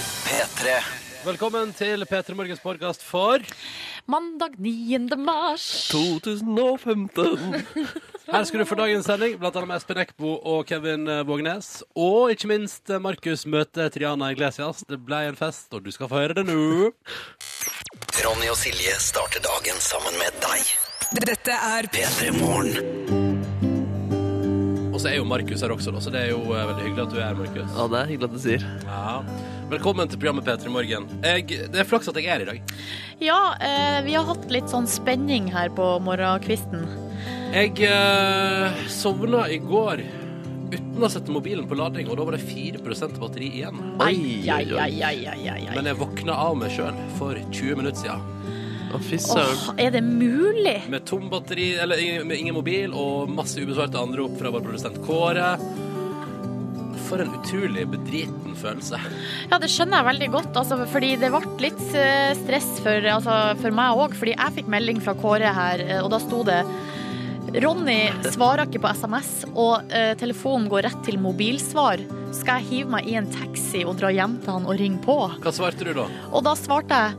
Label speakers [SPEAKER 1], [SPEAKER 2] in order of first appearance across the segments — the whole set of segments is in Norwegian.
[SPEAKER 1] P3.
[SPEAKER 2] Velkommen til P3 Morgens podkast for
[SPEAKER 3] Mandag 9. mars.
[SPEAKER 2] 2015. Her skal du få dagens sending, blant annet med Espen Eckbo og Kevin eh, Vågenes. Og ikke minst eh, Markus møter Triana Iglesias. Det ble en fest, og du skal få høre det nå.
[SPEAKER 1] Ronny og Silje starter dagen sammen med deg.
[SPEAKER 4] Dette er
[SPEAKER 1] P3 Morgen.
[SPEAKER 2] Og så er jo Markus her også, da, så det er jo eh, veldig hyggelig at du er her, Markus.
[SPEAKER 5] Ja, det er hyggelig at du sier.
[SPEAKER 2] Ja. Velkommen til programmet P3 Morgen. Jeg, det er flaks at jeg er her i dag.
[SPEAKER 3] Ja, eh, vi har hatt litt sånn spenning her på morgenkvisten.
[SPEAKER 2] Jeg eh, sovna i går uten å sette mobilen på lading, og da var det 4 batteri igjen.
[SPEAKER 3] Ai, ai, ai, ai, ai, ai, ai.
[SPEAKER 2] Men jeg våkna av meg sjøl for 20 minutter siden.
[SPEAKER 5] Å, fy søren.
[SPEAKER 3] Åh, er det mulig?
[SPEAKER 2] Med tom batteri, eller ing- med ingen mobil og masse ubesvarte anrop fra vår produsent Kåre. For en utrolig bedriten følelse.
[SPEAKER 3] Ja, det skjønner jeg veldig godt, altså, fordi det ble litt eh, stress for, altså, for meg òg. Fordi jeg fikk melding fra Kåre her, eh, og da sto det Ronny svarer ikke på SMS, og eh, telefonen går rett til mobilsvar. Skal jeg hive meg i en taxi og dra hjem til han og ringe på?
[SPEAKER 2] Hva svarte du da?
[SPEAKER 3] Og da svarte jeg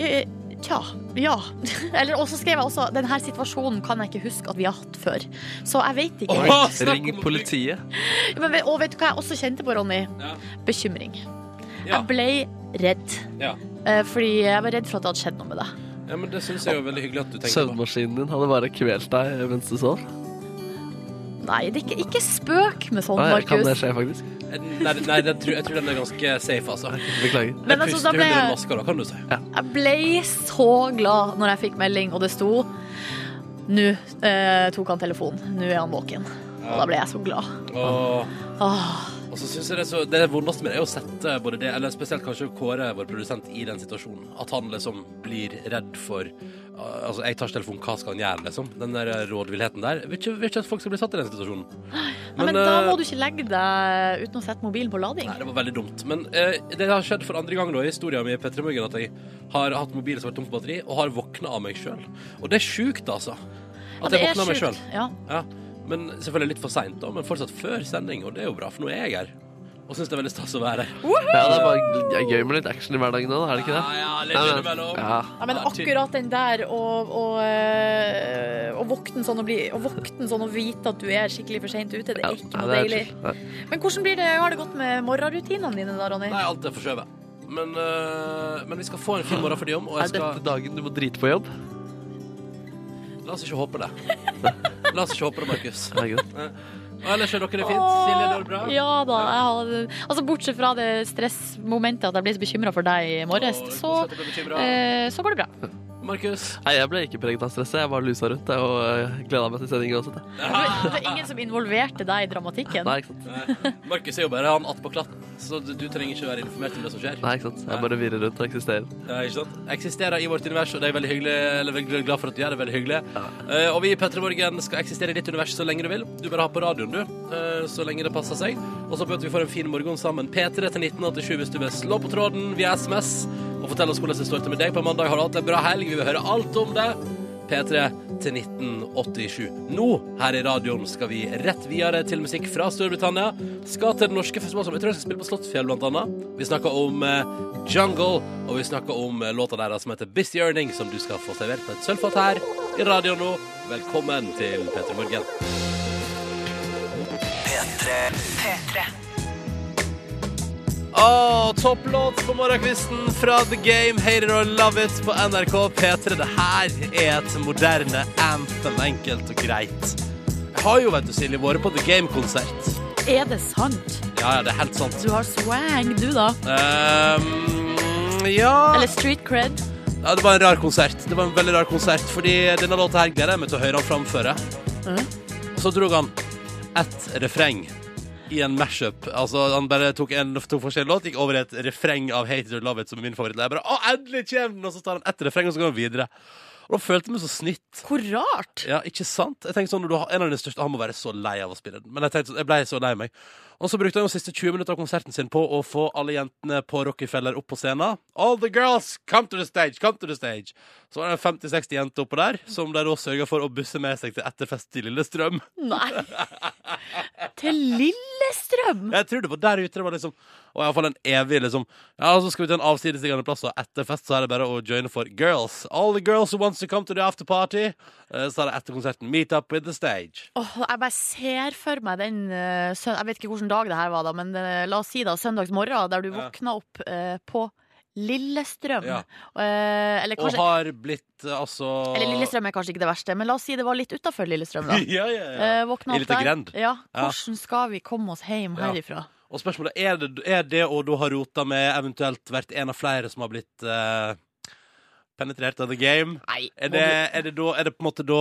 [SPEAKER 3] eh, Tja, ja. Eller, og så skrev jeg også denne situasjonen kan jeg ikke huske at vi har hatt før. Så jeg vet ikke. helt.
[SPEAKER 2] Åh, snakk om
[SPEAKER 5] Ring
[SPEAKER 2] å bli-
[SPEAKER 5] politiet.
[SPEAKER 3] Men, ve- og vet du hva jeg også kjente på, Ronny?
[SPEAKER 2] Ja.
[SPEAKER 3] Bekymring.
[SPEAKER 2] Ja,
[SPEAKER 3] Jeg ble redd.
[SPEAKER 2] ja.
[SPEAKER 3] Eh, Fordi jeg var redd for at det hadde skjedd noe med deg.
[SPEAKER 2] ja, men det syns jeg er jo veldig hyggelig at du tenker på.
[SPEAKER 5] Søvnmaskinen din hadde bare kvelt deg eh, mens du sov.
[SPEAKER 3] Nei, det er ikke, ikke spøk med sånn,
[SPEAKER 5] Nei, kan det
[SPEAKER 3] Markus.
[SPEAKER 5] skje, faktisk?
[SPEAKER 2] Eh, Nei, nei jeg, tror, jeg tror den er ganske safe, altså.
[SPEAKER 5] Beklager.
[SPEAKER 3] Men
[SPEAKER 2] jeg
[SPEAKER 3] altså, da
[SPEAKER 2] puster
[SPEAKER 3] ble
[SPEAKER 2] under den
[SPEAKER 3] jeg,
[SPEAKER 2] maska, da, kan du si.
[SPEAKER 3] jeg ble så glad når jeg fikk melding, og det sto Nå eh, tok han telefonen. Nå er han våken. Og da ble jeg så glad.
[SPEAKER 2] Og,
[SPEAKER 3] Åh,
[SPEAKER 2] og så synes jeg det, er så, det vondeste med det er å sette både det, eller spesielt kanskje Kåre, vår produsent, i den situasjonen. At han liksom blir redd for uh, Altså, jeg tar ikke telefonen, hva skal han gjøre, liksom? Den der rådvillheten der. Vil ikke, vil ikke at folk skal bli satt i den situasjonen.
[SPEAKER 3] Nei, men da
[SPEAKER 2] eh,
[SPEAKER 3] må du ikke legge deg uten å sette mobilen på lading.
[SPEAKER 2] Nei, det var veldig dumt. Men eh, det har skjedd for andre gang da, i historien min i Petter Morgen at jeg har hatt mobilen som har vært tom for batteri, og har våkna av meg sjøl. Og det er sjukt, altså. At
[SPEAKER 3] det
[SPEAKER 2] jeg
[SPEAKER 3] er
[SPEAKER 2] våkna av meg
[SPEAKER 3] sjukt.
[SPEAKER 2] sjøl.
[SPEAKER 3] Ja.
[SPEAKER 2] Ja. Men selvfølgelig litt for seint, da. Men fortsatt før sending, og det er jo bra, for nå er jeg her. Og syns det er veldig stas å være her.
[SPEAKER 5] Ja, det er bare det er gøy med litt action i hverdagen nå, er det ikke
[SPEAKER 2] Ja,
[SPEAKER 5] det?
[SPEAKER 2] ja, litt
[SPEAKER 5] Ja, men-
[SPEAKER 2] innimellom.
[SPEAKER 5] Ja.
[SPEAKER 3] Ja, men
[SPEAKER 2] Ja, ty-
[SPEAKER 3] akkurat den der og, og, eh, og våkne sånn og, bli, og våkne sånn og vite at du er skikkelig for seint ute, det
[SPEAKER 5] Ja,
[SPEAKER 3] er ikke
[SPEAKER 5] nei,
[SPEAKER 3] noe
[SPEAKER 5] det er
[SPEAKER 3] deilig.
[SPEAKER 5] chill. Nei.
[SPEAKER 3] Men hvordan blir det, har det gått med morgenrutinene dine da, Ronny?
[SPEAKER 2] Nei, alt er forskjøvet. Men, eh, men vi skal få en fin morgen for de om, og
[SPEAKER 5] Er
[SPEAKER 2] jeg skal
[SPEAKER 5] dette dagen du må drite på jobb?
[SPEAKER 2] La oss ikke håpe det. La oss ikke håpe det, Markus.
[SPEAKER 5] Det er greit.
[SPEAKER 2] Og ellers er dere det fint? Silje, det går bra?
[SPEAKER 3] Åh, Ja da. Jeg hadde, altså Bortsett fra det stressmomentet at jeg ble så bekymra for deg i morges,
[SPEAKER 2] Og
[SPEAKER 3] så,
[SPEAKER 2] hvordan er dere bekymret?
[SPEAKER 3] eh, så går det bra.
[SPEAKER 2] Markus?
[SPEAKER 5] Nei, jeg ble ikke preget av stresset. Jeg bare lusa rundt jeg, og eh, gleda meg til sendingen uansett. jeg.
[SPEAKER 3] Det var ingen som involverte deg i dramatikken.
[SPEAKER 5] Nei, ikke sant.
[SPEAKER 2] Markus er jo bare han attpå klatten, så du, du trenger ikke være informert om det som skjer.
[SPEAKER 5] Nei, ikke sant. Jeg bare virrer rundt og eksisterer.
[SPEAKER 2] Ja, ikke sant? Jeg eksisterer i vårt univers, og det er veldig hyggelig. Eller veldig glad for at du gjør det veldig hyggelig. Eh, og vi i Petter Morgen skal eksistere i ditt univers så lenge du vil. Du bare har på radioen, du. eh, så lenge det passer seg. Og så håper jeg at vi får en fin morgen sammen. P3 til 1987 hvis du vil slå på tråden via SMS og fortell oss hvordan det står til med deg på mandag. Har du hatt en bra helg? Vi vil høre alt om det. P3 til 1987. Nå, her i radioen, skal vi rett videre til musikk fra Storbritannia. Skal til den norske festivalen. Jeg tror jeg skal spille på Slottsfjell, blant annet. Vi snakker om eh, Jungle, og vi snakker om eh, låta deres som heter Busy Earning, som du skal få servert på et sølvfat her i radioen nå. Velkommen til P3 Morgen.
[SPEAKER 1] P3.
[SPEAKER 2] Åh, topplåt på morgenkvisten fra The Game, Hate It or Love It på NRK P3. Det her er et moderne anthem, enkelt og greit. Jeg har jo, vet du, Silje, vært på The Game-konsert.
[SPEAKER 3] Er det sant?
[SPEAKER 2] Ja, ja, det er helt sant.
[SPEAKER 3] Du har swag, du da.
[SPEAKER 2] Ehm, ja.
[SPEAKER 3] Eller street cred.
[SPEAKER 2] ja Det var en rar konsert. Det var en veldig rar konsert Fordi denne låta her gleder jeg meg til å høre han framføre. Og så drog han ett refreng i en mashup. Altså, han bare tok en to forskjellige låt, gikk over i et refreng av Hate It or Love It, som er min favoritt. Jeg bare, å, endelig kommer den! Og så tar han ett refreng, og så går han videre. Og da følte jeg meg så snytt.
[SPEAKER 3] Hvor rart!
[SPEAKER 2] Ja, ikke sant? Jeg tenkte sånn, når du har, En av dine største Han må være så lei av å spille den. Men jeg, tenkte, sånn, jeg ble så lei meg. Og så brukte han jo siste 20 minutter av konserten sin på å få alle jentene på Rockefeller opp på scenen. All the girls, come to the stage, come to the stage. Så var det 50-60 jenter oppå der, som de da sørga for å busse med seg til etterfest i Lillestrøm.
[SPEAKER 3] Nei! Til Lillestrøm!
[SPEAKER 2] Jeg tror det var der ute det var liksom Og iallfall en evig liksom Ja, så skal vi til en avsidesliggende plass, og etter fest så er det bare å joine for girls. All the girls who wants to come to the afterparty. Eh, Så er det etter konserten meet up with the stage.
[SPEAKER 3] Åh, jeg bare ser for meg den eh, sø- Jeg vet ikke hvilken dag det her var, da, men eh, la oss si da søndags morgen, der du
[SPEAKER 2] Ja.
[SPEAKER 3] våkna opp eh, på Lillestrøm.
[SPEAKER 2] Ja.
[SPEAKER 3] Eh, eller
[SPEAKER 2] Og
[SPEAKER 3] kanskje
[SPEAKER 2] har blitt eh, altså
[SPEAKER 3] Eller Lillestrøm er kanskje ikke det verste, men la oss si det var litt utafor Lillestrøm, da.
[SPEAKER 2] Ja, ja, ja.
[SPEAKER 3] Eh, våkna
[SPEAKER 2] I
[SPEAKER 3] opp
[SPEAKER 2] lite
[SPEAKER 3] der.
[SPEAKER 2] grend.
[SPEAKER 3] Ja,
[SPEAKER 2] Ja.
[SPEAKER 3] hvordan skal vi komme oss hjem
[SPEAKER 2] Ja.
[SPEAKER 3] herifra?
[SPEAKER 2] Og spørsmålet er det, er det å da ha rota med eventuelt vært en av flere som har blitt eh, penetrert av the game.
[SPEAKER 3] Nei,
[SPEAKER 2] Er
[SPEAKER 3] må
[SPEAKER 2] det, er det da Er det på en måte da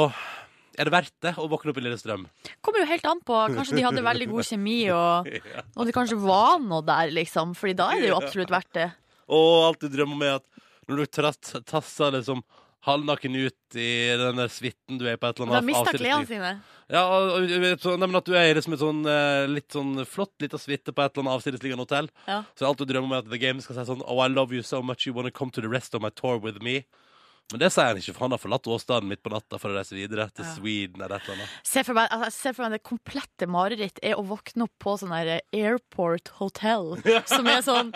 [SPEAKER 2] Er det verdt det å våkne opp i Lillestrøm?
[SPEAKER 3] du- kommer jo helt an på. Kanskje de hadde veldig god kjemi, og, og det kanskje var noe der, liksom. Fordi da er det jo absolutt verdt det.
[SPEAKER 2] Og alt du drømmer om er at når du tratt, tasser liksom halvnaken ut i den der suiten du er på et eller
[SPEAKER 3] De
[SPEAKER 2] annet
[SPEAKER 3] mista
[SPEAKER 2] avsides-
[SPEAKER 3] klærne sine.
[SPEAKER 2] Ja, og, og, og, så, nei, men at du er i liksom et sånn eh, litt sånn flott lita suite på et eller annet avsidesliggende hotell.
[SPEAKER 3] Ja.
[SPEAKER 2] Så alt du drømmer om er at The Game skal si sånn Oh, I love you so much, you wanna come to the rest of my tour with me. Men det sier han ikke, for han har forlatt åstedet midt på natta for å reise videre til
[SPEAKER 3] Ja.
[SPEAKER 2] Sweden eller et eller annet.
[SPEAKER 3] Se for meg, altså, jeg ser for meg det komplette mareritt er å våkne opp på sånn her airport hotel, som er sånn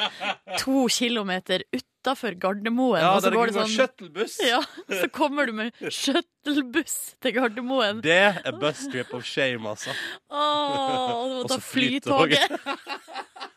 [SPEAKER 3] to kilometer utafor Gardermoen.
[SPEAKER 2] Ja,
[SPEAKER 3] og så
[SPEAKER 2] der
[SPEAKER 3] går
[SPEAKER 2] det
[SPEAKER 3] det
[SPEAKER 2] går
[SPEAKER 3] sånn
[SPEAKER 2] shuttlebuss.
[SPEAKER 3] ja, Så kommer du med shuttlebuss til Gardermoen.
[SPEAKER 2] Det er bus trip of shame, altså.
[SPEAKER 3] Åh, og du må
[SPEAKER 2] Og
[SPEAKER 3] ta
[SPEAKER 2] så
[SPEAKER 3] flytoget.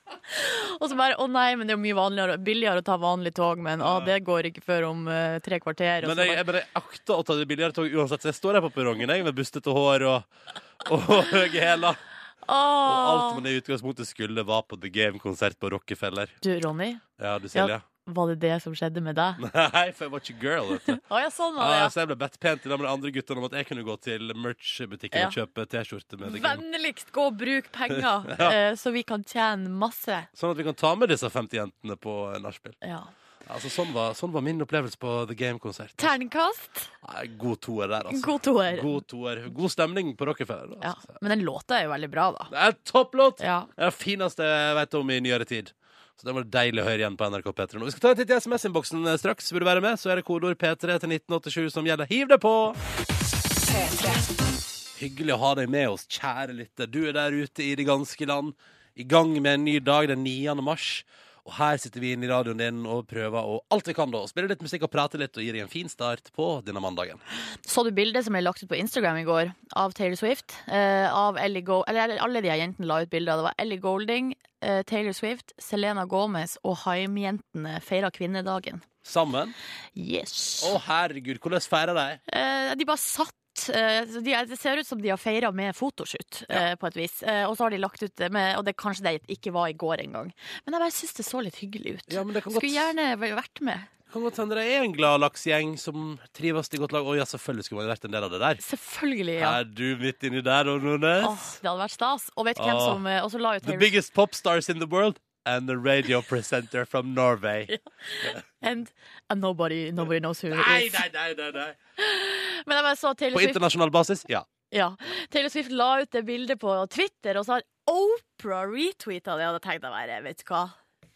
[SPEAKER 3] og så bare Å nei, men det er jo mye vanligere, billigere å ta vanlig tog, men å, det går ikke før om eh, tre kvarter. Og
[SPEAKER 2] Men
[SPEAKER 3] så bare,
[SPEAKER 2] jeg, jeg, men jeg akter å ta det billigere tog uansett, så jeg står her på perrongen jeg, med bustete hår og, og høye hæler. Og alt
[SPEAKER 3] Åh.
[SPEAKER 2] man i utgangspunktet skulle, var på The Game-konsert på Rockefeller.
[SPEAKER 3] Du, Ronny,
[SPEAKER 2] Ja, du Silje?
[SPEAKER 3] var det det som skjedde med deg?
[SPEAKER 2] Nei, Ah, for jeg var ikke girl, vet du.
[SPEAKER 3] Å ja, sånn var det,
[SPEAKER 2] Ja,
[SPEAKER 3] ja.
[SPEAKER 2] så jeg ble bedt pent til de andre guttene om at jeg kunne gå til merch-butikken og kjøpe T-skjorte med The Game.
[SPEAKER 3] Vennligst gå og bruk penger, eh, så vi kan tjene masse.
[SPEAKER 2] Sånn at vi kan ta med disse 50 jentene på eh, nachspiel.
[SPEAKER 3] Ja.
[SPEAKER 2] Altså, sånn, var- sånn var min opplevelse på The Game-konsert.
[SPEAKER 3] Terningkast,
[SPEAKER 2] Nei, God toer der, altså.
[SPEAKER 3] god toer.
[SPEAKER 2] God toer. God stemning på Rockefeller.
[SPEAKER 3] Ja.
[SPEAKER 2] Altså.
[SPEAKER 3] Men den låta er jo veldig bra, da.
[SPEAKER 2] Det er en topplåt!
[SPEAKER 3] Ja.
[SPEAKER 2] Det er det fineste jeg vet om i nyere tid. Så det var deilig å høre igjen på NRK P3 nå. Vi skal ta en titt i SMS-innboksen eh, straks. Vil du være med, så er det kodeord P3 til 1987 som gjelder. Hiv deg på! Hyggelig å ha deg med oss, kjære lytter. Du er der ute i det ganske land, i gang med en ny dag den 9. mars. Og her sitter vi inne i radioen din og prøver å alt vi kan da, å spille litt musikk og prate litt og gir deg en fin start på denne mandagen.
[SPEAKER 3] Så du bildet som ble lagt ut på Instagram i går av Taylor Swift? Eh, av Ellie Go eller, Alle de her jentene la ut bilder. Det var Ellie Golding, eh, Taylor Swift, Selena Gomez og Haim-jentene feira kvinnedagen.
[SPEAKER 2] Sammen.
[SPEAKER 3] Yes.
[SPEAKER 2] Å, herregud, hvordan feirer de?
[SPEAKER 3] Eh, de bare satt eh, så de, Det ser ut som de har feira med fotoshoot, eh, på et vis. Eh, og så har de lagt ut det med Og det kanskje det ikke var i går engang. Men jeg bare syns det så litt hyggelig ut.
[SPEAKER 2] Ja, men det kan
[SPEAKER 3] Skulle
[SPEAKER 2] godt-
[SPEAKER 3] gjerne væ- vært med.
[SPEAKER 2] Kan godt hende det er en glad laksgjeng som trives i godt lag. Å ja, selvfølgelig skulle man vært en del av det der.
[SPEAKER 3] Selvfølgelig, ja.
[SPEAKER 2] Er du midt inni der, Ronny Nordnes?
[SPEAKER 3] Åh, det hadde vært stas. Og vet hvem
[SPEAKER 2] Åh.
[SPEAKER 3] som eh, Og så la jo
[SPEAKER 2] The
[SPEAKER 3] Taylor
[SPEAKER 2] biggest pop stars in the world and the radio presenter from Norway.
[SPEAKER 3] And, and nobody, nobody knows who it
[SPEAKER 2] Nei,
[SPEAKER 3] is.
[SPEAKER 2] nei, nei, nei, nei.
[SPEAKER 3] Men jeg bare så Taylor
[SPEAKER 2] På
[SPEAKER 3] Swift,
[SPEAKER 2] internasjonal basis? Ja.
[SPEAKER 3] ja. Taylor Swift la ut det bildet på Twitter, og så har Oprah retweeta det. Og da tenkte jeg bare, vet du hva,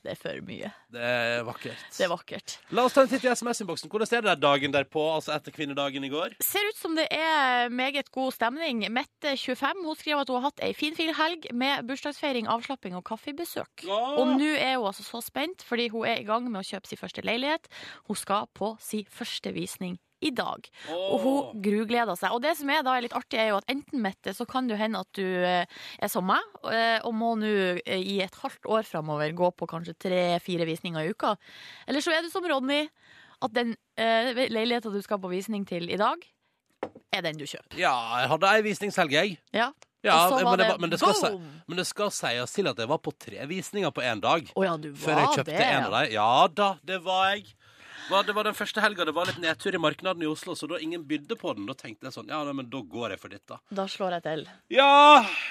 [SPEAKER 3] det er for mye.
[SPEAKER 2] Det er vakkert.
[SPEAKER 3] Det er vakkert.
[SPEAKER 2] La oss ta en titt i SMS-innboksen. Hvordan er det der dagen derpå, altså etter kvinnedagen i går?
[SPEAKER 3] Ser ut som det er meget god stemning. Mette25 hun skriver at hun har hatt ei finfin helg med bursdagsfeiring, avslapping og kaffebesøk.
[SPEAKER 2] Åh!
[SPEAKER 3] Og nå er hun altså så spent, fordi hun er i gang med å kjøpe sin første leilighet. Hun skal på sin første visning i dag. Og hun grugleder seg. Og det som er da er litt artig, er jo at enten, Mette, så kan det jo hende at du eh, er som meg, eh, og må nå eh, i et halvt år framover gå på kanskje tre-fire visninger i uka. Eller så er du som Ronny, at den eh, leiligheta du skal på visning til i dag, er den du kjøper.
[SPEAKER 2] Ja, jeg hadde ei visningshelg, jeg.
[SPEAKER 3] Ja.
[SPEAKER 2] Ja,
[SPEAKER 3] Og så var
[SPEAKER 2] men, det,
[SPEAKER 3] det
[SPEAKER 2] var- men, det skal si,
[SPEAKER 3] boom!
[SPEAKER 2] men det skal sies til at jeg var på tre visninger på én dag.
[SPEAKER 3] Å ja, du var
[SPEAKER 2] Før jeg kjøpte
[SPEAKER 3] det.
[SPEAKER 2] en av dem. Ja da, det var jeg. Hva- Det var den første helga det var litt nedtur i markedet i Oslo, så da ingen bydde på den. Da tenkte jeg sånn, ja, nei, men da går jeg for ditt, da.
[SPEAKER 3] Da slår jeg til.
[SPEAKER 2] Ja,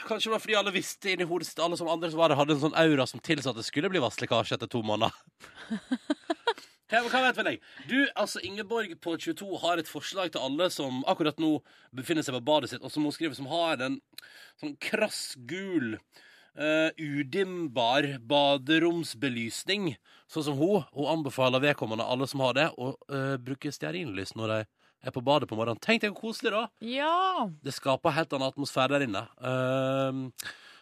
[SPEAKER 2] kanskje det var fordi alle visste inni hodet sitt, alle som andre som var der, hadde en sånn aura som tilsa at det skulle bli vasslekkasje etter to måneder. Hva, hva vet vel jeg? Du, altså Ingeborg på 22 har et forslag til alle som akkurat nå befinner seg på badet sitt, og som hun skriver som har en sånn krass gul eh, udimbar baderomsbelysning, sånn som hun. Hun anbefaler vedkommende, alle som har det, å eh, bruke stearinlys når de er på badet på morgenen. Tenk deg hvor koselig, da!
[SPEAKER 3] Ja.
[SPEAKER 2] Det skaper helt annen atmosfære der inne. Ehm,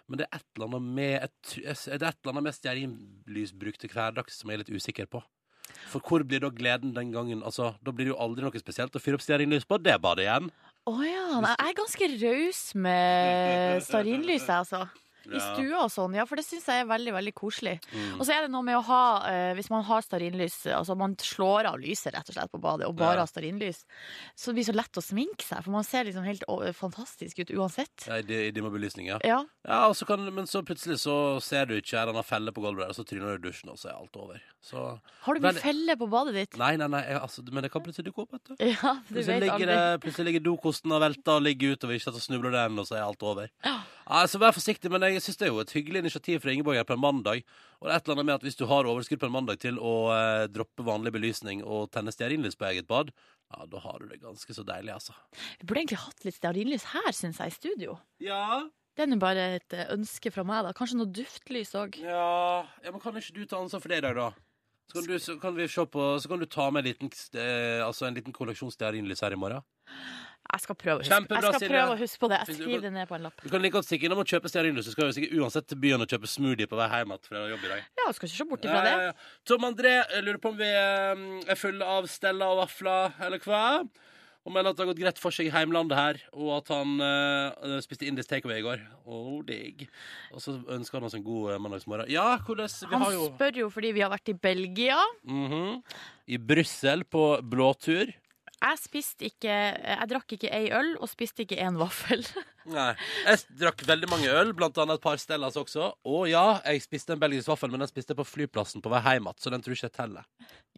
[SPEAKER 2] men det er et eller annet med jeg tr- jeg s- Det er et eller annet med stearinlysbruk til hverdags som jeg er litt usikker på. For hvor blir da gleden den gangen? Altså, Da blir det jo aldri noe spesielt å fyre opp stearinlys på det badet igjen.
[SPEAKER 3] Å ja. Nei, jeg er ganske raus med stearinlys, jeg, altså. I
[SPEAKER 2] Ja.
[SPEAKER 3] stua og sånn, ja, for det syns jeg er veldig veldig koselig.
[SPEAKER 2] Mm.
[SPEAKER 3] Og så er det noe med å ha, eh, hvis man har stearinlys, altså man slår av lyset rett og slett på badet, og bare
[SPEAKER 2] Ja.
[SPEAKER 3] har stearinlys, så det blir så lett å sminke seg, for man ser liksom helt å, fantastisk ut uansett.
[SPEAKER 2] Ja, I di- i dimma belysning, ja.
[SPEAKER 3] Ja.
[SPEAKER 2] ja og så kan, men så plutselig så ser du ikke en eller annen felle på gulvet, der, og så tryner du i dusjen, og så er alt over. Så
[SPEAKER 3] Har du mye
[SPEAKER 2] Veldig-
[SPEAKER 3] felle på badet ditt?
[SPEAKER 2] Nei, nei, nei, jeg, altså, men det kan plutselig dukke opp, vet du.
[SPEAKER 3] Ja, du
[SPEAKER 2] Plutselig
[SPEAKER 3] vet
[SPEAKER 2] ligger,
[SPEAKER 3] aldri.
[SPEAKER 2] det, plutselig ligger dokosten og velter og ligger utover, ikke sant, og snubler den, og så er alt over. Altså, Vær forsiktig, men jeg syns det er jo et hyggelig initiativ fra Ingeborg her på en mandag. Og det er et eller annet med at hvis du har overskudd på en mandag til å eh, droppe vanlig belysning og tenne stearinlys på eget bad, ja, da har du det ganske så deilig, altså.
[SPEAKER 3] Vi burde egentlig hatt litt stearinlys her, syns jeg, i studio.
[SPEAKER 2] Ja,
[SPEAKER 3] Det er nå bare et eh, ønske fra meg, da. Kanskje noe duftlys òg.
[SPEAKER 2] ja, ja Men kan ikke du ta ansvar for det i dag, da? Så kan, du, så kan vi se på Så kan du ta med en liten, eh, altså en liten kolleksjon stearinlys her i morgen.
[SPEAKER 3] Jeg skal prøve å huske,
[SPEAKER 2] Kjempebra,
[SPEAKER 3] jeg skal
[SPEAKER 2] Silje.
[SPEAKER 3] prøve å huske på det. Jeg
[SPEAKER 2] Hvis du-
[SPEAKER 3] skriver det ned på en lapp.
[SPEAKER 2] Du kan like godt stikke innom og kjøpe stearinlys. Du skal jo sikkert uansett til byen og kjøpe smoothie på vei hjem igjen fra jobb i dag.
[SPEAKER 3] Ja, jeg skal ikke se bort ifra det.
[SPEAKER 2] Ja, ja, ja. Tom André jeg lurer på om vi eh, er fulle av Stella og vafler, eller hva? Og mener at det har gått greit for seg i heimlandet her, og at han eh, spiste indisk takeaway i går. Oh, digg. Og så ønsker han oss en god eh, mandagsmorgen. Ja, hvordan Vi
[SPEAKER 3] Han
[SPEAKER 2] har jo
[SPEAKER 3] spør jo fordi vi har vært i Belgia.
[SPEAKER 2] Mhm. I Brussel på blåtur.
[SPEAKER 3] Jeg spiste ikke Jeg drakk ikke ei øl og spiste ikke én vaffel.
[SPEAKER 2] Nei. Jeg s- drakk veldig mange øl, blant annet et par Stellas også. Og ja, jeg spiste en belgisk vaffel, men den spiste jeg på flyplassen på vei hjem igjen, så den tror jeg ikke jeg teller.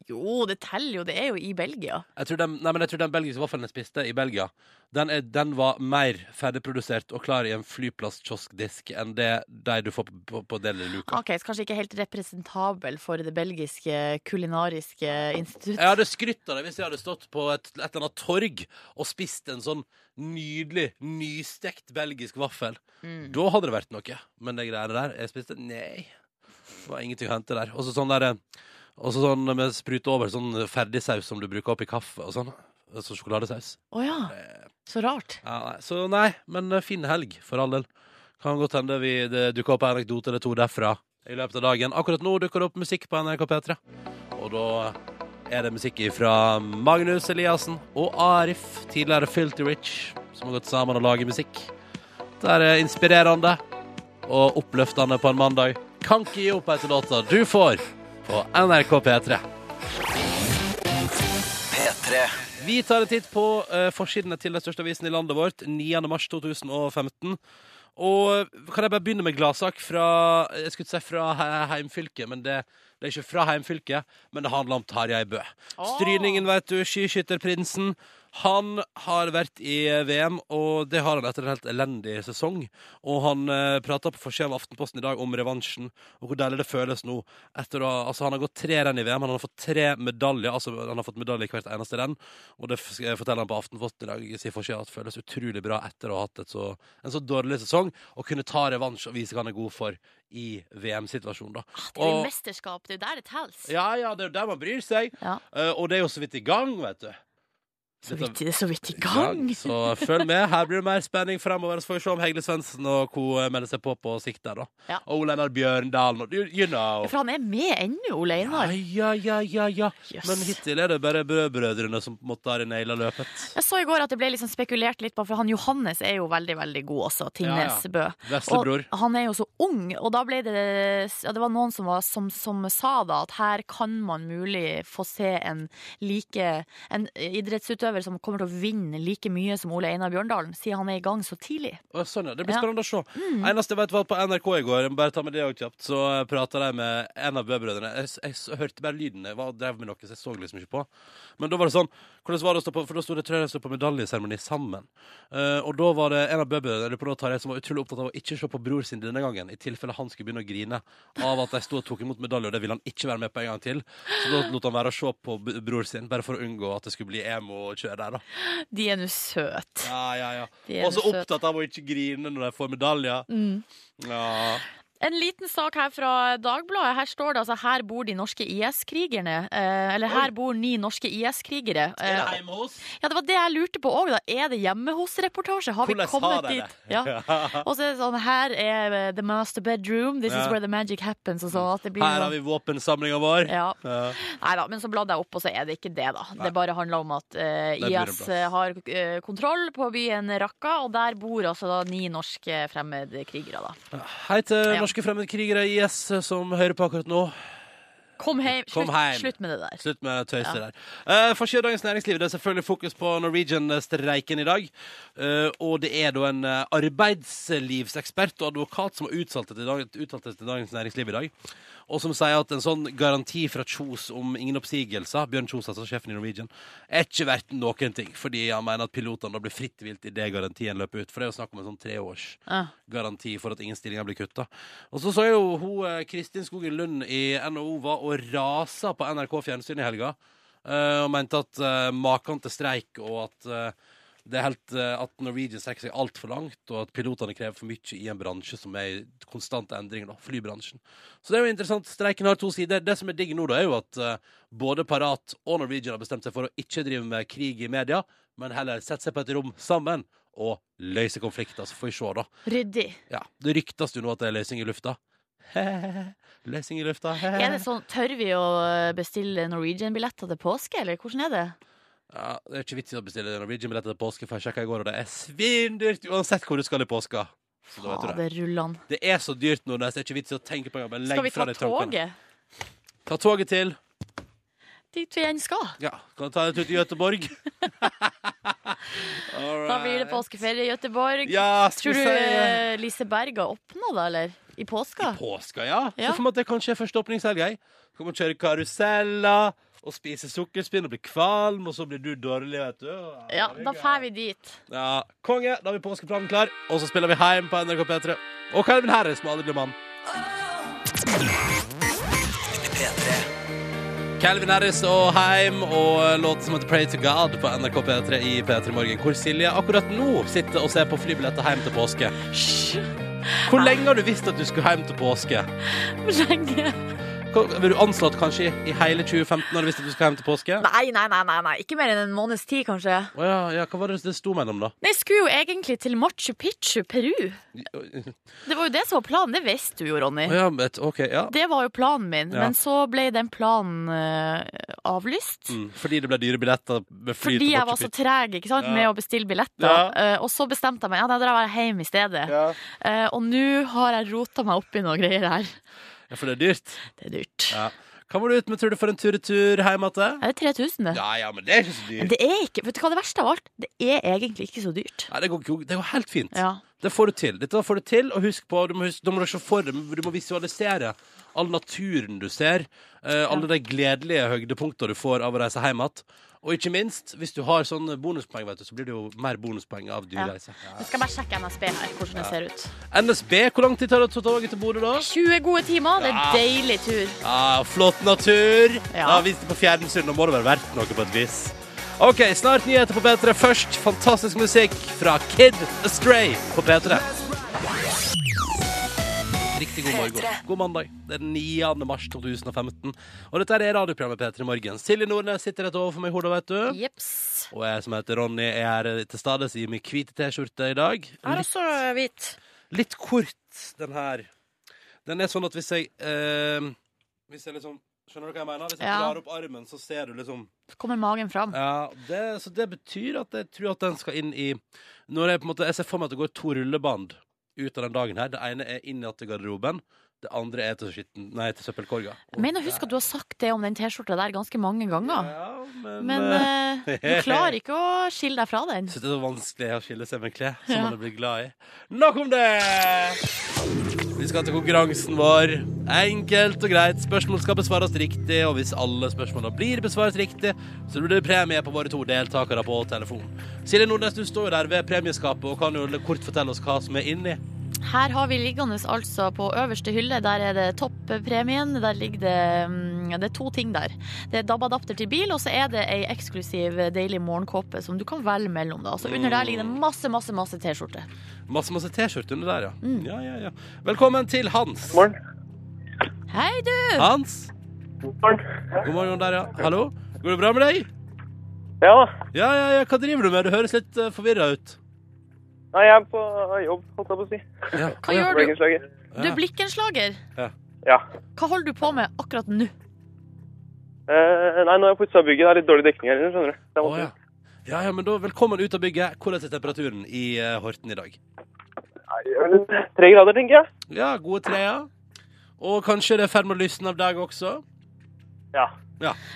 [SPEAKER 3] Jo, det teller jo. Det er jo i Belgia.
[SPEAKER 2] Jeg tror, den, nei, men jeg tror den belgiske vaffelen jeg spiste i Belgia, den, er, den var mer ferdigprodusert og klar i en flyplasskioskdisk enn det de du får på, på, på Deli Luca.
[SPEAKER 3] OK, så kanskje ikke helt representabel for det belgiske kulinariske institutt.
[SPEAKER 2] Jeg hadde skrytt av det hvis jeg hadde stått på et, et eller annet torg og spist en sånn nydelig, nystekt belgisk vaffel.
[SPEAKER 3] Mm.
[SPEAKER 2] Da hadde det vært noe. Men det greiene der jeg spiste Nei. Det var ingenting å hente der. Og så sånn der eh, Og så sånn med sprute over sånn ferdigsaus som du bruker oppi kaffe og sånn. Sånn sjokoladesaus.
[SPEAKER 3] Å ja. Så rart.
[SPEAKER 2] Ja, nei. Så nei, men eh, fin helg, for all del. Kan godt hende vi det dukker opp en anekdote eller to derfra i løpet av dagen. Akkurat nå dukker det opp musikk på NRK P3. Og da eh, er det musikk fra Magnus Eliassen og Arif, tidligere Filty Rich, som har gått sammen og laget musikk. Det er eh, inspirerende og oppløftende på en mandag. Kan ikke gi opp etter låta du får på NRK P3.
[SPEAKER 1] P3
[SPEAKER 2] Vi tar en titt på eh, forsidene til den største avisen i landet vårt, 9. mars 2015. Og kan jeg bare begynne med gladsak fra Jeg skulle ikke si fra he- heimfylket, men det, det er ikke fra heimfylket. Men det handler om Tarjei Bø. Stryningen, vet du. Skiskytterprinsen. Han har vært i VM, og det har han etter en helt elendig sesong. Og han eh, prata på forsida av Aftenposten i dag om revansjen, og hvor deilig det føles nå. Etter å, ha- altså, han har gått tre renn i VM, han har fått tre medaljer. Altså, han har fått medalje i hvert eneste renn, og det f- skal jeg fortelle han på Aftenposten i dag. Sier forsida at det føles utrolig bra etter å ha hatt et så, en så dårlig sesong, å kunne ta revansj og vise hva han er god for i VM-situasjonen, da.
[SPEAKER 3] Ah, Det blir
[SPEAKER 2] Og-
[SPEAKER 3] mesterskap. Det er jo der det telles.
[SPEAKER 2] ja, ja, det er jo der man bryr seg.
[SPEAKER 3] Ja.
[SPEAKER 2] Eh, og det er jo så vidt i gang, vet du.
[SPEAKER 3] Så
[SPEAKER 2] Dette-
[SPEAKER 3] vidt, det er så vidt i gang.
[SPEAKER 2] Så følg med. Her blir det mer spenning fremover. Så får vi se om Hegle Svendsen og co. melder seg på på sikt der, da.
[SPEAKER 3] Ja.
[SPEAKER 2] Og Ole Einar Bjørndalen og you, you know.
[SPEAKER 3] For han er med ennå, Ole Einar.
[SPEAKER 2] Ja, ja, ja, ja. ja.
[SPEAKER 3] Jøss.
[SPEAKER 2] Men hittil er det bare brødbrødrene som på en måte har naila løpet.
[SPEAKER 3] Jeg så i går at det ble liksom spekulert litt på, for han Johannes er jo veldig veldig god også. Tingnes
[SPEAKER 2] Ja,
[SPEAKER 3] Bø.
[SPEAKER 2] Veslebror.
[SPEAKER 3] Og han er jo så ung, og da ble det ja, Det var noen som, var, som, som sa da at her kan man mulig få se en like En idrettsutøver som kommer til å vinne like mye som Ole Einar Bjørndalen, siden han er i gang så tidlig.
[SPEAKER 2] Å, Sånn, ja. Det blir
[SPEAKER 3] Ja.
[SPEAKER 2] spennende å se. Eneste jeg vet, var på NRK i går. Jeg må Bare ta med det også kjapt. Så prata de med en av brødrene. Jeg, s- jeg, s- hørte bare lyden. Jeg var, drev med noe, så jeg så liksom ikke på. Men da var det sånn Hvordan var det å stå på For da sto det tror jeg de sto på medaljeseremoni sammen. Eh, og da var det en av bøbrødrene eller på noe tar jeg, som var utrolig opptatt av å ikke se på bror sin denne gangen, i tilfelle han skulle begynne å grine av at de sto og tok imot medalje, og det ville han ikke være med på en gang til. Så da lot han være å se på b- bror sin, bare for å unngå at det skulle bli emo og kjøre der, da.
[SPEAKER 3] De er nå søte.
[SPEAKER 2] Ja, ja, ja.
[SPEAKER 3] De er Mm.
[SPEAKER 2] Og så
[SPEAKER 3] søte.
[SPEAKER 2] opptatt av å ikke grine når de får medaljer. Ja.
[SPEAKER 3] En liten sak her fra Dagbladet. Her står det altså 'Her bor de norske IS-krigerne'. Eh, eller 'Her bor ni norske IS-krigere'.
[SPEAKER 2] Er det
[SPEAKER 3] Eh,
[SPEAKER 2] hjemme hos?
[SPEAKER 3] ja, det var det jeg lurte på òg. Er det hjemme hos-reportasje? Har vi
[SPEAKER 2] Hvordan
[SPEAKER 3] kommet
[SPEAKER 2] har de
[SPEAKER 3] dit?
[SPEAKER 2] det?
[SPEAKER 3] Ja. Og så er det sånn Her er eh, the master bedroom. This
[SPEAKER 2] Ja.
[SPEAKER 3] is where the magic happens. Og så at det blir
[SPEAKER 2] Her har
[SPEAKER 3] noe-
[SPEAKER 2] vi våpensamlinga vår.
[SPEAKER 3] ja.
[SPEAKER 2] Ja.
[SPEAKER 3] Nei da, men så bladde jeg opp, og så er det ikke det, da. Det bare handler om at eh,
[SPEAKER 2] bor en
[SPEAKER 3] IS
[SPEAKER 2] plass.
[SPEAKER 3] eh, har eh, kontroll på byen Raqqa, og der bor altså da ni norske fremmedkrigere, da.
[SPEAKER 2] Hei til
[SPEAKER 3] Ja.
[SPEAKER 2] norske fremmedkrigere i IS som hører på akkurat nå.
[SPEAKER 3] Kom hjem!
[SPEAKER 2] Kom
[SPEAKER 3] Slutt,
[SPEAKER 2] heim.
[SPEAKER 3] slutt med det der.
[SPEAKER 2] Slutt med tøyset der. Uh, Forsida av Dagens Næringsliv det er selvfølgelig fokus på Norwegian-streiken i dag. Eh, og det er da en eh, arbeidslivsekspert og advokat som har uttalt seg til, dag, uttalt seg til Dagens Næringsliv i dag. Og som sier at en sånn garanti fra Kjos om ingen oppsigelser, Bjørn Kjos, altså sjefen i Norwegian, er ikke verdt noen ting. Fordi han mener at pilotene da blir fritt vilt idet garantien løper ut. For det er jo snakk om en sånn treårs
[SPEAKER 3] Ja.
[SPEAKER 2] garanti for at ingen stillinger blir kutta. Og så så jeg jo hun eh, Kristin Skogen Lund i NHO var og rasa på NRK Fjernsyn i helga. eh, Og mente at eh, maken til streik og at eh, det er helt, eh, at Norwegian strekker seg altfor langt, og at pilotene krever for mye i en bransje som er i konstant endring, da, flybransjen. Så det er jo interessant. Streiken har to sider. Det som er digg nå, da, er jo at eh, både Parat og Norwegian har bestemt seg for å ikke drive med krig i media, men heller sette seg på et rom sammen og løse konflikter. Så får vi se, da.
[SPEAKER 3] Ryddig.
[SPEAKER 2] Ja, Det ryktes jo nå at det er løsning i lufta. løsning i lufta.
[SPEAKER 3] Er det sånn, Tør vi å bestille Norwegian-billetter til påske, eller hvordan er det?
[SPEAKER 2] Ja, det er ikke vits i å bestille Norwegian-billetter til påske, for jeg sjekka i går, og det er svindyrt uansett hvor du skal i påska. Så da vet du det.
[SPEAKER 3] Faderullan.
[SPEAKER 2] Det er så dyrt nå, det er ikke vits i å tenke på engang. men
[SPEAKER 3] Skal vi
[SPEAKER 2] Legg
[SPEAKER 3] ta
[SPEAKER 2] fra deg tankene.
[SPEAKER 3] toget
[SPEAKER 2] Ta toget til.
[SPEAKER 3] dit vi enn skal?
[SPEAKER 2] Ja, kan du ta deg tur til Gøteborg. All
[SPEAKER 3] Da blir det
[SPEAKER 2] right.
[SPEAKER 3] påskeferie i Gøteborg.
[SPEAKER 2] Ja, skal
[SPEAKER 3] Tror
[SPEAKER 2] vi
[SPEAKER 3] du
[SPEAKER 2] si
[SPEAKER 3] eh, Lise Berg har åpna, da, eller? I påska?
[SPEAKER 2] Påska, ja.
[SPEAKER 3] Ja.
[SPEAKER 2] Så for meg at det kanskje er første åpningshelg. jeg. Kommer og kjøre karuseller og spise sukkerspinn og bli kvalm, og så blir du dårlig, vet du.
[SPEAKER 3] Ja, da drar vi dit.
[SPEAKER 2] Ja, Konge, da har vi påskeplanen klar, og så spiller vi heim på NRK P3. Og Calvin Harris må aldri bli mann. Calvin Harris og Heim og låt som heter Pray to God på NRK P3 i P3 Morgen, hvor Silje akkurat nå sitter og ser på flybilletter hjem til påske.
[SPEAKER 3] Hysj!
[SPEAKER 2] Hvor lenge har du visst at du skulle hjem til påske?
[SPEAKER 3] Lenge.
[SPEAKER 2] Hva- Vil du anslå at kanskje i hele 2015 har du visst at du skulle hjem til påske?
[SPEAKER 3] Nei, nei, nei, nei, nei. ikke mer enn en måneds tid, kanskje.
[SPEAKER 2] Å ja, ja, hva var det det sto mellom, da?
[SPEAKER 3] Nei, skulle jo egentlig til Machu Picchu, Peru. Det var jo det som var planen, det visste du jo, Ronny.
[SPEAKER 2] Å ja, men, OK, ja.
[SPEAKER 3] Det var jo planen min,
[SPEAKER 2] Ja.
[SPEAKER 3] men så ble den planen eh, avlyst.
[SPEAKER 2] Mm, fordi det ble dyre billetter med fly
[SPEAKER 3] Fordi
[SPEAKER 2] til
[SPEAKER 3] jeg
[SPEAKER 2] Machu
[SPEAKER 3] var så
[SPEAKER 2] Picchu.
[SPEAKER 3] treg ikke sant,
[SPEAKER 2] Ja.
[SPEAKER 3] med å bestille billetter.
[SPEAKER 2] Ja.
[SPEAKER 3] Eh, og så bestemte jeg meg ja, da drar jeg hjem i stedet. Eh, og nå har jeg rota meg opp i noen greier her.
[SPEAKER 2] Ja, for det er dyrt.
[SPEAKER 3] Det er dyrt.
[SPEAKER 2] Ja. Hva var du ute med, tror du, for en tur-retur hjem igjen?
[SPEAKER 3] Er det 3000, det?
[SPEAKER 2] Ja, ja, men det er ikke så
[SPEAKER 3] Men
[SPEAKER 2] dyrt.
[SPEAKER 3] Det er ikke, vet du hva det verste av alt? Det er egentlig ikke så dyrt.
[SPEAKER 2] Nei, det går, ikke- det går helt fint.
[SPEAKER 3] Ja.
[SPEAKER 2] Det får du til. Dette får du til, og husk på, du må, huske, du må se for deg, du må visualisere all naturen du ser, eh, alle de gledelige høydepunktene du får av å reise hjem igjen. Og ikke minst, hvis du har sånne bonuspoeng, vet du, så blir det jo mer bonuspoeng av dyr
[SPEAKER 3] Ja.
[SPEAKER 2] reise.
[SPEAKER 3] Jeg skal bare sjekke NSB her, hvordan det ser ut.
[SPEAKER 2] NSB, hvor lang tid tar det å ta toget til Bodø da?
[SPEAKER 3] 20 gode timer, det er
[SPEAKER 2] Ja.
[SPEAKER 3] deilig tur.
[SPEAKER 2] Ja, flott natur.
[SPEAKER 3] Ja.
[SPEAKER 2] Ja, Vist det på fjernsyn. Nå må det være verdt noe på et vis. OK, snart nyheter på P3. Først fantastisk musikk fra Kid Astray på P3. Riktig god morgen. God mandag. Det er den 9. mars 2015. Og dette er radioprogrammet P3 Morgen. Silje Nordnes sitter rett overfor meg i hodet, vet du.
[SPEAKER 3] Jeps.
[SPEAKER 2] Og jeg som heter Ronny, er her til stades i min hvite T-skjorte i dag.
[SPEAKER 3] Jeg har også hvit.
[SPEAKER 2] Litt kort, den her. Den er sånn at hvis jeg eh, Hvis jeg liksom Skjønner du hva jeg mener? Hvis jeg
[SPEAKER 3] Ja.
[SPEAKER 2] drar opp armen, så ser du liksom
[SPEAKER 3] Så kommer magen fram.
[SPEAKER 2] Ja, det, Så det betyr at jeg tror at den skal inn i Når jeg på en måte Jeg ser for meg at det går to rulleband ut av den dagen her. Det ene er inn igjen til garderoben. Det andre er til skitten Nei, til søppelkorga.
[SPEAKER 3] Jeg mener, husk at du har sagt det om den T-skjorta der ganske mange ganger.
[SPEAKER 2] Ja, men,
[SPEAKER 3] Men
[SPEAKER 2] eh,
[SPEAKER 3] eh, du klarer ikke å skille deg fra den.
[SPEAKER 2] jeg synes det er så vanskelig å skille seg med klær som
[SPEAKER 3] Ja.
[SPEAKER 2] man blir glad i. Nok om det! Vi skal til konkurransen vår. Enkelt og greit. Spørsmål skal besvares riktig, og hvis alle spørsmålene blir besvart riktig, så blir det premie på våre to deltakere på telefon. Silje Nordnes, du står jo der ved premieskapet og kan jo kort fortelle oss hva som er inni.
[SPEAKER 3] Her har vi liggende altså på øverste hylle. Der er det toppremien. Der ligger det mm, Det er to ting der. Det er DAB-adapter til bil, og så er det ei eksklusiv eh, deilig morgenkåpe som du kan velge mellom. da. Så under der ligger det masse, masse masse T-skjorte.
[SPEAKER 2] Masse masse T-skjorte under der, ja.
[SPEAKER 3] Mm.
[SPEAKER 2] ja. Ja, ja, Velkommen til Hans.
[SPEAKER 3] Hei, du!
[SPEAKER 2] Hans. God morgen der, ja. Hallo. Går det bra med deg?
[SPEAKER 4] Ja da.
[SPEAKER 2] Ja, ja, ja. Hva driver du med? Du høres litt uh, forvirra ut.
[SPEAKER 4] Nei, jeg er på jobb, holdt jeg på å si.
[SPEAKER 2] Ja.
[SPEAKER 3] Hva gjør du?
[SPEAKER 4] Blikkenslager.
[SPEAKER 3] Du er blikkenslager.
[SPEAKER 4] Ja.
[SPEAKER 3] Hva holder du på med akkurat nå?
[SPEAKER 4] Eh, nei, nå har jeg putsa bygget. Det er litt dårlig dekning her inne, skjønner du. Det,
[SPEAKER 2] Å, ja. Ja, ja, men da Velkommen ut av bygget. Hvordan er temperaturen i eh, Horten i dag?
[SPEAKER 4] ja. Tre grader, tenker jeg.
[SPEAKER 2] Ja, gode treer. Og kanskje det er i ferd med å lysne av dag også.
[SPEAKER 4] Ja.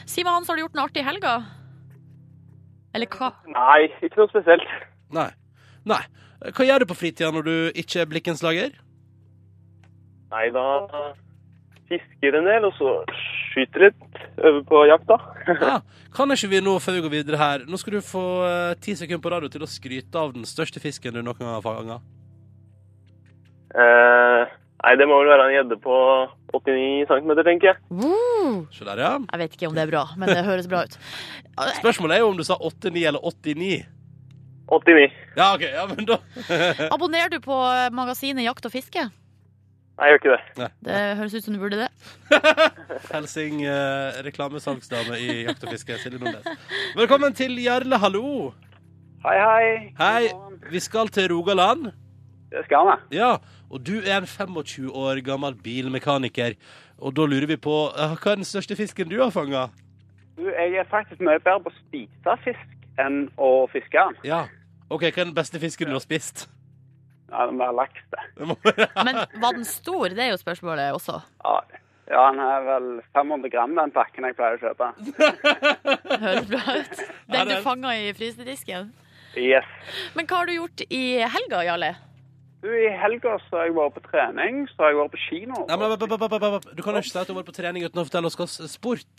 [SPEAKER 3] Si meg, Hans, har du gjort noe artig i helga? Eller hva?
[SPEAKER 4] Nei, ikke noe spesielt.
[SPEAKER 2] Nei. Nei. Hva gjør du på fritida når du ikke er blikkenslager?
[SPEAKER 4] Nei, da fisker en del, og så skyter litt. Øver på jakt, da.
[SPEAKER 2] Ja. Kan ikke vi nå, før vi går videre her Nå skal du få eh, ti sekunder på radio til å skryte av den største fisken du noen gang har fanga.
[SPEAKER 4] Eh, nei, det må vel være en gjedde på 89 cm, tenker jeg.
[SPEAKER 3] Woo!
[SPEAKER 2] Se der, ja.
[SPEAKER 3] Jeg vet ikke om det er bra, men det høres bra ut.
[SPEAKER 2] Spørsmålet er jo om du sa 89 eller 89.
[SPEAKER 4] 89.
[SPEAKER 2] Ja, OK. Ja, men da
[SPEAKER 3] Abonnerer du på eh, magasinet Jakt og fiske?
[SPEAKER 4] Nei, jeg gjør ikke det.
[SPEAKER 3] Det høres ut som du burde det.
[SPEAKER 2] Helsing eh, reklamesalgsdame i Jakt og fiske, Silje Nordnes. Velkommen til Jarle, hallo.
[SPEAKER 4] Hei, hei.
[SPEAKER 2] Hei. Vi skal til Rogaland.
[SPEAKER 4] Det skal han, da.
[SPEAKER 2] Ja, og du er en 25 år gammel bilmekaniker. Og da lurer vi på eh, hva er den største fisken du har fanga?
[SPEAKER 4] Du, jeg er faktisk mye bedre på å spise fisk enn å fiske den.
[SPEAKER 2] Ja. OK, hva er den beste fisken du har spist?
[SPEAKER 4] Ja, det må være laks, det.
[SPEAKER 2] Det må-
[SPEAKER 3] Men var den stor? Det er jo spørsmålet også.
[SPEAKER 4] Ja, ja, han er vel 500 gram, den pakken jeg pleier å kjøpe.
[SPEAKER 3] Høres bra ut.
[SPEAKER 2] Ja,
[SPEAKER 3] Den du
[SPEAKER 2] det-
[SPEAKER 3] fanga i frysedisken.
[SPEAKER 4] Yes.
[SPEAKER 3] Men hva har du gjort i helga, Jarle?
[SPEAKER 4] Du, I helga så har jeg vært på trening, så har jeg vært på kino.
[SPEAKER 2] Nei,
[SPEAKER 4] Å,
[SPEAKER 2] men, b- b- b- b- b- du kan jo ikke si at du har vært på trening uten å fortelle oss hva slags sport.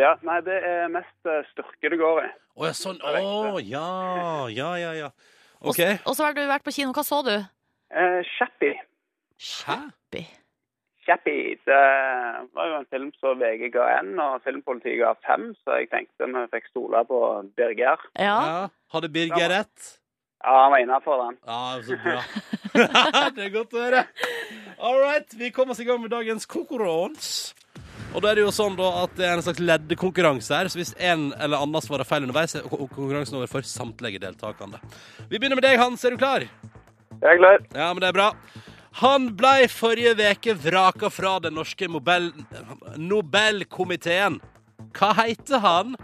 [SPEAKER 4] ja. Nei, det er mest eh, styrke det går i.
[SPEAKER 2] Å ja, sånn. Å ja. Ja, ja, ja. OK.
[SPEAKER 3] Og så har du vært på kino. Hva så du?
[SPEAKER 4] Eh, Chappy.
[SPEAKER 2] Hæ?
[SPEAKER 3] Bi.
[SPEAKER 4] Chappy, det var jo en film som VG ga én, og filmpolitiet ga fem, så jeg tenkte vi fikk stole på Birger.
[SPEAKER 3] Ja.
[SPEAKER 2] Ja. Hadde Birger rett?
[SPEAKER 4] Ja, han var innafor den.
[SPEAKER 2] Ja, så bra. det er godt å høre. All right, vi kommer oss i gang med dagens konkurranse. Og da er det jo sånn da at det er en slags leddekonkurranse her, så hvis en eller annen svarer feil underveis, er kon- konkurransen over for samtlige deltakende. Vi begynner med deg, Hans. Er du klar?
[SPEAKER 4] Jeg er klar.
[SPEAKER 2] Ja, men det er bra. Han blei forrige veke vraka fra den norske Nobel Nobelkomiteen. Hva heter han?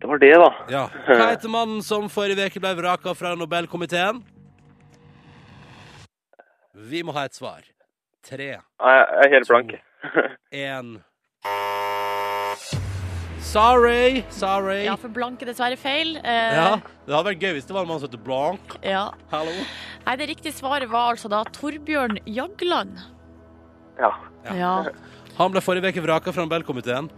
[SPEAKER 4] Det var det, da.
[SPEAKER 2] Ja. Hva heter mannen som forrige veke ble vraka fra Nobelkomiteen? Vi må ha et svar. Tre,
[SPEAKER 4] Jeg er helt blank.
[SPEAKER 2] én Sorry, sorry.
[SPEAKER 3] ja, for blanke dessverre feil. Eh,
[SPEAKER 2] Ja, Det hadde vært gøy hvis det var en mann som het Blanc.
[SPEAKER 3] ja.
[SPEAKER 2] Hallo.
[SPEAKER 3] Nei, det riktige svaret var altså da Torbjørn Jagland.
[SPEAKER 4] Ja.
[SPEAKER 2] Ja.
[SPEAKER 3] Ja.
[SPEAKER 2] Han ble forrige veke vraka fra Nobelkomiteen.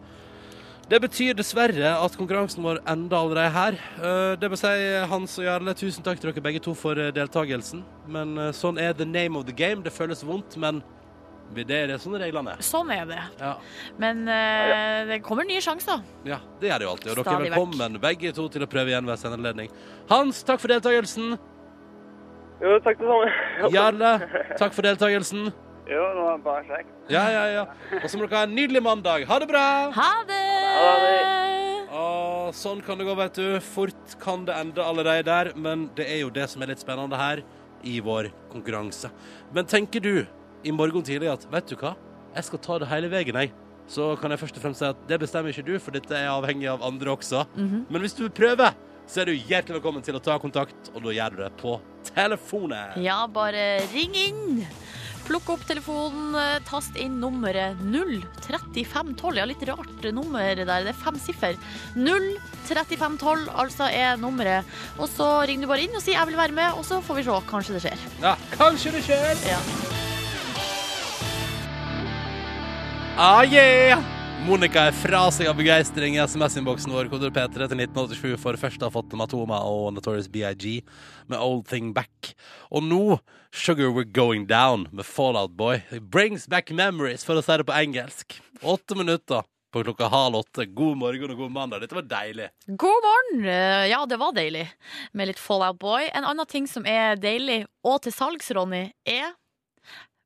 [SPEAKER 2] Det betyr dessverre at konkurransen vår enda allerede her. Eh, Det vil si, Hans og Jarle, tusen takk til dere begge to for eh, deltakelsen. Men eh, sånn er the name of the game. Det føles vondt, men det er det sånne reglene er.
[SPEAKER 3] Sånn er det.
[SPEAKER 2] Ja.
[SPEAKER 3] Men eh, det kommer nye sjanser.
[SPEAKER 2] Ja, det gjør det jo alltid. Og dere er
[SPEAKER 3] Stadig vekk.
[SPEAKER 2] velkommen begge to til å prøve igjen ved senere anledning. Hans, takk for deltakelsen.
[SPEAKER 4] Jo, takk det samme.
[SPEAKER 2] Jarle, takk for deltakelsen.
[SPEAKER 4] Jo, det var bare kjekt.
[SPEAKER 2] Ja, ja, ja. Og så må dere ha en nydelig mandag. Ha det bra!
[SPEAKER 3] Ha det!
[SPEAKER 2] Å, sånn kan det gå, vet du. Fort kan det ende allerede der, men det er jo det som er litt spennende her i vår konkurranse. Men tenker du i morgen tidlig at vet du hva, jeg skal ta det hele veien, jeg. Så kan jeg først og fremst si at det bestemmer ikke du, for dette er avhengig av andre også. Men hvis du vil prøve, så er du hjertelig velkommen til å ta kontakt, og da gjør du det på telefonen.
[SPEAKER 3] Ja, bare ring inn. Plukk opp telefonen, eh, tast inn nummeret 03512. Ja, litt rart nummer der. Det er fem siffer. 03512 altså er nummeret. Og så ringer du bare inn og sier 'jeg vil være med', og så får vi se. Kanskje det skjer.
[SPEAKER 2] Ja, kanskje det skjer.
[SPEAKER 3] Ja.
[SPEAKER 2] Ah, yeah! Monica er fra seg av begeistring i SMS-innboksen vår, koder P3 til 1987, for først å ha fått Matoma og Notorious BIG med Old Thing Back. Og nå Sugar We're Going Down med Fallout Boy. It brings back memories, for å si det på engelsk. Åtte minutter på klokka halv åtte. God morgen og god mandag. Dette var deilig.
[SPEAKER 3] God morgen! Eh, Ja, det var deilig med litt Fallout Boy. En annen ting som er deilig, og til salgs, Ronny, er,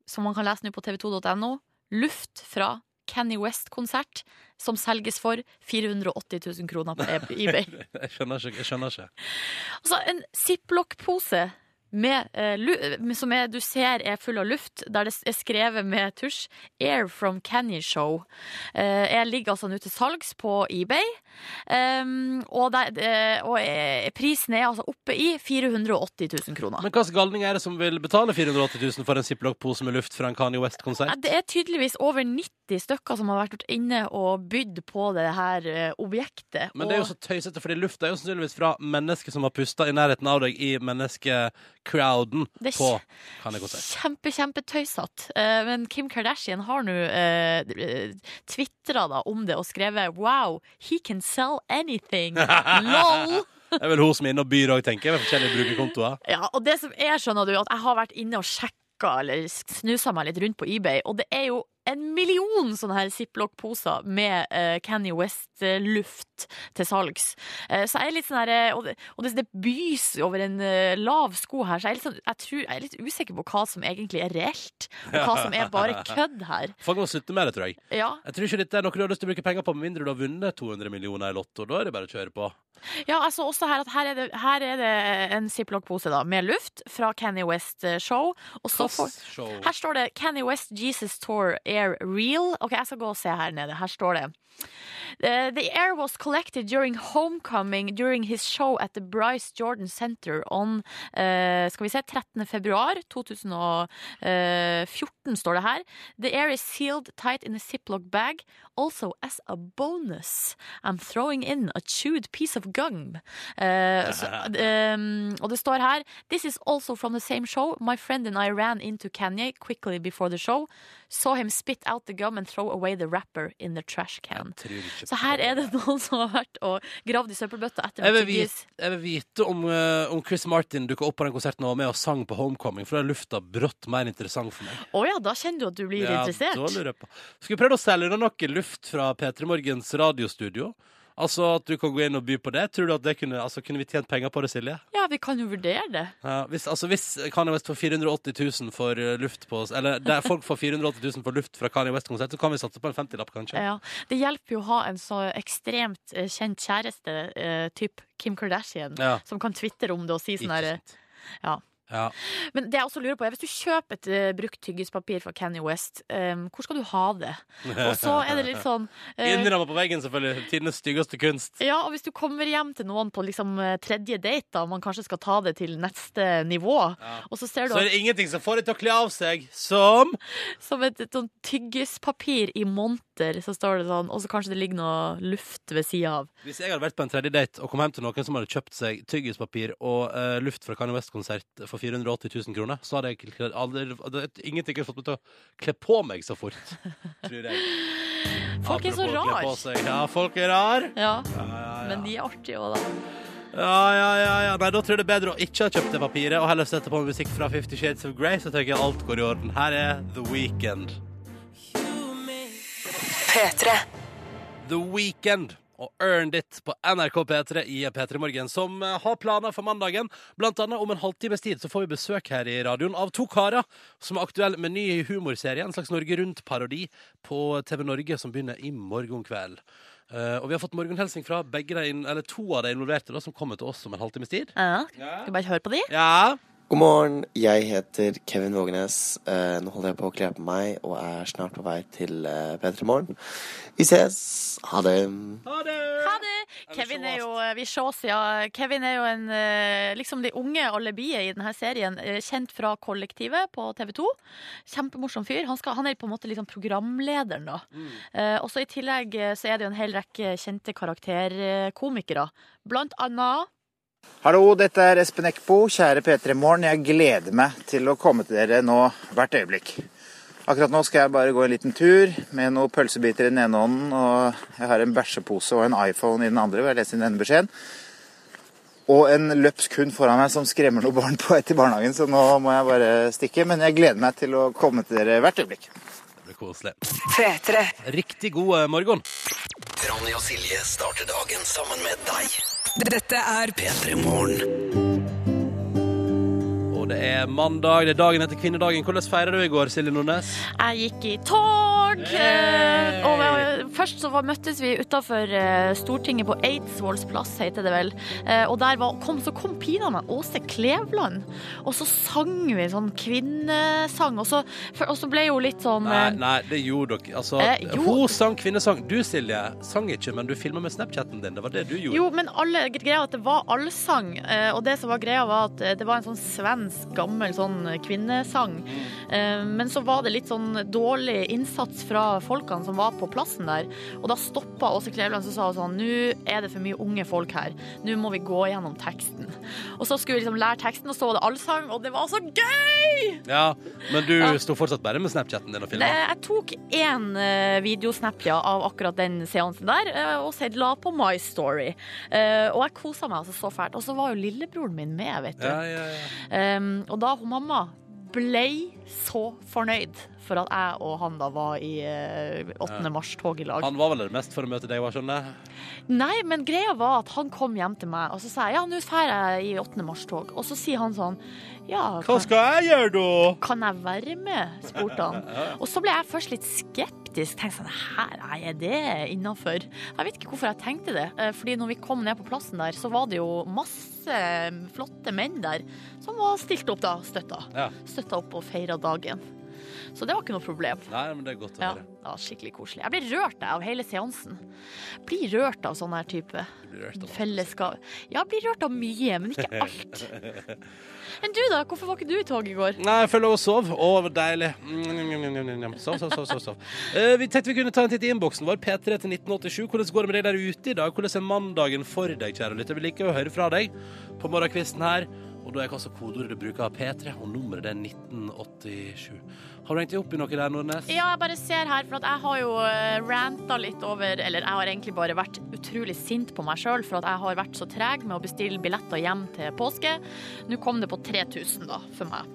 [SPEAKER 3] som man kan lese nå på tv2.no, luft fra Kenny West-konsert, som selges for 480 000 kroner på E- eBay.
[SPEAKER 2] Jeg skjønner ikke. Jeg skjønner ikke.
[SPEAKER 3] Altså, en ziplock-pose med, eh, lu- med- som er, du ser er full av luft, der det er skrevet med tusj 'Air from Canyon Show'. Eh, jeg ligger altså nå til salgs på eBay, Ehm, og, der, eh, og eh, prisen er altså oppe i 480 000 kroner.
[SPEAKER 2] Men hva slags galning er det som vil betale 480 000 for en ziplock-pose med luft fra en Kanye West-konsert?
[SPEAKER 3] Nei, Det er tydeligvis over 90 stykker som har vært inne og bydd på det her eh, objektet.
[SPEAKER 2] Men det er jo
[SPEAKER 3] og-
[SPEAKER 2] så tøysete, fordi lufta er jo sannsynligvis fra mennesker som har pusta i nærheten av deg i menneskecrowden
[SPEAKER 3] Det er
[SPEAKER 2] på
[SPEAKER 3] kje-
[SPEAKER 2] Kanye-konsert.
[SPEAKER 3] Kjempe, kjempetøysatt. Eh, men Kim Kardashian har nå uh, tvitra om det og skrevet 'Wow, he can sell anything'. LOL!
[SPEAKER 2] Det er vel hun som er inne og byr òg, tenker jeg, med forskjellige brukerkontoer.
[SPEAKER 3] Ja, og det som er, skjønner du, at jeg har vært inne og sjekka eller snusa meg litt rundt på eBay, og det er jo en million sånne her ziplock-poser med uh, Canny West-luft til salgs. Eh, så jeg er litt sånn her eh, Og, det, og det, det bys over en eh, lav sko her, så jeg er, litt sånn, jeg, tror, jeg er litt usikker på hva som egentlig er reelt, og hva som er bare kødd her.
[SPEAKER 2] Folk må slutte med det, tror jeg.
[SPEAKER 3] Ja,
[SPEAKER 2] Jeg tror ikke dette er noe du har lyst til å bruke penger på, med mindre du har vunnet 200 millioner i Lotto. Da er det bare å kjøre på.
[SPEAKER 3] Ja, jeg så også her at her er det, her er det en ziplock-pose da, med luft fra Kanye West eh, Show. Og så får,
[SPEAKER 2] Show.
[SPEAKER 3] her står det Kanye West Jesus Tour Air Real. Ok, jeg skal gå og se her nede. Her står det. Eh, The air was collected during homecoming during his show at the Bryce Jordan Center on eh, skal vi se, 13. februar 2014 eh, står det her. The air is sealed tight in a ziplock bag. Also as a bonus, I'm throwing in a chewed piece of gum. Eh, så, ehm, og det står her This is also from the same show. My friend and I ran into Kanye quickly before the show. Saw him spit out the gum and throw away the wrapper in the trash can.
[SPEAKER 2] Tror ikke
[SPEAKER 3] Så her er det noen som har vært og gravd i søppelbøtta etter
[SPEAKER 2] Jeg
[SPEAKER 3] med
[SPEAKER 2] vil vite,
[SPEAKER 3] tyggis.
[SPEAKER 2] jeg vil vite om, eh, om Chris Martin dukka opp på den konserten han var med og sang på Homecoming, for da er lufta brått mer interessant for meg.
[SPEAKER 3] Å ja, da kjenner du at du blir interessert.
[SPEAKER 2] da lurer jeg på. Skal vi prøve å selge unna noe luft fra P3 Morgens radiostudio? Altså at du kan gå inn og by på det? Tror du at det kunne, altså, kunne vi tjent penger på det, Silje?
[SPEAKER 3] Ja, vi kan jo vurdere det.
[SPEAKER 2] Ja, hvis, altså hvis Kanye West får 480 000 for eh, luft på oss Eller der folk får 480 000 for luft fra Kanye West-konsert, så kan vi satse på en 50-lapp, kanskje?
[SPEAKER 3] Ja. Det hjelper jo å ha en så ekstremt eh, kjent kjæreste, eh, typ Kim Kardashian,
[SPEAKER 2] Ja.
[SPEAKER 3] som kan twitre om det og si sånn
[SPEAKER 2] Ikke
[SPEAKER 3] herre
[SPEAKER 2] sant.
[SPEAKER 3] ja.
[SPEAKER 2] Ja.
[SPEAKER 3] Men det jeg også lurer på er, hvis du kjøper et eh, brukt tyggispapir fra Kanye West, eh, hvor skal du ha det? Og så er det litt sånn eh,
[SPEAKER 2] Innramma på veggen, selvfølgelig. Tidenes styggeste kunst.
[SPEAKER 3] ja, og Hvis du kommer hjem til noen på liksom eh, tredje date, da, man kanskje skal ta det til neste nivå,
[SPEAKER 2] Ja.
[SPEAKER 3] og så ser du
[SPEAKER 2] Så
[SPEAKER 3] at,
[SPEAKER 2] er det ingenting som får det til å kle av seg som
[SPEAKER 3] som et, et sånn tyggispapir i monter, så står det sånn, og så kanskje det ligger noe luft ved sida av.
[SPEAKER 2] Hvis jeg hadde vært på en tredje date og kom hjem til noen som hadde kjøpt seg tyggispapir og eh, luft fra Kanye West-konsert for 480 000 kroner, så hadde jeg ikke kledd- aldri, hadde ingenting kunne fått meg til å kle på meg så fort. Tror jeg. Mm.
[SPEAKER 3] Folk er så
[SPEAKER 2] Apropos å kle på
[SPEAKER 3] rar!
[SPEAKER 2] seg. Ja, folk er rar.
[SPEAKER 3] Ja,
[SPEAKER 2] Ja, ja, ja.
[SPEAKER 3] men de er artige òg, da.
[SPEAKER 2] Ja, ja, ja, ja. Nei, da tror jeg det er bedre å ikke ha kjøpt det papiret og heller sette på musikk fra Fifty Shades of Grey, så tenker jeg alt går i orden. Her er The Weekend.
[SPEAKER 6] P3.
[SPEAKER 2] The Weekend og Earned It på NRK P3 i P3 Morgen, som eh, har planer for mandagen. Blant annet om en halvtimes tid så får vi besøk her i radioen av to karer som er aktuelle med ny humorserie, en slags Norge Rundt-parodi på TV Norge, som begynner i morgen kveld. Eh, og vi har fått morgenhelsing fra begge de, inn- eller to av de involverte, da, som kommer til oss om en halvtimes tid.
[SPEAKER 3] Ja. Skal vi bare høre på de?
[SPEAKER 2] Ja,
[SPEAKER 7] God morgen, jeg heter Kevin Vågenes. Eh, nå holder jeg på å kle på meg og er snart på vei til eh, P3 Morgen. Vi ses. Ha det.
[SPEAKER 2] ha det!
[SPEAKER 3] Ha det! Kevin er jo eh, vi sjås, ja. Kevin er jo en, eh, liksom de unge alibiet i denne serien. eh, Kjent fra Kollektivet på TV 2. Kjempemorsom fyr. Han, skal, han er på en måte liksom programlederen, da.
[SPEAKER 2] Mm.
[SPEAKER 3] Eh, og så I tillegg eh, så er det jo en hel rekke kjente karakterkomikere. Blant annet
[SPEAKER 8] Hallo, dette er Espen Eckbo. Kjære P3 Morgen. Jeg gleder meg til å komme til dere nå hvert øyeblikk. Akkurat nå skal jeg bare gå en liten tur med noen pølsebiter i den ene hånden, og jeg har en bæsjepose og en iPhone i den andre, hvor jeg leser inn denne beskjeden. Og en løpsk hund foran meg som skremmer noen barn på vei til barnehagen, så nå må jeg bare stikke. Men jeg gleder meg til å komme til dere hvert øyeblikk.
[SPEAKER 2] Det blir koselig.
[SPEAKER 6] P3.
[SPEAKER 2] Riktig god eh, morgen.
[SPEAKER 1] Ronny og Silje starter dagen sammen med deg.
[SPEAKER 6] Dette er
[SPEAKER 1] P3 Morgen.
[SPEAKER 2] Og det er mandag, det er dagen etter kvinnedagen. Hvordan feirer du i går, Silje Nordnes?
[SPEAKER 3] Jeg gikk i tog.
[SPEAKER 2] Hey!
[SPEAKER 3] eh, Og eh, først så var, møttes vi utafor eh, Stortinget på Eidsvolls plass, heter det vel. Eh, Og der var, kom, så kom pinadø meg Åse Kleveland. Og så sang vi sånn kvinnesang. Og så, for- og så ble jo litt sånn
[SPEAKER 2] Nei,
[SPEAKER 3] eh,
[SPEAKER 2] nei, det gjorde dere. Altså,
[SPEAKER 3] Eh, jo.
[SPEAKER 2] hun sang kvinnesang. Du, Silje, sang ikke, men du filma med Snapchatten din. Det var det du gjorde.
[SPEAKER 3] Jo, men alle, greia var at det var allsang, eh, og det som var greia var at eh, det var en sånn svensk, gammel sånn kvinnesang. Eh, Men så var det litt sånn dårlig innsats fra folkene som var på plassen der. Og da stoppa Åse Kleveland og sa hun sånn Nå er det for mye unge folk her. Nå må vi gå gjennom teksten. Og så skulle vi liksom lære teksten, og så var det allsang, og det var så gøy!
[SPEAKER 2] Ja, men du
[SPEAKER 3] Ja.
[SPEAKER 2] sto fortsatt bare med Snapchatten din og
[SPEAKER 3] Det,
[SPEAKER 2] filma.
[SPEAKER 3] jeg tok én eh, videosnap ja, av akkurat den seansen der, eh, og så la på My Story. Eh, og jeg kosa meg altså så fælt. Og så var jo lillebroren min med, vet du.
[SPEAKER 2] Ja, ja, ja.
[SPEAKER 3] Um, og da hun mamma blei så fornøyd for at jeg og han da var i eh, 8. mars-tog i lag.
[SPEAKER 2] Han var vel det mest for å møte deg, var skjønner jeg.
[SPEAKER 3] Nei, men greia var at han kom hjem til meg, og så sa jeg ja, nå drar jeg i 8. mars-tog. Og så sier han sånn ja,
[SPEAKER 2] Hva
[SPEAKER 3] kan,
[SPEAKER 2] skal jeg gjøre, da?
[SPEAKER 3] kan jeg være med? spurte han. Og så ble jeg først litt skeptisk. Tenkte sånn, her er det innafor? Jeg vet ikke hvorfor jeg tenkte det. eh, Fordi når vi kom ned på plassen der, så var det jo masse mm, flotte menn der som var stilt opp da, støtta.
[SPEAKER 2] Ja.
[SPEAKER 3] Støtta opp og feira dagen. Så det var ikke noe problem.
[SPEAKER 2] Nei, men det Sånn er godt å
[SPEAKER 3] Ja,
[SPEAKER 2] høre.
[SPEAKER 3] ja, skikkelig koselig. Jeg blir rørt jeg, av hele seansen. Blir rørt av sånn her type
[SPEAKER 2] Du blir rørt av det.
[SPEAKER 3] fellesskap. Ja, blir rørt av mye, men ikke alt. Men du da, hvorfor var ikke du i tog i går?
[SPEAKER 2] Nei, jeg føler hun sov. Å, det var deilig. Mm, mm, mm, mm, mm, mm. Sov, sov, sov. sov, sov. Eh, vi tenkte vi kunne ta en titt i innboksen vår, P3 til 1987. Hvordan går det med deg der ute i dag? Hvordan er mandagen for deg, kjære lytter? Vi liker å høre fra deg på morgenkvisten her. Og da er hva kodeordet du bruker, P3, og nummeret det er 1987. Har du hengt deg opp i noe der, Nordnes?
[SPEAKER 3] Ja, jeg bare ser her, for at jeg har jo eh, ranta litt over Eller jeg har egentlig bare vært utrolig sint på meg sjøl for at jeg har vært så treg med å bestille billetter hjem til påske. Nå kom det på 3000, da, for meg.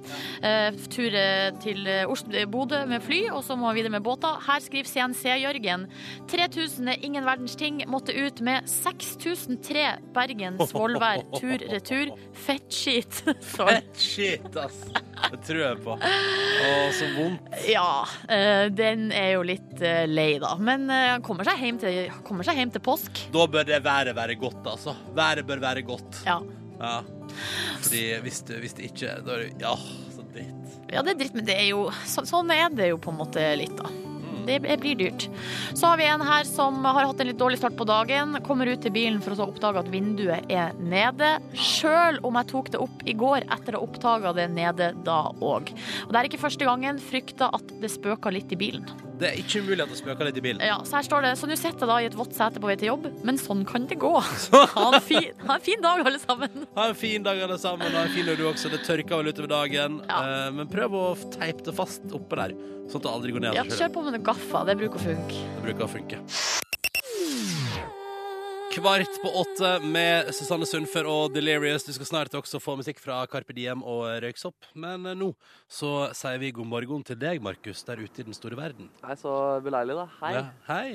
[SPEAKER 3] Eh, tur eh, til eh, Oslo, eh, Bodø med fly, og så må vi videre med båter. Her skriver CNC-Jørgen 3000 er ingen verdens ting. Måtte ut med 6003 Bergen-Svolvær tur-retur. Fettskit. Sorry.
[SPEAKER 2] Shit, ass. Det tror jeg på. Å, så vondt.
[SPEAKER 3] Ja, eh, den er jo litt eh, lei, da. Men eh, han kommer seg hjem til, kommer seg hjem til påsk.
[SPEAKER 2] Da bør det været være godt, altså. Været bør være godt.
[SPEAKER 3] Ja.
[SPEAKER 2] Ja. Fordi hvis, du, hvis det ikke Da er det Ja, så dritt.
[SPEAKER 3] ja, det er dritt, men det er jo, så, sånn er det jo på en måte litt, da. Det det blir dyrt. Så har vi en her som har hatt en litt dårlig start på dagen. Kommer ut til bilen for å så oppdage at vinduet er nede. Sjøl om jeg tok det opp i går etter å ha oppdaga det nede da òg. Og det er ikke første gangen frykta at det spøka litt i bilen.
[SPEAKER 2] Det er ikke umulig at det spøker litt i bilen.
[SPEAKER 3] Ja, så her står det Så nå sitter jeg da i et vått sete på vei til jobb, men sånn kan det gå. Ha en fin, ha en fin dag, alle sammen.
[SPEAKER 2] Ha en fin dag, alle sammen. Ha en fin dag, du også. Det tørker vel utover dagen.
[SPEAKER 3] Ja.
[SPEAKER 2] Eh, Men prøv å f- teipe det fast oppe der, sånn at det aldri går ned.
[SPEAKER 3] Ja,
[SPEAKER 2] av seg selv.
[SPEAKER 3] kjør på med noen gaffer. Det bruker å funke.
[SPEAKER 2] Det bruker å funke. Kvart på åtte med Susanne Sundfør og Delirious. Du skal snart også få musikk fra Carpe Diem og Røyksopp. Men eh, nå så sier vi god morgen til deg, Markus, der ute i den store verden.
[SPEAKER 5] Nei, så beleilig, da. Hei.
[SPEAKER 2] Ja, hei.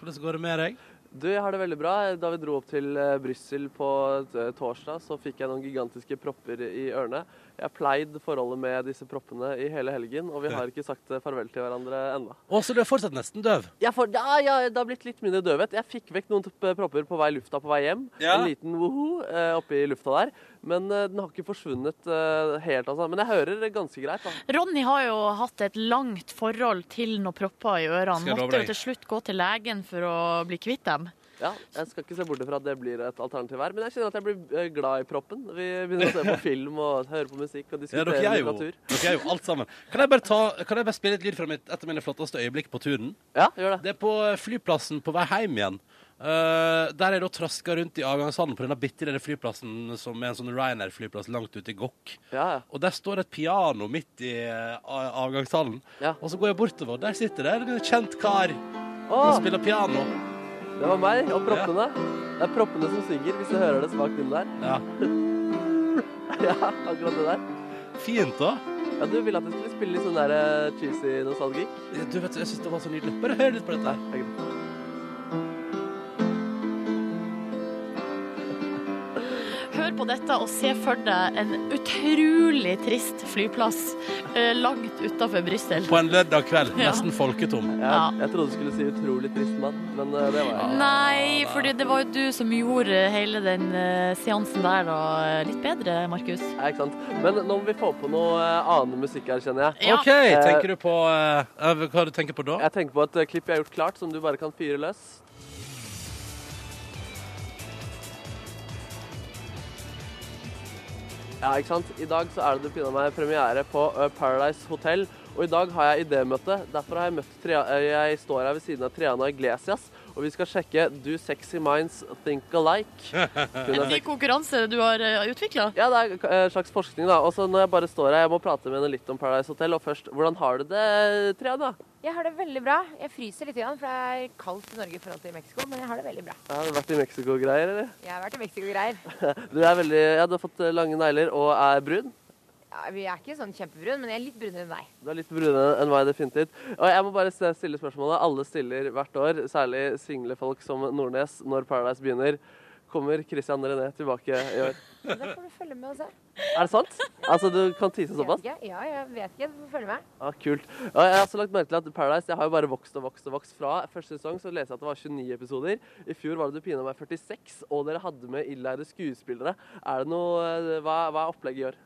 [SPEAKER 2] Hvordan går det med deg?
[SPEAKER 5] Du, jeg har det veldig bra. Da vi dro opp til eh, Brussel på eh, torsdag, så fikk jeg noen gigantiske propper i ørene. Jeg har pleid forholdet med disse proppene i hele helgen, og vi har ikke sagt eh, farvel til hverandre ennå.
[SPEAKER 2] Å, så du er fortsatt nesten døv.
[SPEAKER 5] Jeg får, ja, ja, det har blitt litt mindre døvhet. Jeg fikk vekk noen topp- propper på vei i lufta på vei hjem.
[SPEAKER 2] Ja.
[SPEAKER 5] En liten woho eh, oppi lufta der. Men eh, den har ikke forsvunnet eh, helt, altså. Men jeg hører ganske greit, da.
[SPEAKER 3] Ronny har jo hatt et langt forhold til noen propper i ørene.
[SPEAKER 2] Skal jeg love
[SPEAKER 3] Måtte
[SPEAKER 2] deg?
[SPEAKER 3] jo til slutt gå til legen for å bli kvitt dem.
[SPEAKER 5] Ja, jeg skal ikke se bort ifra at det blir et alternativ her, men jeg kjenner at jeg blir eh, glad i proppen. Vi begynner å se på film og høre på musikk og
[SPEAKER 2] Ja,
[SPEAKER 5] diskutere
[SPEAKER 2] dere er, jo,
[SPEAKER 5] litteratur.
[SPEAKER 2] dere er jo alt sammen. Kan jeg bare, ta, kan jeg bare spille et lyd fra mitt, et av mine flotteste øyeblikk på turen?
[SPEAKER 5] Ja, gjør det.
[SPEAKER 2] Det er på flyplassen på vei hjem igjen. Eh, der jeg da traska rundt i avgangshallen på denne bitte lille flyplassen som er en sånn Ryanair-flyplass langt ute i Gokk.
[SPEAKER 5] Ja, ja.
[SPEAKER 2] Og der står et piano midt i eh, a- avgangshallen.
[SPEAKER 5] Ja.
[SPEAKER 2] Og så går jeg bortover, og der sitter det en kjent kar og
[SPEAKER 5] Å,
[SPEAKER 2] spiller piano.
[SPEAKER 5] det var meg og proppene. Det er proppene som synger, hvis du hører det svakt inn der.
[SPEAKER 2] Ja.
[SPEAKER 5] Ja, akkurat det der.
[SPEAKER 2] Fint, da.
[SPEAKER 5] Ja, du ville at jeg skulle spille litt sånn der eh, cheesy nostalgic?
[SPEAKER 2] Ja, Eh, Du vet, Jeg syns det var så nydelig. Bare hør litt på dette.
[SPEAKER 5] Nei, det er
[SPEAKER 2] her.
[SPEAKER 5] greit.
[SPEAKER 3] Hør på dette og se for deg en utrolig trist flyplass eh, langt utafor Brussel.
[SPEAKER 2] På en lørdag kveld,
[SPEAKER 3] Ja.
[SPEAKER 2] nesten folketom.
[SPEAKER 5] Jeg,
[SPEAKER 3] Ja.
[SPEAKER 5] jeg trodde du skulle si utrolig trist mann, men eh, det var jeg.
[SPEAKER 3] Nei, for det var jo du som gjorde hele den eh, seansen der da eh, litt bedre, Markus.
[SPEAKER 5] Ja, ikke sant? Men nå må vi få på noe eh, annen musikk her, kjenner jeg.
[SPEAKER 3] Ja.
[SPEAKER 2] OK, tenker du på eh, eh, Hva du tenker på da?
[SPEAKER 5] Jeg tenker på et eh, klipp jeg har gjort klart, som du bare kan fyre løs. Ja, ikke sant? I dag så er det du pinner meg premiere på eh, Paradise Hotel. Og i dag har jeg idémøte. Derfor har jeg møtt Tria eh, Jeg står her ved siden av Triana Iglesias, og vi skal sjekke Do Sexy Minds Think Alike. Hun
[SPEAKER 3] En
[SPEAKER 5] er
[SPEAKER 3] ny konkurranse du har eh, utvikla.
[SPEAKER 5] ja, det er eh, en slags forskning, da. Og så når jeg bare står her, jeg må prate med henne litt om Paradise Hotel. Og først, hvordan har du det, Triana?
[SPEAKER 9] Jeg har det veldig bra. Jeg fryser litt, grann, for det er kaldt i Norge i forhold til Mexico, men jeg har det veldig bra.
[SPEAKER 5] Ja, Har du vært i Mexico og greier, eller?
[SPEAKER 9] Jeg har vært i Mexico og greier.
[SPEAKER 5] Du er veldig Ja, du har fått eh, lange negler og er brun.
[SPEAKER 9] Ja, vi er ikke sånn kjempebrun, men jeg er litt brunere enn deg.
[SPEAKER 5] Du er litt brunere enn meg, definitivt. Og jeg må bare se- stille spørsmålet. Alle stiller hvert år, særlig single folk som Nordnes, når Paradise begynner. Kommer Christian René tilbake i år?
[SPEAKER 9] Så Da får du følge med og se.
[SPEAKER 5] Er det sant? Altså, du kan tise
[SPEAKER 9] Jeg
[SPEAKER 5] såpass?
[SPEAKER 9] vet ikke. Ja, jeg vet ikke. Du får følge med.
[SPEAKER 5] Ja, kult. Og jeg har også lagt merke til at Paradise jeg har jo bare vokst og vokst og vokst fra. Første sesong så leste jeg at det var 29 episoder. I fjor var det du pina meg 46, og dere hadde med illærde skuespillere. Er det noe eh, Hva, hva er opplegget i år?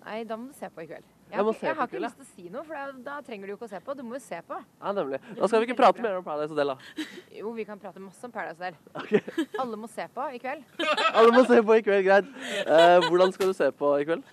[SPEAKER 9] Nei, da må du se på i kveld. Jeg
[SPEAKER 5] Jeg
[SPEAKER 9] har,
[SPEAKER 5] må
[SPEAKER 9] ikke-
[SPEAKER 5] se
[SPEAKER 9] jeg har
[SPEAKER 5] på i
[SPEAKER 9] ikke
[SPEAKER 5] kveld,
[SPEAKER 9] lyst til å si noe, for da, da trenger du jo ikke å se på. Du må jo se på.
[SPEAKER 5] Ja, nemlig. Da skal vi ikke prate mer om Paradise Hotel, da.
[SPEAKER 9] Jo, vi kan prate masse om Paradise der. Alle må se på i kveld.
[SPEAKER 5] Alle må se på i kveld, greit. Eh, hvordan skal du se på i kveld?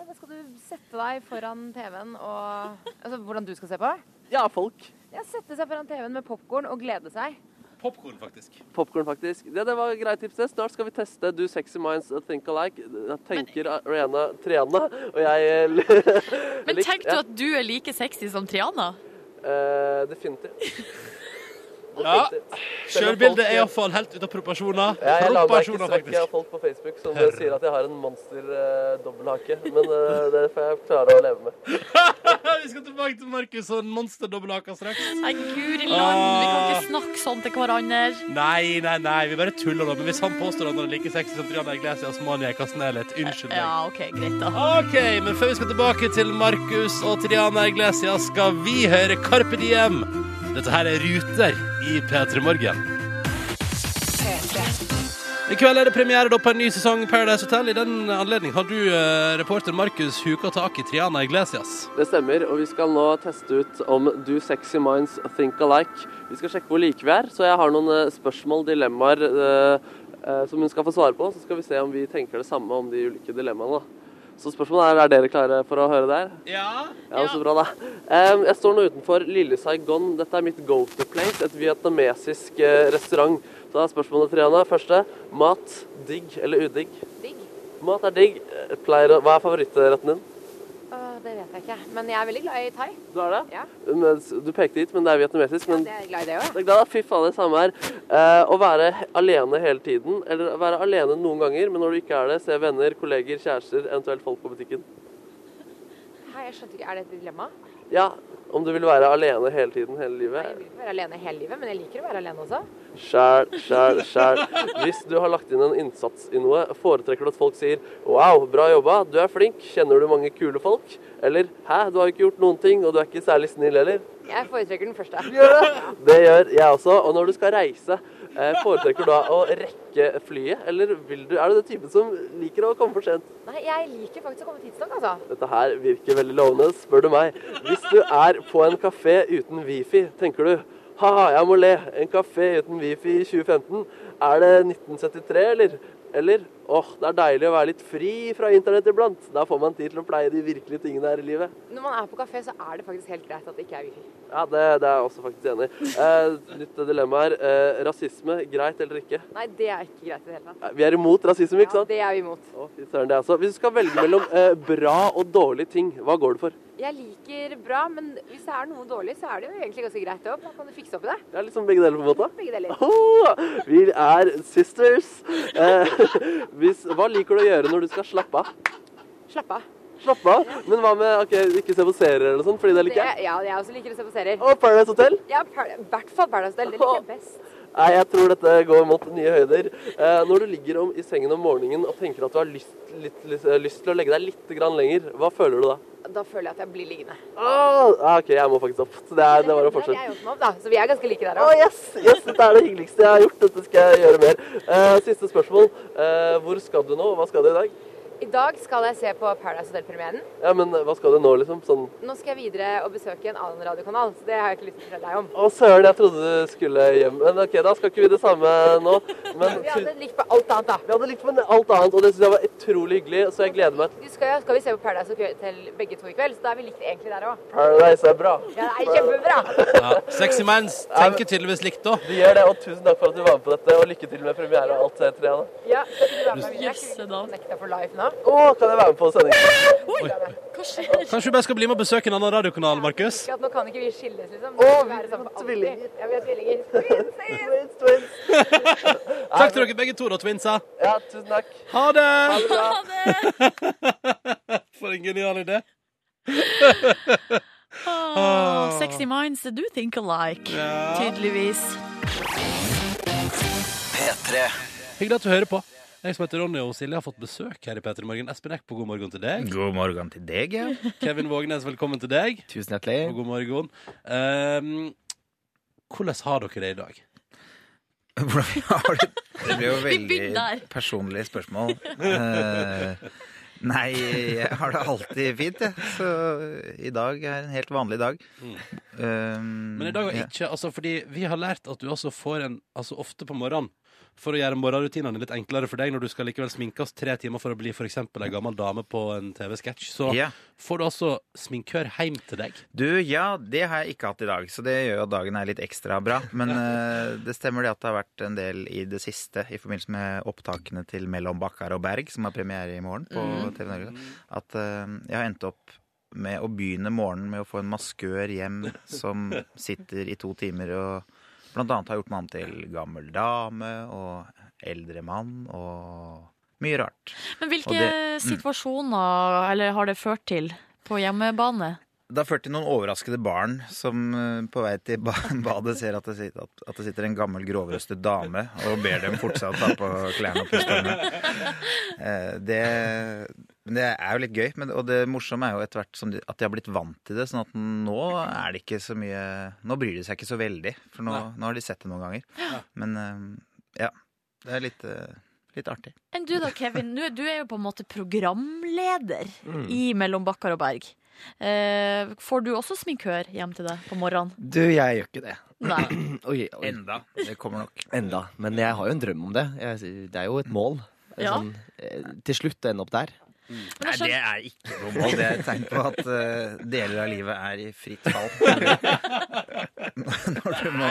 [SPEAKER 9] Ja, da skal du sette deg foran TV-en og Altså, hvordan du skal se på?
[SPEAKER 5] Ja, folk.
[SPEAKER 9] Ja, sette seg foran TV-en med popkorn og glede seg.
[SPEAKER 2] Popkorn, faktisk.
[SPEAKER 5] Popkorn, faktisk. Det, det var et greit tips. det. Snart skal vi teste Do Sexy Minds Think Alike. Jeg tenker Rihanna Triana, og jeg eh,
[SPEAKER 3] Men
[SPEAKER 5] Litt,
[SPEAKER 3] tenk du
[SPEAKER 5] ja.
[SPEAKER 3] at du er like sexy som Triana?
[SPEAKER 5] eh, Definitivt.
[SPEAKER 2] Ja.
[SPEAKER 5] Selv om folk-
[SPEAKER 2] Sjølbildet er iallfall helt ute av proporsjoner.
[SPEAKER 5] Ja, jeg lar meg ikke
[SPEAKER 2] Proporsjoner,
[SPEAKER 5] søke av
[SPEAKER 2] faktisk.
[SPEAKER 5] folk på Facebook som eh, sier at jeg har en monster eh, dobbelthake, men eh, det får jeg klare å leve med.
[SPEAKER 2] Vi skal tilbake til Markus og monsterdobbelhaka straks.
[SPEAKER 3] Nei, guri land, vi kan ikke snakke sånn til hverandre.
[SPEAKER 2] Nei, nei, nei, vi bare tuller nå. Men hvis han påstår at han er like sexy som Triana Iglesias, må han jeg kaste ned litt. Unnskyld meg.
[SPEAKER 3] Ja, OK, greit, da.
[SPEAKER 2] OK, men før vi skal tilbake til Markus og Triana Iglesias, skal vi høre Carpe Diem. Dette her er Ruter i P3 Morgen. I kveld er det premiere da på en ny sesong Paradise Hotel. I den anledning har du eh, reporter Markus huka tak i Triana Iglesias.
[SPEAKER 5] Det stemmer, og vi skal nå teste ut om Do Sexy Minds Think Alike. Vi skal sjekke hvor like vi er, så jeg har noen eh, spørsmål, dilemmaer, eh, eh, som hun skal få svare på. Så skal vi se om vi tenker det samme om de ulike dilemmaene. da. Så spørsmålet er, er dere klare for å høre det her?
[SPEAKER 2] Ja.
[SPEAKER 5] Ja, så bra da. Em, Jeg står nå utenfor Lille Saigon. Dette er mitt go to place, et vietnamesisk eh, restaurant. Så da er spørsmålet Triana. Første, mat digg eller udigg?
[SPEAKER 9] Digg.
[SPEAKER 5] Mat er digg. Eh, Pleier, å- hva er favorittretten din?
[SPEAKER 9] Åh, det vet jeg ikke. Men jeg er veldig glad i thai.
[SPEAKER 5] Du er det?
[SPEAKER 9] Ja.
[SPEAKER 5] Men s- Du pekte hit, men det er vietnamesisk. Men
[SPEAKER 9] Det er jeg glad i det òg,
[SPEAKER 5] det er glad, da. fy faen, det er samme her. Eh, Å være he- alene hele tiden, eller å være alene noen ganger, men når du ikke er det, se venner, kolleger, kjærester, eventuelt folk på butikken.
[SPEAKER 9] jeg. Hei, jeg skjønte ikke. Er det et dilemma?
[SPEAKER 5] Ja, om du vil være alene hele tiden, hele livet.
[SPEAKER 9] Jeg vil ikke være alene hele livet, men jeg liker å være alene også.
[SPEAKER 5] Sjæl, sjæl, sjæl. Hvis du har lagt inn en innsats i noe, foretrekker du at folk sier 'wow, bra jobba, du er flink, kjenner du mange kule folk?' Eller 'hæ, du har jo ikke gjort noen ting, og du er ikke særlig snill heller'.
[SPEAKER 9] Jeg foretrekker den første.
[SPEAKER 5] Gjør det? Det gjør jeg også. Og når du skal reise, eh, foretrekker du da å rekke flyet, eller vil du, er du den typen som liker å komme for sent?
[SPEAKER 9] Nei, jeg liker faktisk å komme tidsnok, altså.
[SPEAKER 5] Dette her virker veldig lovende, spør du meg. Hvis du er på en kafé uten wifi, tenker du ha-ha, jeg må le. En kafé uten wifi i 2015, er det 1973, eller? Eller Åh, det er deilig å være litt fri fra internett iblant. Der får man tid til å pleie de virkelige tingene her i livet.
[SPEAKER 9] Når man er på kafé, så er det faktisk helt greit at det ikke er wifi.
[SPEAKER 5] Ja, det, det er jeg også faktisk enig i. Eh, nytt dilemma her. Eh, rasisme, greit eller ikke?
[SPEAKER 9] Nei, det er ikke greit i det hele tatt.
[SPEAKER 5] Nei, Vi er imot rasisme, ikke
[SPEAKER 9] Ja,
[SPEAKER 5] sant?
[SPEAKER 9] det er vi imot.
[SPEAKER 5] Fy Søren, det er altså. Hvis du skal velge mellom eh, bra og dårlige ting, hva går du for?
[SPEAKER 9] Jeg liker bra, men hvis det er noe dårlig, så er det jo egentlig ganske greit òg. Da kan du fikse opp i det.
[SPEAKER 5] Det er liksom begge deler på en måte.
[SPEAKER 9] Begge deler.
[SPEAKER 5] Åh, vi er sisters. Eh, hvis, hva liker du å gjøre når du skal slappe av?
[SPEAKER 9] Slapp av.
[SPEAKER 5] Slappe av? Men hva med ok, ikke se på serier eller sånn, fordi det liker jeg?
[SPEAKER 9] Det- Ja, jeg også liker å se på serier.
[SPEAKER 5] Og Paradise Hotel?
[SPEAKER 9] Ja, i hvert fall Paradise Hotel. Det liker jeg best.
[SPEAKER 5] Nei, jeg tror dette går mot nye høyder. Eh, når du ligger om, i sengen om morgenen og tenker at du har lyst, litt, lyst, lyst til å legge deg litt grann lenger, hva føler du da?
[SPEAKER 9] Da føler jeg at jeg blir liggende.
[SPEAKER 5] Åh, ah, OK, jeg må faktisk opp. Så det, er, det var en
[SPEAKER 9] Jeg
[SPEAKER 5] forskjell.
[SPEAKER 9] åpner opp, da, så vi er ganske like der
[SPEAKER 5] Å,
[SPEAKER 9] òg.
[SPEAKER 5] yes, yes, Dette er det hyggeligste jeg har gjort. Dette skal jeg gjøre mer. Eh, siste spørsmål. Eh, hvor skal du nå? Hva skal du i dag?
[SPEAKER 9] I dag skal jeg se på Paradise Hotel-premieren.
[SPEAKER 5] Ja, men hva skal du nå, liksom? Sånn
[SPEAKER 9] Nå skal jeg videre og besøke en annen radiokanal, så det har jeg ikke lyst til å fortelle deg om.
[SPEAKER 5] Å, søren, jeg trodde du skulle hjem. Men OK, da skal ikke vi det samme nå. Men
[SPEAKER 9] Vi
[SPEAKER 5] tu-
[SPEAKER 9] hadde likt på alt annet, da.
[SPEAKER 5] vi hadde likt med alt annet, og det syns jeg var utrolig hyggelig, så jeg gleder meg.
[SPEAKER 9] Du skal, jo- skal vi se på Paradise Hotel begge to i kveld, så da er vi likt egentlig der òg.
[SPEAKER 5] Paradise er bra.
[SPEAKER 9] Ja, det er kjempebra!
[SPEAKER 2] Ja. Sexy Mans tenker tydeligvis likt, da.
[SPEAKER 5] Du gjør det, og tusen takk for at du var med på dette, og lykke til med premiere og alt det, Triana.
[SPEAKER 9] Ja, skal ikke du være med meg videre?
[SPEAKER 3] Jøsse
[SPEAKER 9] Skal vi
[SPEAKER 3] navn.
[SPEAKER 9] connecte for life nå?
[SPEAKER 5] Å, kan jeg være med på sendingen?
[SPEAKER 3] Hva skjer?
[SPEAKER 2] Kanskje du bare skal bli med og besøke en annen radiokanal, Markus?
[SPEAKER 9] Ikke at nå kan ikke vi skilles, liksom.
[SPEAKER 5] Å,
[SPEAKER 9] skal
[SPEAKER 5] vi
[SPEAKER 9] være
[SPEAKER 5] er
[SPEAKER 9] sammen for alltid.
[SPEAKER 5] tvillinger.
[SPEAKER 9] Ja, vi er tvillinger. Twins, twins.
[SPEAKER 5] Twins, twins.
[SPEAKER 2] Takk til dere begge to, da, twinsa.
[SPEAKER 5] Ja, tusen takk.
[SPEAKER 2] Ha det!
[SPEAKER 5] Ha det bra.
[SPEAKER 2] For en genial idé.
[SPEAKER 3] Ah, sexy minds do think alike. Tydeligvis.
[SPEAKER 10] P3.
[SPEAKER 2] Hyggelig at du hører på. Jeg som heter Ronny og Silje, har fått besøk her i P3 Morgen. Espen Eckbo, god morgen til deg.
[SPEAKER 11] God morgen til deg, ja.
[SPEAKER 2] Kevin Vågenes, velkommen til deg.
[SPEAKER 7] Tusen
[SPEAKER 2] Og
[SPEAKER 7] hjertelig.
[SPEAKER 2] god morgen. Ehm, hvordan har dere det i dag?
[SPEAKER 11] Hvordan vi har det? Det blir jo
[SPEAKER 3] begynner der.
[SPEAKER 11] veldig personlige spørsmål. Eh, Nei, jeg har det alltid fint, jeg. Så i dag er en helt vanlig dag.
[SPEAKER 2] Mm.
[SPEAKER 11] Um,
[SPEAKER 2] Men i dag
[SPEAKER 11] Mm,
[SPEAKER 2] har ikke, altså fordi vi har lært at du også får en, altså ofte på morgenen, for å gjøre morgenrutinene litt enklere for deg når du skal likevel sminkes tre timer for å bli for eksempel en gammel dame på en TV-sketsj, så
[SPEAKER 11] Ja.
[SPEAKER 2] får du altså sminkør hjem til deg.
[SPEAKER 11] Du, ja, det har jeg ikke hatt i dag, så det gjør jo at dagen er litt ekstra bra. Men eh, det stemmer det at det har vært en del i det siste i forbindelse med opptakene til Mellom Bakkar og Berg, som har premiere i morgen på TV Norge, at eh, jeg har endt opp med å begynne morgenen med å få en maskør hjem som sitter i to timer og blant annet har gjort meg om til gammel dame og eldre mann og mye rart.
[SPEAKER 3] Men hvilke
[SPEAKER 11] Og det- mm.
[SPEAKER 3] situasjoner eller, har det ført til på hjemmebane?
[SPEAKER 11] Det har ført til noen overraskede barn som eh, på vei til ba- badet ser at det, sit- at at det sitter en gammel grovrøstet dame og ber dem fortsatt ta på klærne og puste henne. Eh, Det, men det er jo litt gøy, men, og det morsomme er jo etter hvert som de, at de har blitt vant til det. sånn at nå er det ikke så mye Nå bryr de seg ikke så veldig, for nå, nå har de sett det noen ganger. Men eh, ja. Det er litt, eh, litt artig.
[SPEAKER 3] Enn du da, Kevin. Nå, du er jo på en måte programleder i Mellom Bakkar og Berg. Eh, får du også sminkør hjem til deg på morgenen?
[SPEAKER 7] Du, jeg gjør ikke det.
[SPEAKER 3] Nei.
[SPEAKER 7] Oi, oi.
[SPEAKER 11] Enda. Det kommer nok.
[SPEAKER 7] Enda. Men jeg har jo en drøm om det. Jeg, det er jo et mål.
[SPEAKER 3] Ja.
[SPEAKER 7] Sånn, eh, til slutt å ende opp der.
[SPEAKER 3] Men jeg skjønner,
[SPEAKER 11] er ikke noe mål. Det er et tegn på at eh, deler av livet er i fritt fall. Når du må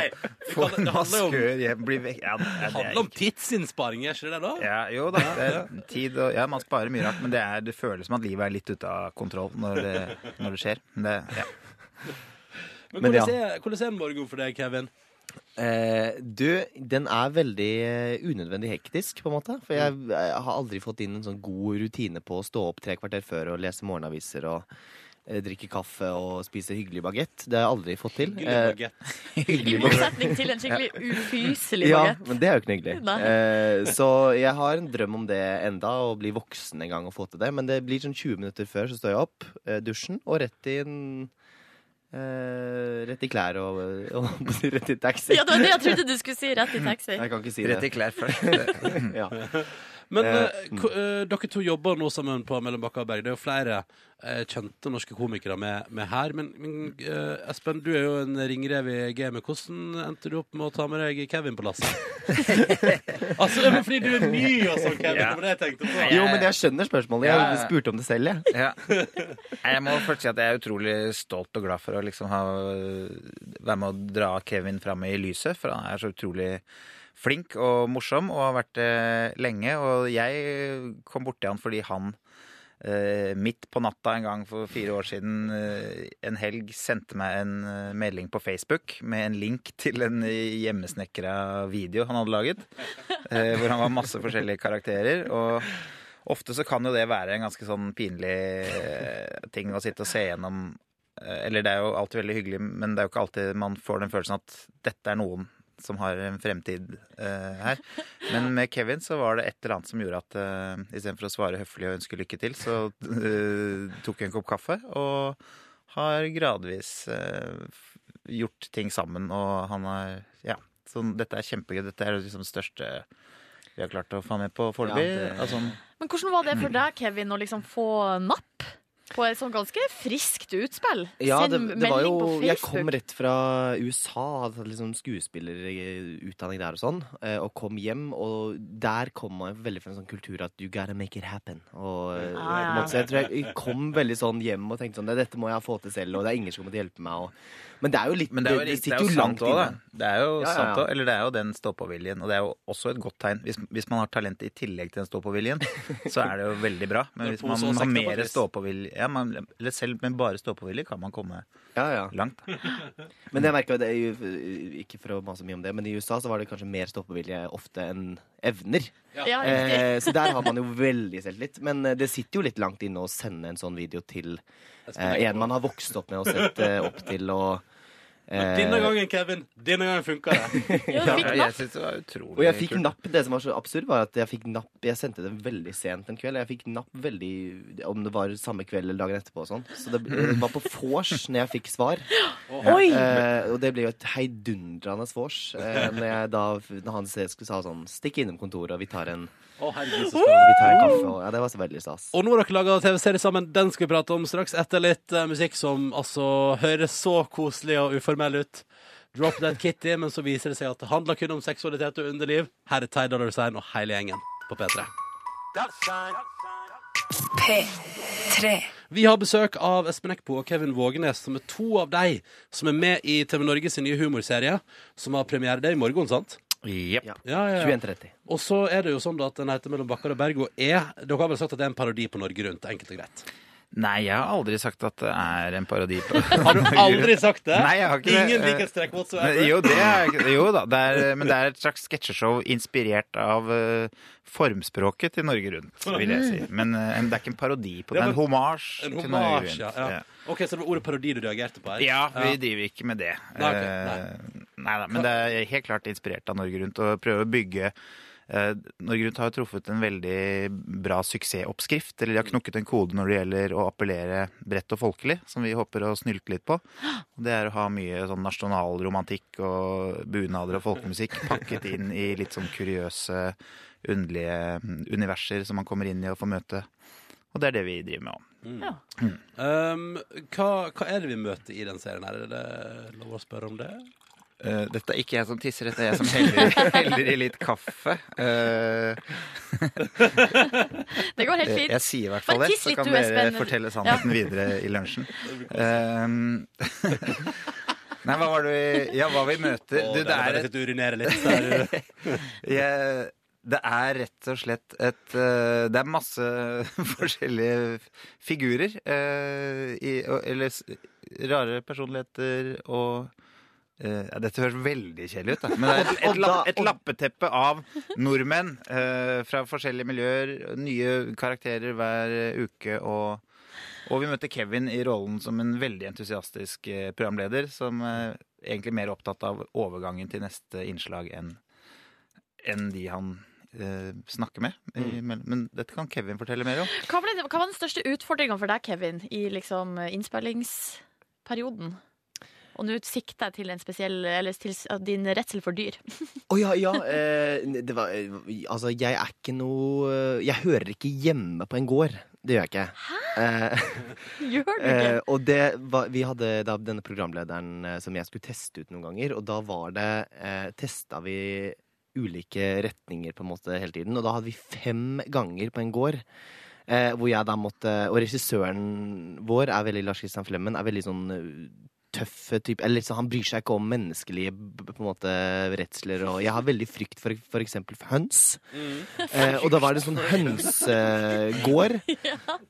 [SPEAKER 11] få
[SPEAKER 2] kan-
[SPEAKER 11] en
[SPEAKER 2] det handler jo om-
[SPEAKER 11] maskør hjem, bli vekk ja, det,
[SPEAKER 2] Det
[SPEAKER 11] det
[SPEAKER 2] handler
[SPEAKER 11] er,
[SPEAKER 2] om tidsinnsparing, er ikke det det da?
[SPEAKER 11] ja, Jo da, det er tid og Ja, man sparer mye rart, men det, er, det føles som at livet er litt ute av kontroll når det, når det skjer. Men det, ja.
[SPEAKER 2] Men
[SPEAKER 7] Men
[SPEAKER 2] hvordan er, hvordan er en morgen for deg, Kevin?
[SPEAKER 7] Eh, du, den er veldig eh, unødvendig hektisk, på en måte. For jeg, eh, har aldri fått inn en sånn god rutine på å stå opp tre kvarter før og lese morgenaviser og eh, drikke kaffe og spise hyggelig bagett. Det har jeg aldri fått til.
[SPEAKER 2] Hyggelig
[SPEAKER 7] Eh,
[SPEAKER 2] baguette.
[SPEAKER 3] I motsetning til en skikkelig ufyselig
[SPEAKER 7] ja,
[SPEAKER 3] bagett.
[SPEAKER 7] men det er jo ikke noe hyggelig.
[SPEAKER 3] Nei.
[SPEAKER 7] Eh, så jeg har en drøm om det enda, å bli voksen en gang og få til det. Men det blir sånn 20 minutter før, så står jeg opp, eh, dusjen, og rett i en eh, Rett i klær og, og rett i taxi. Mm.
[SPEAKER 3] Ja, det var det jeg trodde du skulle si. Rett i taxi.
[SPEAKER 7] Jeg kan ikke si det.
[SPEAKER 11] Rett i klær først.
[SPEAKER 7] Ja.
[SPEAKER 2] Men
[SPEAKER 7] Eh,
[SPEAKER 2] eh, ko- eh, dere to jobber nå sammen på Mellom Bakka og Berg. Det er jo flere eh, kjente norske komikere med, med her. Men, men eh, Espen, du er jo en ringrev i gamet. Hvordan endte du opp med å ta med deg Kevin på lasset? altså, men fordi du er ny og sånn, Kevin.
[SPEAKER 11] Ja.
[SPEAKER 2] Det var det jeg tenkte på.
[SPEAKER 7] Jo, men jeg skjønner spørsmålet.
[SPEAKER 11] Ja, ja,
[SPEAKER 7] Jeg
[SPEAKER 11] ja.
[SPEAKER 7] spurte om det selv, jeg.
[SPEAKER 11] Ja. Jeg må først si at jeg er utrolig stolt og glad for å liksom ha, være med å dra Kevin fram i lyset, for han er så utrolig flink og morsom og har vært det lenge. Og jeg kom borti han fordi han eh, midt på natta en gang for fire år siden eh, en helg sendte meg en eh, melding på Facebook med en link til en hjemmesnekra video han hadde laget, eh, hvor han var masse forskjellige karakterer. og Ofte så kan jo det være en ganske sånn pinlig eh, ting å sitte og se gjennom. Eh, Eller det er jo alltid veldig hyggelig, men det er jo ikke alltid man får den følelsen at dette er noen som har en fremtid eh, her. Men med Kevin så var det et eller annet som gjorde at eh, istedenfor å svare høflig og ønske lykke til, så eh, tok jeg en kopp kaffe og har gradvis eh, f- gjort ting sammen. Og han har Ja. Så dette er kjempegøy. Dette er liksom det største vi har klart å få med på foreløpig.
[SPEAKER 7] det-
[SPEAKER 11] altså,
[SPEAKER 3] Men hvordan var det
[SPEAKER 7] Mm.
[SPEAKER 3] for deg, Kevin, å liksom få napp på et sånn ganske friskt utspill?
[SPEAKER 7] Ja,
[SPEAKER 3] Send
[SPEAKER 7] det, det var
[SPEAKER 3] melding
[SPEAKER 7] jo,
[SPEAKER 3] på
[SPEAKER 7] jeg
[SPEAKER 3] Facebook.
[SPEAKER 7] kom rett fra USA, hadde tatt liksom skuespillerutdanning der og sånn, eh, og kom hjem, og der kom man veldig fra en sånn kultur at you gotta make it happen. Og eh,
[SPEAKER 12] Ah,
[SPEAKER 7] på en
[SPEAKER 12] ja.
[SPEAKER 7] måte, så jeg tror jeg kom veldig sånn hjem og tenkte sånn, "Det- dette må jeg få til selv, og det er ingen som kommer til å hjelpe meg. Og, men det er jo litt,
[SPEAKER 11] Men det er jo, det er
[SPEAKER 7] sitter
[SPEAKER 11] jo
[SPEAKER 7] jo langt
[SPEAKER 11] sant òg, da.
[SPEAKER 7] inne.
[SPEAKER 11] Det er jo
[SPEAKER 7] Ja, ja,
[SPEAKER 11] sant
[SPEAKER 7] ja.
[SPEAKER 11] også, Eller det er jo den stå-på-viljen. Og det er jo også et godt tegn. Hvis, hvis man har talent i tillegg til den stå-på-viljen, så er det jo veldig bra. Men
[SPEAKER 7] Det er
[SPEAKER 11] hvis
[SPEAKER 7] pose
[SPEAKER 11] man
[SPEAKER 7] og sekk,
[SPEAKER 11] har
[SPEAKER 7] det, på et
[SPEAKER 11] mer
[SPEAKER 7] vis.
[SPEAKER 11] stå-på-vilje ja, man- Eller selv med bare stå-på-vilje kan man komme langt.
[SPEAKER 7] Men jeg merket jo det, i- ikke for å mase mye om det, men i USA så var det kanskje mer stoppevilje ofte enn evner.
[SPEAKER 3] Ja. Ah, Ja,
[SPEAKER 7] eh,
[SPEAKER 3] riktig.
[SPEAKER 7] så der har man jo veldig selvtillit. Men eh, det sitter jo litt langt inne å sende en sånn video til eh, en man har vokst opp med og sett eh, opp til og eh,
[SPEAKER 2] Denne gangen, Kevin. Denne gangen funka det.
[SPEAKER 7] Ja, fikk napp.
[SPEAKER 11] synes det var utrolig
[SPEAKER 7] og jeg fikk
[SPEAKER 11] kult.
[SPEAKER 7] napp. Det som var så absurd, var at jeg fikk napp Jeg sendte det veldig sent en kveld. Jeg fikk napp veldig Om det var samme kveld eller dagen etterpå og sånn. Så det det var på vors når jeg fikk svar.
[SPEAKER 12] Oi!
[SPEAKER 7] Eh, og det ble jo et heidundrende vors eh, når, jeg da, når han se- skulle sa sånn Stikk innom kontoret, og vi tar en
[SPEAKER 2] Å, herregud, så spennende.
[SPEAKER 7] Vi tar en kaffe. Og, ja, det var så veldig stas.
[SPEAKER 2] Og nå har dere laga TV-serie sammen. Den skal vi prate om straks etter litt eh, musikk som altså høres så koselig og uformell ut. Drop That Kitty, men så viser det seg at det handler kun om seksualitet og underliv. Her er Ty Dollar Sign og hele gjengen på P3.
[SPEAKER 6] P3.
[SPEAKER 2] Vi har besøk av Espen Eckbo og Kevin Vågenes, som er to av de som er med i TV Norge sin nye humorserie, som har premiere det er i morgen, sant?
[SPEAKER 11] Jepp.
[SPEAKER 7] Ja.
[SPEAKER 2] Ja, ja,
[SPEAKER 7] 21.30.
[SPEAKER 2] Og så er det jo sånn da at den heter Mellom bakker og berg og er Dere har vel sagt at det er en parodi på Norge Rundt, enkelt og greit?
[SPEAKER 11] Nei, jeg har aldri sagt at det er en parodi på
[SPEAKER 2] Har du aldri sagt det?
[SPEAKER 11] Nei, jeg har ikke
[SPEAKER 2] Ingen
[SPEAKER 11] det. Eh,
[SPEAKER 2] likhetstrekk whatsoever?
[SPEAKER 11] Nei, Jo, det er, jo da, det er, men det er et slags sketsjeshow inspirert av eh, formspråket til Norge Rundt, vil jeg si. Men eh, det er ikke en parodi på det, det er en homasj
[SPEAKER 2] En
[SPEAKER 11] til Norge
[SPEAKER 2] hommage,
[SPEAKER 11] Rundt.
[SPEAKER 2] ja, ja. Ok, Så det var ordet parodi du reagerte på her?
[SPEAKER 11] Ja, vi driver ikke med det.
[SPEAKER 2] Nei, ok, nei.
[SPEAKER 11] Eh, nei da, men det er helt klart inspirert av Norge Rundt og prøve å bygge eh, Norge Rundt har jo truffet en veldig bra suksessoppskrift. Eller de har knukket en kode når det gjelder å appellere bredt og folkelig, som vi håper å snylte litt på. Og det er å ha mye sånn nasjonalromantikk og bunader og folkemusikk pakket inn i litt sånn kuriøse, underlige mm, universer som man kommer inn i og får møte. Og det er det vi driver med.
[SPEAKER 2] Mm. Um, hva, hva er det vi møter i den serien her? Er det lov å spørre om det?
[SPEAKER 11] Eh, dette er ikke jeg som tisser, dette er jeg som heller, heller i litt kaffe. Eh,
[SPEAKER 3] Det går helt fint.
[SPEAKER 7] eh,
[SPEAKER 11] Jeg sier i hvert fall
[SPEAKER 3] Bare
[SPEAKER 11] det,
[SPEAKER 3] tiss
[SPEAKER 11] så
[SPEAKER 3] litt,
[SPEAKER 11] kan
[SPEAKER 3] du,
[SPEAKER 11] dere
[SPEAKER 3] Espen.
[SPEAKER 11] fortelle sannheten
[SPEAKER 3] Ja.
[SPEAKER 11] videre i lunsjen. Eh, Nei, hva var det vi Ja, hva vi møter
[SPEAKER 2] Å,
[SPEAKER 11] Du,
[SPEAKER 2] der var det
[SPEAKER 11] et-
[SPEAKER 2] litt å urinere litt, der.
[SPEAKER 11] Jeg- det er rett og slett et eh, Det er masse forskjellige figurer. eh, i, og- eller s- rare personligheter og eh, ja, Dette høres veldig kjedelig ut, da. Men det er et, et, lapp, et lappeteppe av nordmenn eh, fra forskjellige miljøer. Nye karakterer hver uke. og og vi møtte Kevin i rollen som en veldig entusiastisk eh, programleder, som eh, egentlig mer opptatt av overgangen til neste innslag enn enn de han eh, snakker med. i mellom- Men dette kan Kevin fortelle mer om.
[SPEAKER 3] Hva, ble, det- hva var den største utfordringa for deg, Kevin, i liksom eh, innspillingsperioden? Og nå sikter jeg til en spesiell Eller til s- din redsel for dyr.
[SPEAKER 7] Å ja, ja. Eh, det var, eh, altså, jeg er ikke noe eh, Jeg hører ikke hjemme på en gård. Det gjør jeg ikke. Eh,
[SPEAKER 3] Gjør du
[SPEAKER 7] eh,
[SPEAKER 3] ikke?
[SPEAKER 7] og det var, vi hadde da denne programlederen eh, som jeg skulle teste ut noen ganger, og da var det eh, Testa vi ulike retninger på en måte hele tiden, og da hadde vi fem ganger på en gård. Eh, hvor jeg da måtte Og regissøren vår er veldig Lars Christian Flemmen. Er veldig sånn eh, tøffe type Eller liksom, han bryr seg ikke om menneskelige b- på en måte redsler og Jeg har veldig frykt for for eksempel for høns.
[SPEAKER 3] Mm.
[SPEAKER 7] Eh, og da var det sånn hønsegård.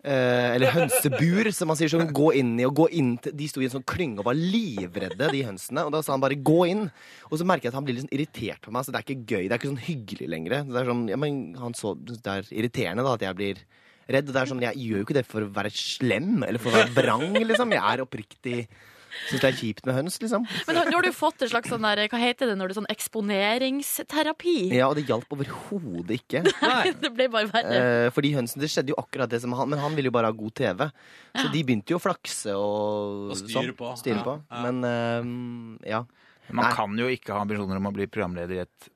[SPEAKER 7] Eh, eller hønsebur, som man sier. Sånn, gå inn i, og gå inn til, De sto i en sånn klynge og var livredde, de hønsene. Og da sa han bare 'gå inn'. Og så merker jeg at han blir litt sånn irritert på meg. Så det er ikke gøy. Det er ikke sånn hyggelig lenger. Det er sånn, ja, men han så, det er irriterende da at jeg blir redd. Og det er sånn, jeg gjør jo ikke det for å være slem eller for å være vrang, liksom. Jeg er oppriktig Syns det er kjipt med høns, liksom.
[SPEAKER 3] Men nå nå har du fått en slags sånn der, hva heter det når det er sånn eksponeringsterapi?
[SPEAKER 7] Ja, og det hjalp overhodet ikke.
[SPEAKER 3] det ble bare verre.
[SPEAKER 7] Eh, fordi hønsen, det skjedde jo akkurat det som han Men han ville jo bare ha god TV. Så de begynte jo å flakse og,
[SPEAKER 11] Og styre
[SPEAKER 7] sånn,
[SPEAKER 11] på.
[SPEAKER 7] Styre
[SPEAKER 11] Ja,
[SPEAKER 7] på. Men eh, ja.
[SPEAKER 11] Man kan jo ikke ha ambisjoner om å bli programleder i et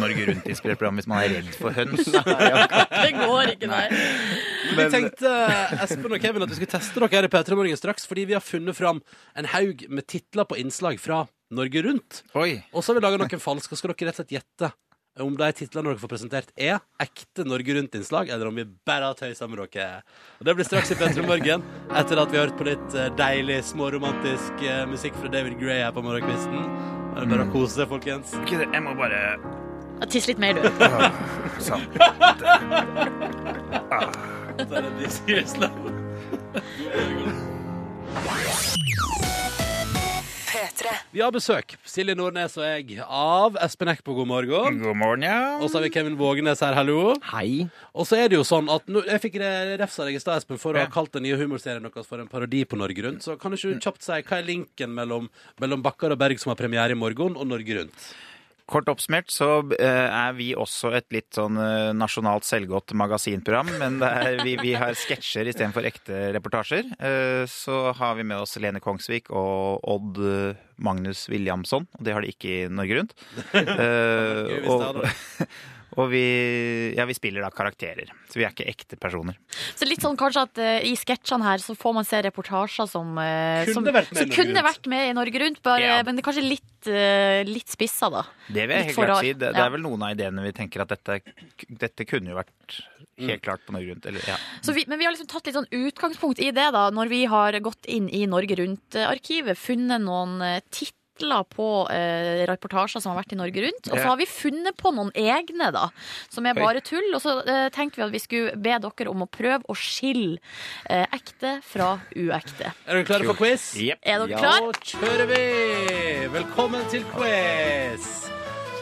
[SPEAKER 11] Norge Rundt-inspirert program hvis man er redd for høns.
[SPEAKER 3] Det går ikke, nei.
[SPEAKER 2] Vi tenkte eh, Espen og Kevin, at vi skulle teste dere her i P3 Morgen straks, fordi vi har funnet fram en haug med titler på innslag fra Norge Rundt. Og så har vi laga noen falske, og skal dere rett og slett gjette om de titlene dere får presentert, er ekte Norge Rundt-innslag, eller om vi bare har tøysa med dere. Og Det blir straks i P3 Morgen, etter at vi har hørt på litt eh, deilig, småromantisk eh, musikk fra David Gray her på morgenkvisten. Det er Bare å kose seg, folkens.
[SPEAKER 11] Jeg må bare
[SPEAKER 3] Tiss litt mer, du.
[SPEAKER 11] Sånn.
[SPEAKER 2] Det er en disgrace love.
[SPEAKER 6] P3.
[SPEAKER 2] Vi har besøk, Silje Nordnes og jeg, av Espen Eckbo. God morgen.
[SPEAKER 11] God morgen, ja.
[SPEAKER 2] Og så har vi Kevin Vågenes her, hallo.
[SPEAKER 7] Hei.
[SPEAKER 2] Og så er det jo sånn at nå, Jeg fikk re- refsa deg i stad, Espen, for å ha kalt den nye humorserien deres for en parodi på Norge Rundt. Så kan du
[SPEAKER 11] Mm.
[SPEAKER 2] ikke du kjapt si hva er linken mellom, mellom Bakkar og Berg, som har premiere i morgen, og Norge Rundt?
[SPEAKER 11] Kort oppsummert så eh, er vi også et litt sånn eh, nasjonalt selvgodt magasinprogram. Men det er, vi, vi har sketsjer istedenfor ekte reportasjer. Eh, Så har vi med oss Lene Kongsvik og Odd eh, Magnus Williamson. Og det har de ikke i Norge Rundt.
[SPEAKER 2] Gøy
[SPEAKER 11] Eh,
[SPEAKER 2] hvis det
[SPEAKER 11] Og, og vi, ja, vi spiller da karakterer. Så vi er ikke ekte personer.
[SPEAKER 3] Så litt sånn kanskje at eh, i sketsjene her så får man se reportasjer som eh, som,
[SPEAKER 11] Kunne vært med i
[SPEAKER 3] som
[SPEAKER 11] Norge
[SPEAKER 3] kunne
[SPEAKER 11] Rundt.
[SPEAKER 3] vært med i Norge Rundt, bare,
[SPEAKER 11] Ja.
[SPEAKER 3] men det er kanskje litt, eh, litt spissa, da.
[SPEAKER 11] Det vil
[SPEAKER 3] Litt
[SPEAKER 11] jeg helt
[SPEAKER 3] for rar.
[SPEAKER 11] klart si. Det, det
[SPEAKER 3] Ja.
[SPEAKER 11] er vel noen av ideene vi tenker at dette, dette kunne jo vært helt klart på Norge Rundt. Eller, ja.
[SPEAKER 3] Så vi, men vi har liksom tatt litt sånn utgangspunkt i det, da, når vi har gått inn i Norge Rundt-arkivet, funnet noen eh, titler på eh, reportasjer som har vært i Norge Rundt. Og så
[SPEAKER 12] Ja.
[SPEAKER 3] har vi funnet på noen egne, da, som er
[SPEAKER 12] Oi.
[SPEAKER 3] bare tull. Og så eh, tenkte vi at vi skulle be dere om å prøve å skille eh, ekte fra uekte.
[SPEAKER 2] Er dere klare for quiz?
[SPEAKER 3] Er dere
[SPEAKER 2] Ja.
[SPEAKER 3] klar?
[SPEAKER 2] Da kjører vi! Velkommen til quiz!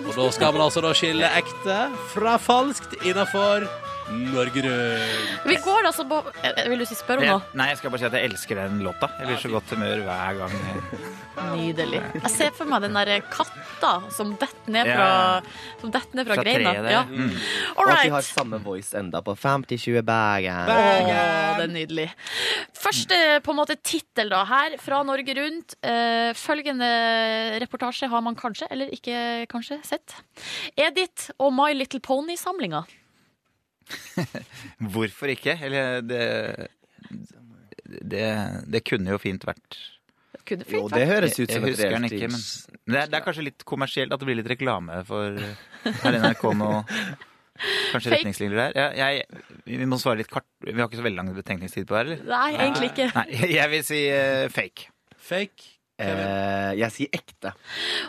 [SPEAKER 2] Og da skal man altså da skille ekte fra falskt innafor Norge Rundt.
[SPEAKER 3] Vi går altså på eh, Vil du si spør om noe?
[SPEAKER 11] Jeg, nei, jeg skal bare si at jeg elsker den låta. Jeg blir så godt humør hver gang.
[SPEAKER 3] Nydelig. Jeg ser for meg den der eh, katta som detter ned
[SPEAKER 7] Ja.
[SPEAKER 3] fra, som detter ned fra, greina. Ja.
[SPEAKER 7] Mm.
[SPEAKER 3] All
[SPEAKER 7] Og at
[SPEAKER 3] right.
[SPEAKER 7] de har samme voice enda på 50-20 Bergen.
[SPEAKER 3] Åh, det er nydelig. Første på en måte tittel da, her fra Norge Rundt. Eh, følgende reportasje har man kanskje, eller ikke kanskje, sett. Edith og My Little Pony-samlinga.
[SPEAKER 11] Hvorfor ikke? Eller det det, det kunne jo fint vært
[SPEAKER 3] Kunne fint vært.
[SPEAKER 11] Jeg husker den ikke, men men det er, det er kanskje litt kommersielt at det blir litt reklame for Her i NRK nå. Kanskje
[SPEAKER 3] Fake.
[SPEAKER 11] retningslinjer der. Ja, jeg, vi må svare litt kort. Vi har ikke så veldig lang betenkningstid på det her, eller?
[SPEAKER 3] Nei, egentlig ikke.
[SPEAKER 11] Nei, jeg vil si eh, fake.
[SPEAKER 2] Fake?
[SPEAKER 7] eh, jeg sier ekte.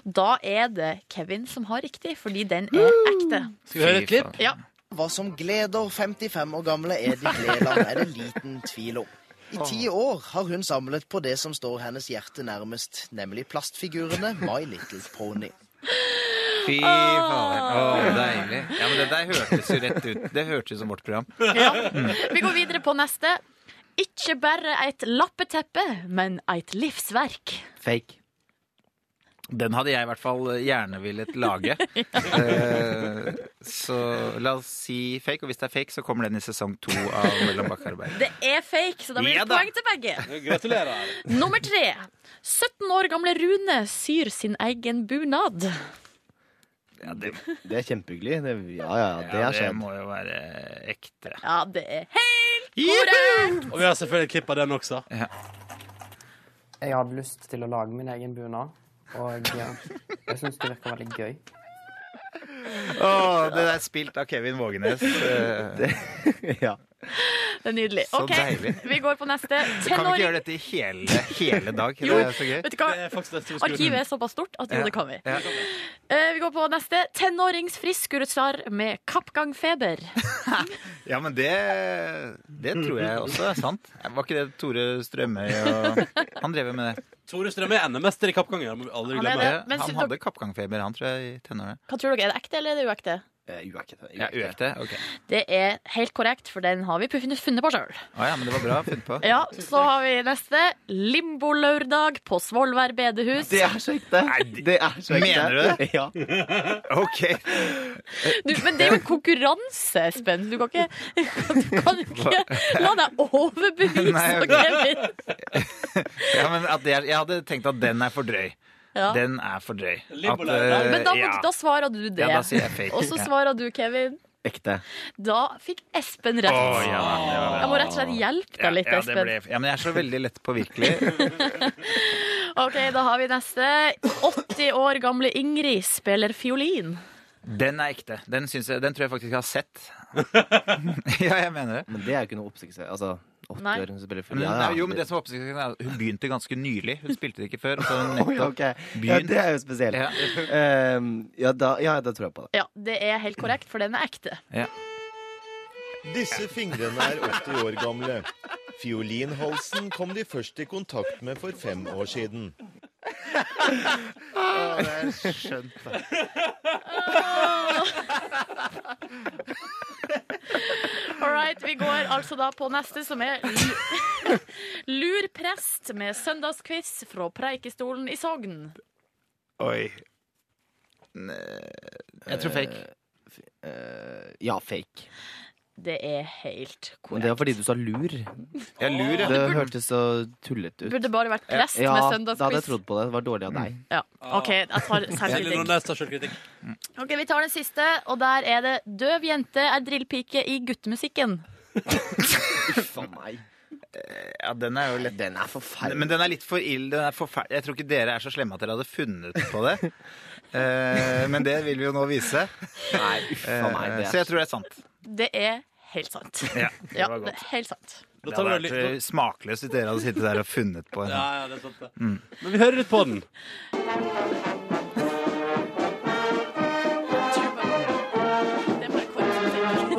[SPEAKER 3] Da er det Kevin som har riktig, fordi den er ekte.
[SPEAKER 2] Skal vi høre et klipp?
[SPEAKER 3] Ja.
[SPEAKER 10] Hva som gleder 55 år gamle Edith Leland, er det liten tvil om. I ti år har hun samlet på det som står hennes hjerte nærmest, nemlig plastfigurene My Little Pony.
[SPEAKER 11] Fy fader. Å, deilig. Ja, men det der hørtes jo rett ut. Det hørtes ut som vårt program. Mm.
[SPEAKER 3] Vi går videre på neste. Ikke bare et lappeteppe, men et livsverk.
[SPEAKER 7] Fake.
[SPEAKER 11] Den hadde jeg i hvert fall gjerne villet lage. Eh, så la oss si fake, og hvis det er fake, så kommer den i sesong to av Mellom bakkearbeid.
[SPEAKER 3] Det er fake, så da blir det
[SPEAKER 11] Ja da.
[SPEAKER 3] poeng til begge.
[SPEAKER 2] Gratulerer.
[SPEAKER 3] Nummer tre. 17 år gamle Rune syr sin egen bunad.
[SPEAKER 11] det,
[SPEAKER 7] er kjempehyggelig. Det, ja, ja, ja, det
[SPEAKER 11] Ja,
[SPEAKER 7] har
[SPEAKER 11] det
[SPEAKER 7] skjedd.
[SPEAKER 11] må jo være ekte.
[SPEAKER 3] Ja, det er helt korrekt!
[SPEAKER 2] Og vi har selvfølgelig et klipp av den også.
[SPEAKER 12] Jeg hadde lyst til å lage min egen bunad, og eh, jeg syns det virker veldig gøy.
[SPEAKER 11] Å, det der er spilt av Kevin Vågenes. Eh,
[SPEAKER 3] Det er nydelig.
[SPEAKER 11] Så
[SPEAKER 3] OK,
[SPEAKER 11] deilig.
[SPEAKER 3] vi går på neste.
[SPEAKER 11] Så kan vi ikke
[SPEAKER 3] Tenåring
[SPEAKER 11] gjøre dette i hele, hele dag?
[SPEAKER 3] Jo,
[SPEAKER 11] det er så gøy.
[SPEAKER 3] vet du hva? Det Arkivet er såpass stort at jo, det kan vi. Eh, vi går på neste. Tenåringsfriskurutslar med kappgangfeber.
[SPEAKER 11] Ja, men det, det tror jeg også er sant. Var ikke det Tore Strømøy og Han drev jo med det.
[SPEAKER 2] Tore Strømøy er NM-mester i kappgang. Jeg må aldri
[SPEAKER 3] Han er
[SPEAKER 11] glemme
[SPEAKER 3] det,
[SPEAKER 11] det.
[SPEAKER 3] men
[SPEAKER 11] Han
[SPEAKER 3] så-
[SPEAKER 11] hadde kappgangfeber, han tror jeg, i tenårene.
[SPEAKER 3] Hva tror dere, er det ekte eller er det uekte?
[SPEAKER 7] Eh, Uekte.
[SPEAKER 11] Ja, uekte. Ok.
[SPEAKER 3] Det er helt korrekt, for den har vi funnet funnet på sjøl.
[SPEAKER 11] Å ja, men det var bra funnet på.
[SPEAKER 3] Ja, så har vi neste. Limbolørdag på Svolvær bedehus.
[SPEAKER 7] Det er så ekte. Det er så ekte.
[SPEAKER 11] Mener du det?
[SPEAKER 7] Ja.
[SPEAKER 11] OK.
[SPEAKER 3] Du, men det er jo en konkurranse, Espen. Du kan ikke, du kan jo ikke la deg overbevise.
[SPEAKER 11] Nei, ok.
[SPEAKER 3] Kevin.
[SPEAKER 11] Ja, men at det er, jeg hadde tenkt at den er for drøy.
[SPEAKER 3] Ja.
[SPEAKER 11] Den er for drøy. At, eh,
[SPEAKER 3] Men da, må-
[SPEAKER 11] ja.
[SPEAKER 3] da svarer du det.
[SPEAKER 11] Ja, da sier jeg fake.
[SPEAKER 3] Og så
[SPEAKER 11] Ja.
[SPEAKER 3] svarer du, Kevin.
[SPEAKER 7] Ekte.
[SPEAKER 3] Da fikk Espen rett.
[SPEAKER 11] Å, ja, det var bra.
[SPEAKER 3] jeg må rett og slett hjelpe deg litt,
[SPEAKER 11] ja, det
[SPEAKER 3] Espen.
[SPEAKER 11] ble, ja, men jeg er så veldig lett påvirkelig.
[SPEAKER 3] Ok, da har vi neste. 80 år gamle Ingrid spiller fiolin.
[SPEAKER 11] Den er ekte. Den, syns jeg, den tror jeg faktisk jeg har sett. ja, jeg mener det.
[SPEAKER 7] Men det er jo ikke noe oppsiktsvekkende. Altså,
[SPEAKER 3] Nei.
[SPEAKER 7] 80 år, hun spiller
[SPEAKER 11] Men,
[SPEAKER 7] full. Ja,
[SPEAKER 11] nei,
[SPEAKER 7] ja.
[SPEAKER 11] jo, men det som var oppsiktsvekkende er at Hun begynte ganske nylig. Hun spilte det ikke før. Og så har hun
[SPEAKER 7] Oi,
[SPEAKER 11] nettopp
[SPEAKER 7] ok. Ja,
[SPEAKER 11] begynt.
[SPEAKER 7] det er jo spesielt.
[SPEAKER 11] Ja.
[SPEAKER 7] Ehm, ja, da, ja, da tror jeg på det.
[SPEAKER 3] Ja, det er helt korrekt, for den er ekte.
[SPEAKER 13] Disse fingrene er 80 år gamle. Fiolinhalsen kom de først i kontakt med for fem år siden.
[SPEAKER 11] det er skjønt,
[SPEAKER 3] All right, vi går altså da på neste, som er lu- Lur prest med søndagsquiz fra Preikestolen i Sogn.
[SPEAKER 11] Oi. Jeg tror fake.
[SPEAKER 7] Eh, ja, fake.
[SPEAKER 3] Det er helt
[SPEAKER 7] Men det
[SPEAKER 3] korrekt.
[SPEAKER 7] var fordi du sa lur.
[SPEAKER 11] Ja, lur, ja.
[SPEAKER 7] Det hørtes så tullete ut.
[SPEAKER 3] Burde bare vært prest
[SPEAKER 7] ja,
[SPEAKER 3] med
[SPEAKER 7] Da hadde jeg
[SPEAKER 3] søndagsquiz.
[SPEAKER 7] trodd på det. Det var dårlig av
[SPEAKER 11] Mm.
[SPEAKER 7] deg.
[SPEAKER 3] Ja, OK, jeg tar
[SPEAKER 2] Silje
[SPEAKER 3] selvkritikk.
[SPEAKER 2] Nordnes tar selvkritikk.
[SPEAKER 3] Ok, Vi tar den siste, og der er det 'Døv jente er drillpike i guttemusikken'.
[SPEAKER 7] For meg.
[SPEAKER 11] Ja, den er jo lett.
[SPEAKER 7] Den er forferdelig.
[SPEAKER 11] Men den er litt for ild. Den er forfer- Jeg tror ikke dere er så slemme at dere hadde funnet på det. Eh, men det vil vi jo nå vise.
[SPEAKER 7] Nei, uff a meg, det er-
[SPEAKER 11] Eh, Så jeg tror det er sant.
[SPEAKER 3] Det er helt sant.
[SPEAKER 11] Ja, det
[SPEAKER 3] Ja,
[SPEAKER 11] var
[SPEAKER 3] det
[SPEAKER 11] godt.
[SPEAKER 3] er helt sant.
[SPEAKER 11] Det hadde vært eh, smakløst hvis dere hadde sittet der og funnet på en.
[SPEAKER 2] Ja, ja, det er sant, det.
[SPEAKER 11] Mm.
[SPEAKER 2] Men vi hører litt på den.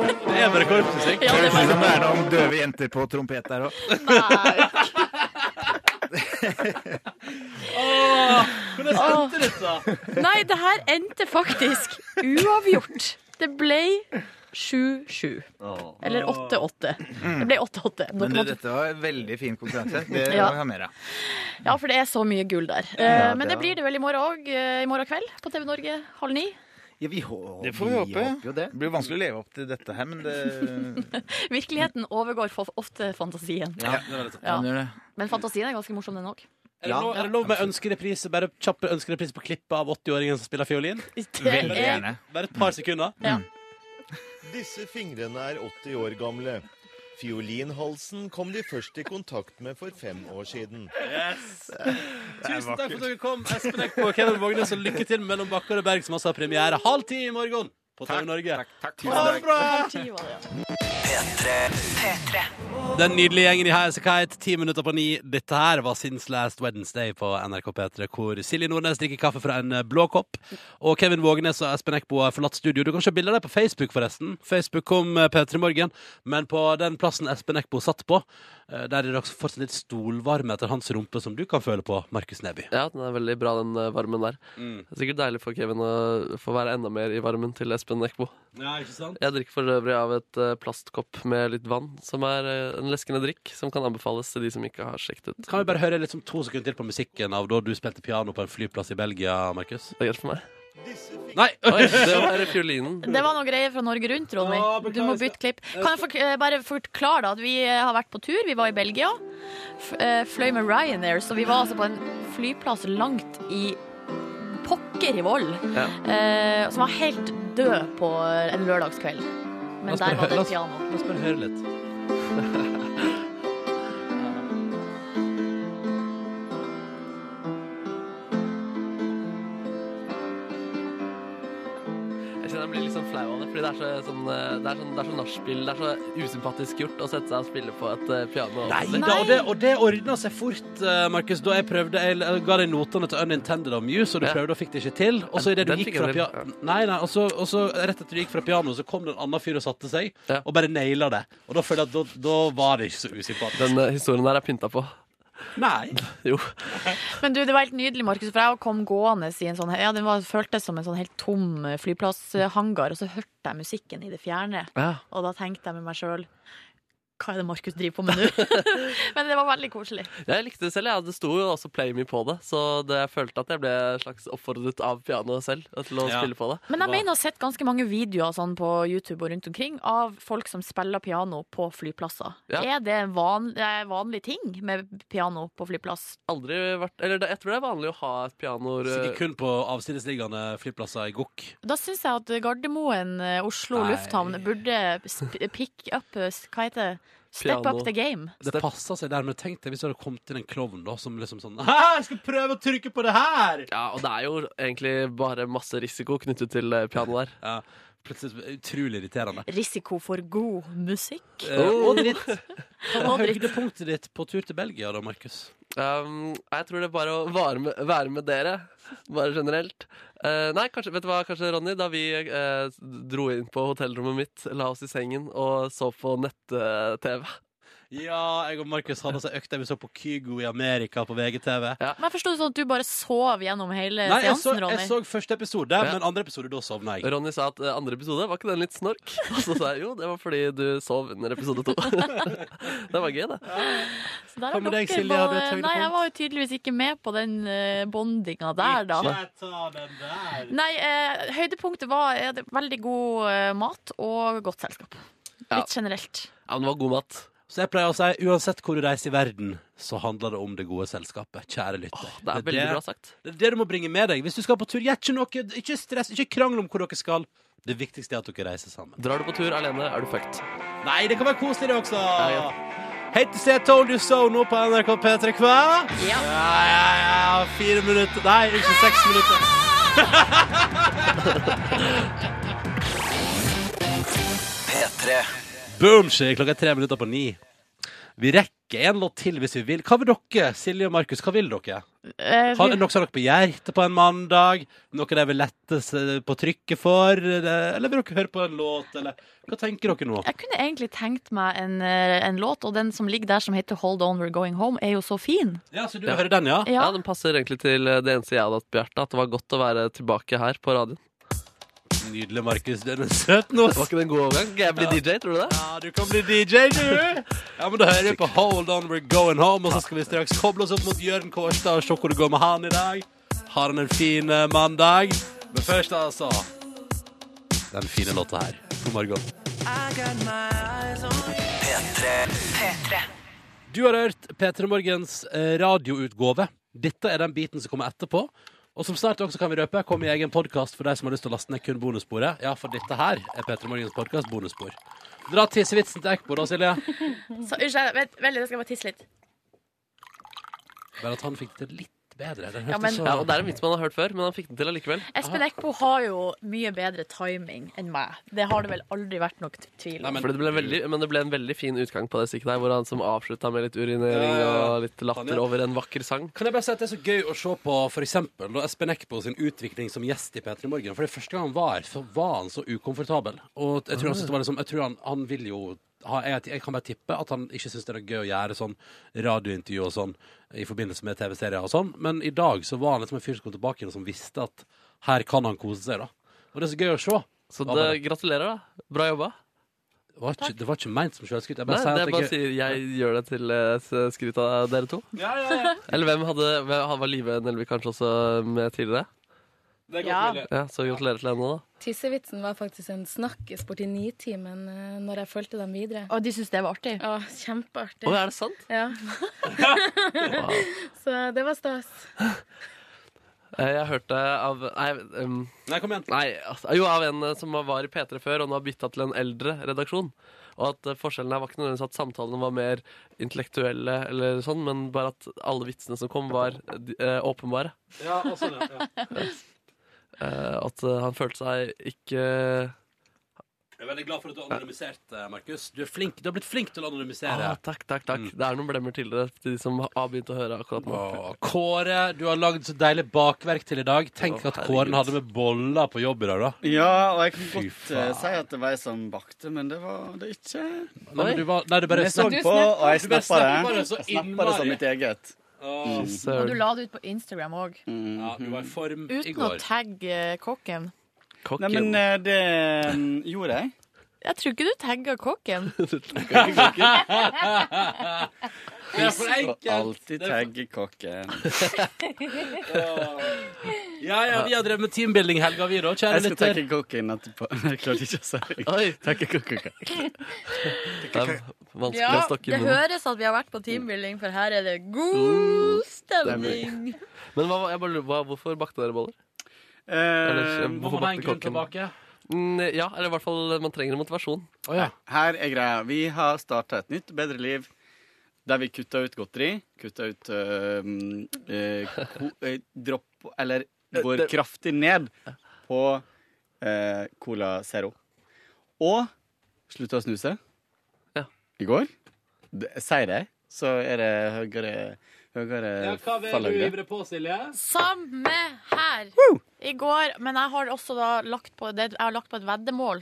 [SPEAKER 2] Det er bare korpsmusikk.
[SPEAKER 11] Det høres ut som det er noen døve jenter på trompet der òg.
[SPEAKER 2] Åh, hvordan
[SPEAKER 3] Åh.
[SPEAKER 2] endte dette?
[SPEAKER 3] Nei, det her endte faktisk uavgjort. Det ble 7-7. Eller 8-8. Det ble 8-8. Nå
[SPEAKER 11] Men du,
[SPEAKER 3] kan man-
[SPEAKER 11] dette var en veldig fin konkurranse. Det
[SPEAKER 3] Ja.
[SPEAKER 11] må vi ha mer av.
[SPEAKER 3] Ja, for det er så mye gull der. Eh,
[SPEAKER 11] Ja, det
[SPEAKER 3] Men det
[SPEAKER 11] er-
[SPEAKER 3] blir det vel i morgen òg. I morgen kveld på TV Norge halv ni.
[SPEAKER 11] Det får vi håpe.
[SPEAKER 7] håper jo
[SPEAKER 11] Det blir vanskelig å leve opp til dette her, men det
[SPEAKER 3] Virkeligheten overgår for ofte fantasien.
[SPEAKER 11] Ja,
[SPEAKER 3] Ja.
[SPEAKER 11] den gjør det.
[SPEAKER 3] Men fantasien er ganske morsom, den òg.
[SPEAKER 2] Er det, lov, er det lov med ønskereprise? Bare kjappe ønskereprise på klippet av 80-åringen som spiller fiolin?
[SPEAKER 13] Veldig gjerne.
[SPEAKER 2] Bare et par sekunder.
[SPEAKER 13] Disse fingrene er 80 år gamle. Fiolinhalsen kom de først i kontakt med for fem år siden.
[SPEAKER 2] Yes. Tusen takk for at dere kom, Espen Eckbo og Kevin Vågnes, og lykke til med Mellom bakker og berg, som altså har premiere halv ti i morgen på TV Norge.
[SPEAKER 1] Tusen
[SPEAKER 2] Ha det
[SPEAKER 1] takk.
[SPEAKER 2] bra! Den nydelige gjengen i Highasakite, ti minutter på ni. Dette her var Since Last Wednesday på NRK P3, hvor Silje Nordnes drikker kaffe fra en eh, blå kopp. Og Kevin Vågenes og Espen Eckbo har forlatt studio. Du kan se bilder av dem på Facebook, forresten. Facebook kom eh, P3 Morgen, men på den plassen Espen Eckbo satt på, eh, der er det også fortsatt litt stolvarme etter hans rumpe, som du kan føle på, Markus Neby.
[SPEAKER 5] Ja, den er veldig bra, den eh, varmen der.
[SPEAKER 2] Mm.
[SPEAKER 5] Det er sikkert deilig for Kevin å få være enda mer i varmen til Espen Eckbo.
[SPEAKER 2] Ja, ikke sant?
[SPEAKER 5] Jeg drikker for øvrig av et eh, plastkopp med litt vann, som er eh, en leskende drikk som kan anbefales til de som ikke har sjekket ut.
[SPEAKER 2] Kan vi bare høre liksom to sekunder til på musikken av da du spilte piano på en flyplass i Belgia, Markus?
[SPEAKER 5] Det gjør det for meg.
[SPEAKER 2] Nei!
[SPEAKER 5] Oi, det var fiolinen.
[SPEAKER 3] Det var noe greier fra Norge Rundt, Ronny. Du må bytte klipp. Kan jeg fork eh, bare forklare da, at vi eh, har vært på tur. Vi var i Belgia. F eh, fløy med Ryanair, så vi var altså på en flyplass langt i pokker i vold.
[SPEAKER 5] Ja.
[SPEAKER 3] eh, som var helt død på en lørdagskveld.
[SPEAKER 2] La
[SPEAKER 3] Men
[SPEAKER 2] oss
[SPEAKER 3] der
[SPEAKER 2] bare
[SPEAKER 3] var
[SPEAKER 2] hø- la
[SPEAKER 3] det
[SPEAKER 2] oss-
[SPEAKER 3] piano.
[SPEAKER 2] La oss bare høre litt.
[SPEAKER 5] Jeg kjenner jeg blir litt sånn flau av det, fordi det er så, sånn, eh, det er sånn, det er så nachspiel. Det er så usympatisk gjort å sette seg og spille på et eh, piano.
[SPEAKER 2] Nei, Da, og det, og det ordna seg fort, eh, Markus. Da jeg prøvde Jeg, jeg ga deg notene til Unintended of Muse, og du
[SPEAKER 5] Ja.
[SPEAKER 2] prøvde og fikk det ikke til. Og så i det du
[SPEAKER 5] Den fikk jeg
[SPEAKER 2] gikk fra
[SPEAKER 5] til,
[SPEAKER 2] pia- Nei, nei, og så, og så rett etter du gikk fra pianoet, så kom det en annen fyr og satte seg, og bare naila det. Og da føler jeg at da, da var det ikke så usympatisk.
[SPEAKER 5] Den eh, historien her er pynta på.
[SPEAKER 2] Nei.
[SPEAKER 5] Jo.
[SPEAKER 3] Men du, det var helt nydelig, Markus, for jeg kom gående i en sånn Ja, den var, føltes som en sånn helt tom eh, flyplasshangar, og så hørte jeg musikken i det fjerne.
[SPEAKER 5] Ja.
[SPEAKER 3] Og da tenkte jeg med meg sjøl Hva er det Markus driver på med nå? Men det var veldig koselig.
[SPEAKER 5] Jeg likte det selv. Ja. Det sto jo også Play Me på det, så det, jeg følte at jeg ble slags oppfordret av pianoet selv til å
[SPEAKER 2] Ja.
[SPEAKER 5] spille på det.
[SPEAKER 3] Men jeg mener å ha sett ganske mange videoer sånn på YouTube og rundt omkring av folk som spiller piano på flyplasser.
[SPEAKER 5] Ja.
[SPEAKER 3] Er det en van, eh, vanlig ting med piano på flyplass?
[SPEAKER 5] Aldri vært Eller det- jeg tror det er vanlig å ha et piano eh,
[SPEAKER 2] Sikkert kun på avsidesliggende flyplasser i Gokk.
[SPEAKER 3] Da syns jeg at Gardermoen, eh, Oslo
[SPEAKER 2] Nei.
[SPEAKER 3] lufthavn, burde sp- pick up eh, s- Hva heter det? Step
[SPEAKER 2] Piano.
[SPEAKER 3] up the game.
[SPEAKER 2] Det passer seg der, men tenk deg hvis det hadde kommet inn en klovn da, som liksom sånn Hæ, jeg skal prøve å trykke på det her!
[SPEAKER 5] Ja, og det er jo egentlig bare masse risiko knyttet til eh, piano der.
[SPEAKER 2] Ja, plutselig Utrolig irriterende.
[SPEAKER 3] Risiko for god
[SPEAKER 5] Oh.
[SPEAKER 3] musikk.
[SPEAKER 2] Eh, og dritt. Hva var
[SPEAKER 3] Og dritt.
[SPEAKER 2] høydepunktet ditt på tur til Belgia da, Markus?
[SPEAKER 5] Um, jeg tror det er bare å være med, være med dere, bare generelt. Eh, nei, kanskje, vet du hva, kanskje, Ronny, da vi eh, dro inn på hotellrommet mitt, la oss i sengen og så på nett-TV.
[SPEAKER 2] Ja, jeg og Markus hadde oss ei økt der vi så på Kygo i Amerika på VGTV.
[SPEAKER 3] Men jeg forsto det sånn at du bare sov gjennom hele
[SPEAKER 2] Nei, jeg så,
[SPEAKER 3] seansen, Ronny.
[SPEAKER 2] jeg så første episode, men andre episode da sovna jeg.
[SPEAKER 5] Ronny sa at eh, andre episode, var ikke den litt snork? Og så sa jeg jo, det var fordi du sov under episode to. det var gøy, det.
[SPEAKER 3] Så der
[SPEAKER 5] Hva
[SPEAKER 3] har
[SPEAKER 5] med deg,
[SPEAKER 3] dere
[SPEAKER 5] Silje? Har du et
[SPEAKER 3] både-
[SPEAKER 5] høydepunkt?
[SPEAKER 3] Nei, jeg var jo tydeligvis ikke med på den eh, bondinga der, da.
[SPEAKER 2] ta den der.
[SPEAKER 3] Nei, eh, høydepunktet var eh, det- veldig god eh, mat og godt selskap.
[SPEAKER 2] Ja.
[SPEAKER 3] Litt generelt.
[SPEAKER 5] Ja, men det var god mat.
[SPEAKER 2] Så jeg pleier å si uansett hvor du reiser i verden, så handler det om det gode selskapet. Kjære lytter.
[SPEAKER 5] Det er veldig bra sagt.
[SPEAKER 2] Det er det du må bringe med deg. Hvis du skal på tur, gjør ikke noe. Ikke stress, ikke krangl om hvor dere skal. Det viktigste er at dere reiser sammen.
[SPEAKER 5] Drar du på tur alene, er du fucked.
[SPEAKER 2] Nei, det kan være koselig, det også. Hei til Se Told You So nå på NRK P3 hva? Ja. ja, ja, Fire minutter Nei, ikke seks minutter.
[SPEAKER 1] P3
[SPEAKER 2] Boomshi, klokka er tre minutter på ni. Vi rekker en låt til hvis vi vil. Hva vil dere, Silje og Markus? Hva vil dere?
[SPEAKER 3] Eh,
[SPEAKER 2] Har
[SPEAKER 3] vi-
[SPEAKER 2] dere noe som har dere på hjertet på en mandag? Noe dere vil lette seg eh, på trykket for? eh, Eller vil dere høre på en låt? Eller hva tenker dere nå?
[SPEAKER 3] Jeg kunne egentlig tenkt meg en, eh, en låt, og den som ligger der som heter Hold On We're Going Home, er jo så fin.
[SPEAKER 2] Ja, så du vil høre den, ja?
[SPEAKER 3] Ja.
[SPEAKER 5] den passer egentlig til eh, det eneste jeg hadde hatt på hjertet, at det var godt å være tilbake her på radioen.
[SPEAKER 2] Nydelig, Markus. Den er søt nå.
[SPEAKER 5] Var ikke det en god overgang? Skal jeg bli DJ, tror du det?
[SPEAKER 2] Ja, du kan bli DJ, du. Ja, men Da hører vi på Hold On We're Going Home, og så skal vi straks koble oss opp mot Jørn Kårstad og se hvor det går med han i dag. Har han en fin eh, mandag? Men først, altså Den fine låta her. God morgen.
[SPEAKER 6] P3.
[SPEAKER 2] Du har hørt P3 Morgens eh, radioutgave. Dette er den biten som kommer etterpå. Og som snart også kan vi røpe, kommer i egen podkast for deg som har lyst til å laste ned kun bonussporet. Ja, for dette her er P3 Morgens podkast bonusspor. Dra tissevitsen til Ekbo, da, Silje.
[SPEAKER 3] Så, unnskyld, vent, vent, jeg skal bare tisse litt.
[SPEAKER 2] Bare at han fikk det til litt bedre. Den
[SPEAKER 3] Ja,
[SPEAKER 2] hørtes
[SPEAKER 3] men-
[SPEAKER 2] så-
[SPEAKER 5] Ja, og Det er en vits man har hørt før, men han fikk den til allikevel.
[SPEAKER 3] Espen Eckbo har jo mye bedre timing enn meg. Det har det vel aldri vært nok tvil om.
[SPEAKER 5] Nei, men, Fordi det ble en veldig, men det ble en veldig fin utgang på det stykket der, hvor han som avslutta med litt urinering
[SPEAKER 2] Ja, ja, ja.
[SPEAKER 5] og litt latter over en vakker sang.
[SPEAKER 2] Kan jeg bare si at det er så gøy å se på for eksempel, da Espen Eckbo sin utvikling som gjest i P3 Morgen. For det første gang han var her, så var han så ukomfortabel. Og jeg tror han syntes det var liksom Jeg tror han, han vil jo ha, jeg, jeg kan bare tippe at han ikke syns det er noe gøy å gjøre sånn radiointervju og sånn i forbindelse med TV-serier og sånn, men i dag så var han liksom en fyr som kom tilbake igjen, og som visste at her kan han kose seg, da. Og det er så gøy å se.
[SPEAKER 5] Så det, gratulerer, da. Bra jobba.
[SPEAKER 2] var ikke, det var ikke ment som selvskryt. Jeg
[SPEAKER 5] Nei,
[SPEAKER 2] bare sier
[SPEAKER 5] det
[SPEAKER 2] at
[SPEAKER 5] er bare
[SPEAKER 2] jeg,
[SPEAKER 5] sier jeg gjør det til eh, s- skryt av dere to.
[SPEAKER 2] Ja, ja, ja.
[SPEAKER 5] Eller hvem hadde hvem, Var Live Nelvik kanskje også med tidligere?
[SPEAKER 14] Det er godt Ja. mulig.
[SPEAKER 5] ja, Så gratulerer til henne, da.
[SPEAKER 14] Tissevitsen var faktisk en snakkis borti nitimen eh, når jeg fulgte dem videre.
[SPEAKER 3] Og de syntes det var artig?
[SPEAKER 14] Ja, kjempeartig.
[SPEAKER 5] Å, er det sant?
[SPEAKER 14] Ja. Så det var stas.
[SPEAKER 5] Eh, Jeg hørte av Nei, ehm,
[SPEAKER 2] nei kom igjen.
[SPEAKER 5] jo, av en eh, som var i P3 før, og nå har bytta til en eldre redaksjon. Og at eh, forskjellen her var ikke nødvendigvis at samtalene var mer intellektuelle, eller sånn, men bare at alle vitsene som kom, var eh, de- eh, åpenbare.
[SPEAKER 2] Ja, og sånn, ja. ja.
[SPEAKER 5] Eh, at eh, han følte seg ikke
[SPEAKER 2] Jeg er veldig glad for at du har anonymisert, eh, Markus. Du er flink, du har blitt flink til å anonymisere.
[SPEAKER 5] ah, Takk, takk,
[SPEAKER 15] Mm.
[SPEAKER 5] takk. Det er noen blemmer til det til de som har begynt å høre akkurat nå.
[SPEAKER 2] Kåre, du har lagd så deilig bakverk til i dag. Tenk at Kåren hadde med boller på jobb i dag, da.
[SPEAKER 15] Ja, og jeg kan godt eh,
[SPEAKER 2] faen.
[SPEAKER 15] si at det var jeg som bakte, men det var det ikke.
[SPEAKER 2] Nei, men du var- nei, du bare
[SPEAKER 15] Men jeg så
[SPEAKER 2] snapp-
[SPEAKER 15] på, og jeg
[SPEAKER 2] Du bare
[SPEAKER 15] snappa
[SPEAKER 2] snappa
[SPEAKER 15] det.
[SPEAKER 2] det så
[SPEAKER 15] Jeg snappa det
[SPEAKER 2] innmari.
[SPEAKER 15] som mitt eget. Mm.
[SPEAKER 3] Og du la det ut på Instagram òg.
[SPEAKER 2] Ja, du var i form Mm. i
[SPEAKER 3] Uten å
[SPEAKER 2] går.
[SPEAKER 3] tagge eh, kokken.
[SPEAKER 15] Nei, men eh, det mm, gjorde jeg.
[SPEAKER 3] Jeg tror ikke du tagga kokken.
[SPEAKER 15] Vi
[SPEAKER 3] er for
[SPEAKER 15] skal
[SPEAKER 3] enkelt.
[SPEAKER 15] alltid tagge kokken.
[SPEAKER 2] Ja, ja, vi har drevet med teambuilding i helga, vi da, kjære
[SPEAKER 15] Jeg skal
[SPEAKER 2] lytter.
[SPEAKER 15] takke kokken etterpå. Jeg klarte ikke å si det. Takke kokken.
[SPEAKER 5] Vanskelig
[SPEAKER 3] Ja,
[SPEAKER 5] å snakke i
[SPEAKER 3] det
[SPEAKER 5] munnen.
[SPEAKER 3] høres at vi har vært på teambuilding, for her er det
[SPEAKER 2] Mm.
[SPEAKER 3] god stemning.
[SPEAKER 5] Men hva, jeg bare lurer, hva, hvorfor bakte dere boller?
[SPEAKER 15] Eh, må man ha en grunn tilbake?
[SPEAKER 5] Mm, ja, eller i hvert fall man trenger en motivasjon.
[SPEAKER 15] Her er greia. Vi har starta et nytt, bedre liv. Der vi kutta ut godteri. Kutta ut øhm, eh, ko, eh, dropp Eller går
[SPEAKER 5] det-
[SPEAKER 15] kraftig ned på eh, Cola Zero. Og slutta å snuse. I går. Det- Sier det, så er det høyere, høyere
[SPEAKER 2] Ja, hva vil du
[SPEAKER 15] fallhøyde.
[SPEAKER 2] ivre på, Silje?
[SPEAKER 3] Samme her. I går Men jeg har også da lagt på, det, jeg har lagt på et veddemål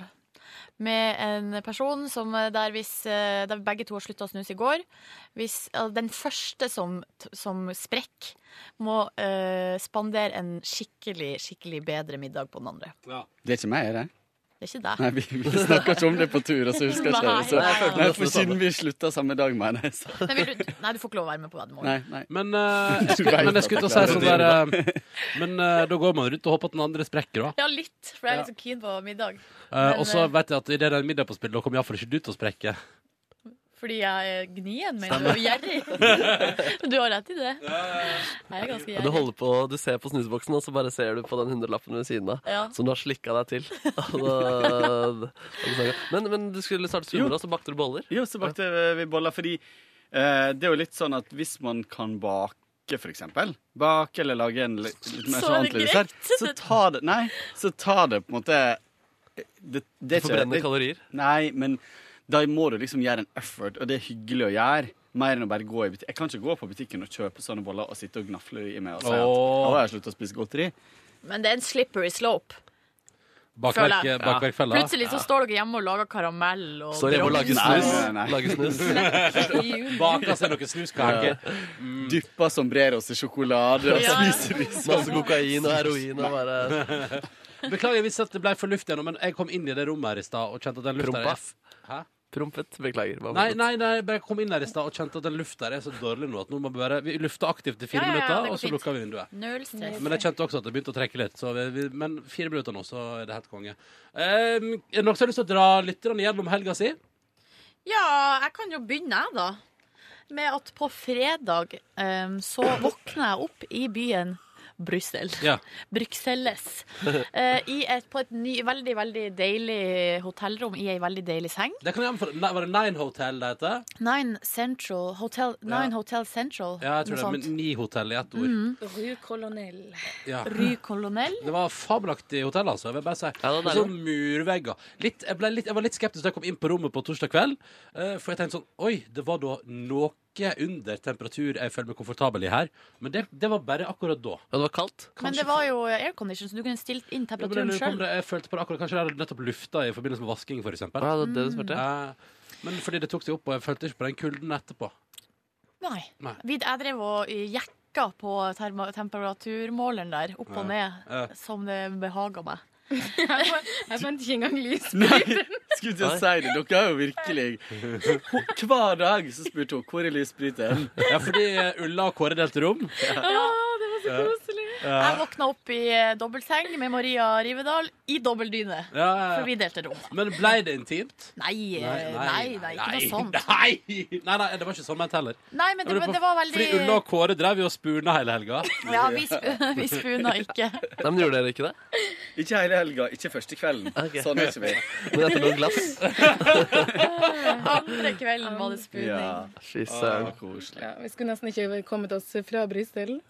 [SPEAKER 3] med en person som eh, der, hvis, eh, der begge to har slutta å snuse i går. Hvis eh, den første som, som sprekker, må eh, spandere en skikkelig, skikkelig bedre middag på den andre.
[SPEAKER 15] Det er ikke meg, er det?
[SPEAKER 3] Det er ikke deg.
[SPEAKER 15] Nei, vi, vi snakka ikke om det på tur, og så husker jeg ikke det. Så,
[SPEAKER 3] Nei, nei, nei.
[SPEAKER 15] nei, for
[SPEAKER 2] sånn.
[SPEAKER 15] siden vi slutta samme dag, mener jeg. Så.
[SPEAKER 3] Nei, vil du, nei, du får ikke lov å være med på veddemål.
[SPEAKER 15] Nei, nei.
[SPEAKER 2] Men, eh, jeg
[SPEAKER 15] Du
[SPEAKER 2] skulle,
[SPEAKER 15] vet
[SPEAKER 2] men jeg
[SPEAKER 15] at
[SPEAKER 2] skulle til å si
[SPEAKER 15] jeg
[SPEAKER 2] sånn
[SPEAKER 15] klarer
[SPEAKER 2] der
[SPEAKER 15] å drive
[SPEAKER 2] eh, Men eh, da går man rundt og håper at den andre sprekker, da.
[SPEAKER 3] Ja, litt, for jeg er litt så keen på middag.
[SPEAKER 2] Eh, og
[SPEAKER 3] Men,
[SPEAKER 2] så
[SPEAKER 3] eh,
[SPEAKER 2] vet jeg at idet det er middag på spill, da kommer iallfall ikke du til å sprekke.
[SPEAKER 3] Fordi jeg er gnien, mener du,
[SPEAKER 2] Stemmer.
[SPEAKER 3] og gjerrig. Du har rett i det. Jeg er ganske
[SPEAKER 5] Ja, Du
[SPEAKER 3] gjerrig.
[SPEAKER 5] holder på, du ser på snusboksen, og så bare ser du på den hundrelappen ved siden av
[SPEAKER 3] Ja.
[SPEAKER 5] som du har slikka deg til. Og da- men, men du skulle starte skolen, og så bakte du boller?
[SPEAKER 15] Jo, så bakte vi boller, fordi eh, det er jo litt sånn at hvis man kan bake, for eksempel, bake eller lage en li- litt mer
[SPEAKER 5] Så
[SPEAKER 15] sånn
[SPEAKER 5] er det
[SPEAKER 15] ordentlig dessert, så tar det, nei, så tar det på en måte det, det er
[SPEAKER 5] Du
[SPEAKER 15] ikke-
[SPEAKER 5] forbrenner
[SPEAKER 15] det-
[SPEAKER 5] kalorier.
[SPEAKER 15] Nei, men da må du liksom gjøre en effort, og det er hyggelig å gjøre. Mer enn å bare gå i butikk. Jeg kan ikke gå på butikken og kjøpe sånne boller og sitte og gnafle i meg og si at
[SPEAKER 2] Åh.
[SPEAKER 15] nå har jeg sluttet å spise godteri.
[SPEAKER 3] Men det er en slippery slope.
[SPEAKER 2] Bakverk,
[SPEAKER 3] føler jeg.
[SPEAKER 2] bakverkfella.
[SPEAKER 3] Plutselig så står dere hjemme og lager karamell og
[SPEAKER 2] Står hjemme og lager
[SPEAKER 15] Nei,
[SPEAKER 2] snus.
[SPEAKER 15] nei, nei.
[SPEAKER 2] Lager snus. Baker seg noen snuskaker. Mm.
[SPEAKER 15] Dupper sombreros i sjokolade og
[SPEAKER 2] Ja.
[SPEAKER 15] spiser disse.
[SPEAKER 2] Masse kokain og heroin og
[SPEAKER 5] bare
[SPEAKER 2] Beklager hvis at det ble for luft igjennom, men jeg kom inn i det rommet her i stad og kjente at den lufta der
[SPEAKER 5] Prompa?
[SPEAKER 2] er f- Hæ?
[SPEAKER 5] Prompet? Beklager. hva var
[SPEAKER 2] Nei,
[SPEAKER 5] det?
[SPEAKER 2] nei, nei, jeg bare kom inn her i stad og kjente at den lufta der er så dårlig nå at nå må vi bare Vi lufta aktivt i fire
[SPEAKER 3] Ja, ja, ja, det
[SPEAKER 2] minutter,
[SPEAKER 3] går
[SPEAKER 2] og så
[SPEAKER 3] fint.
[SPEAKER 2] lukka vi vinduet.
[SPEAKER 3] Null stress.
[SPEAKER 2] Men jeg kjente også at det begynte å trekke litt. Så vi, vi, men fire minutter nå, så er det helt konge. Um, er det noen som har lyst til å dra lytterne gjennom helga si?
[SPEAKER 3] Ja, jeg kan jo begynne, jeg, da. Med at på fredag em, så våkner jeg opp i byen Brussel.
[SPEAKER 2] Ja.
[SPEAKER 3] Bruxelles. Eh, i et, på et ny, veldig, veldig deilig hotellrom i ei veldig deilig seng.
[SPEAKER 2] Det kan jeg anbefale. Nei, Var det Nine Hotel det heter?
[SPEAKER 3] Nine Central Hotel, Nine Hotel Central.
[SPEAKER 2] Ja, jeg tror det.
[SPEAKER 3] noe
[SPEAKER 2] Men
[SPEAKER 3] sånt.
[SPEAKER 2] Ni Hotel i ett ord.
[SPEAKER 3] Mhm.
[SPEAKER 14] Rue Colonel.
[SPEAKER 2] Ja.
[SPEAKER 3] Ry Colonel.
[SPEAKER 2] Det var fabelaktig hotell, altså. Jeg vil bare si.
[SPEAKER 5] det er
[SPEAKER 2] Med sånne murvegger. Litt, jeg, ble litt, jeg var litt skeptisk da jeg kom inn på rommet på torsdag kveld. eh, For jeg tenkte sånn Oi, det var da noe under temperatur jeg føler meg komfortabel i her. Men det, det var bare akkurat da.
[SPEAKER 5] Ja, det var kaldt?
[SPEAKER 3] Men det var jo aircondition, så du kunne stilt inn
[SPEAKER 2] Ja, men jeg
[SPEAKER 3] temperaturen
[SPEAKER 2] lurer på om
[SPEAKER 3] sjøl.
[SPEAKER 2] det- Jeg følte på det akkurat Kanskje det hadde nettopp lufta i forbindelse med vasking, for eksempel.
[SPEAKER 5] Ja, det er det du spurte.
[SPEAKER 15] Mm.
[SPEAKER 2] Eh, Men fordi det tok seg opp, og jeg følte ikke på den kulden etterpå.
[SPEAKER 3] Nei.
[SPEAKER 2] Nei.
[SPEAKER 3] Vi- Jeg drev og jekka på termo- temperaturmåleren der, opp og
[SPEAKER 2] Ja.
[SPEAKER 3] ned,
[SPEAKER 2] Ja.
[SPEAKER 3] som det behaga meg.
[SPEAKER 14] Jeg fant ikke engang lys.
[SPEAKER 15] skulle til å si det. Dere har jo virkelig Ho- Hver dag så spurte hun hvor er lysbryteren.
[SPEAKER 2] Ja, fordi eh, Ulla og Kåre delte rom.
[SPEAKER 3] Ja, det var så
[SPEAKER 2] Ja.
[SPEAKER 3] koselig.
[SPEAKER 2] Ja.
[SPEAKER 3] Jeg våkna opp i eh, dobbeltseng med Maria Rivedal i dobbeldyne.
[SPEAKER 2] Ja, ja, ja.
[SPEAKER 3] For vi delte rom.
[SPEAKER 2] Men blei det intimt?
[SPEAKER 3] Nei, eh, nei, nei, ikke noe sånt.
[SPEAKER 2] Nei, nei, nei, det var ikke sånn ment heller.
[SPEAKER 3] Nei, men det-
[SPEAKER 2] Jeg lurer
[SPEAKER 3] men
[SPEAKER 2] på-
[SPEAKER 3] det var veldig-
[SPEAKER 2] Fordi Ulla og Kåre drev jo og spuna hele helga.
[SPEAKER 3] Ja, vi, sp vi spuna ikke.
[SPEAKER 5] Nei, men Gjorde dere ikke det?
[SPEAKER 15] Ikke hele helga, ikke første kvelden. Sånn er ikke vi.
[SPEAKER 5] Men etter noen glass?
[SPEAKER 3] Andre kvelden var det spuning.
[SPEAKER 15] Ja.
[SPEAKER 5] Fy søren.
[SPEAKER 15] Ah, koselig.
[SPEAKER 14] Ja, vi skulle nesten ikke kommet oss fra Brussel.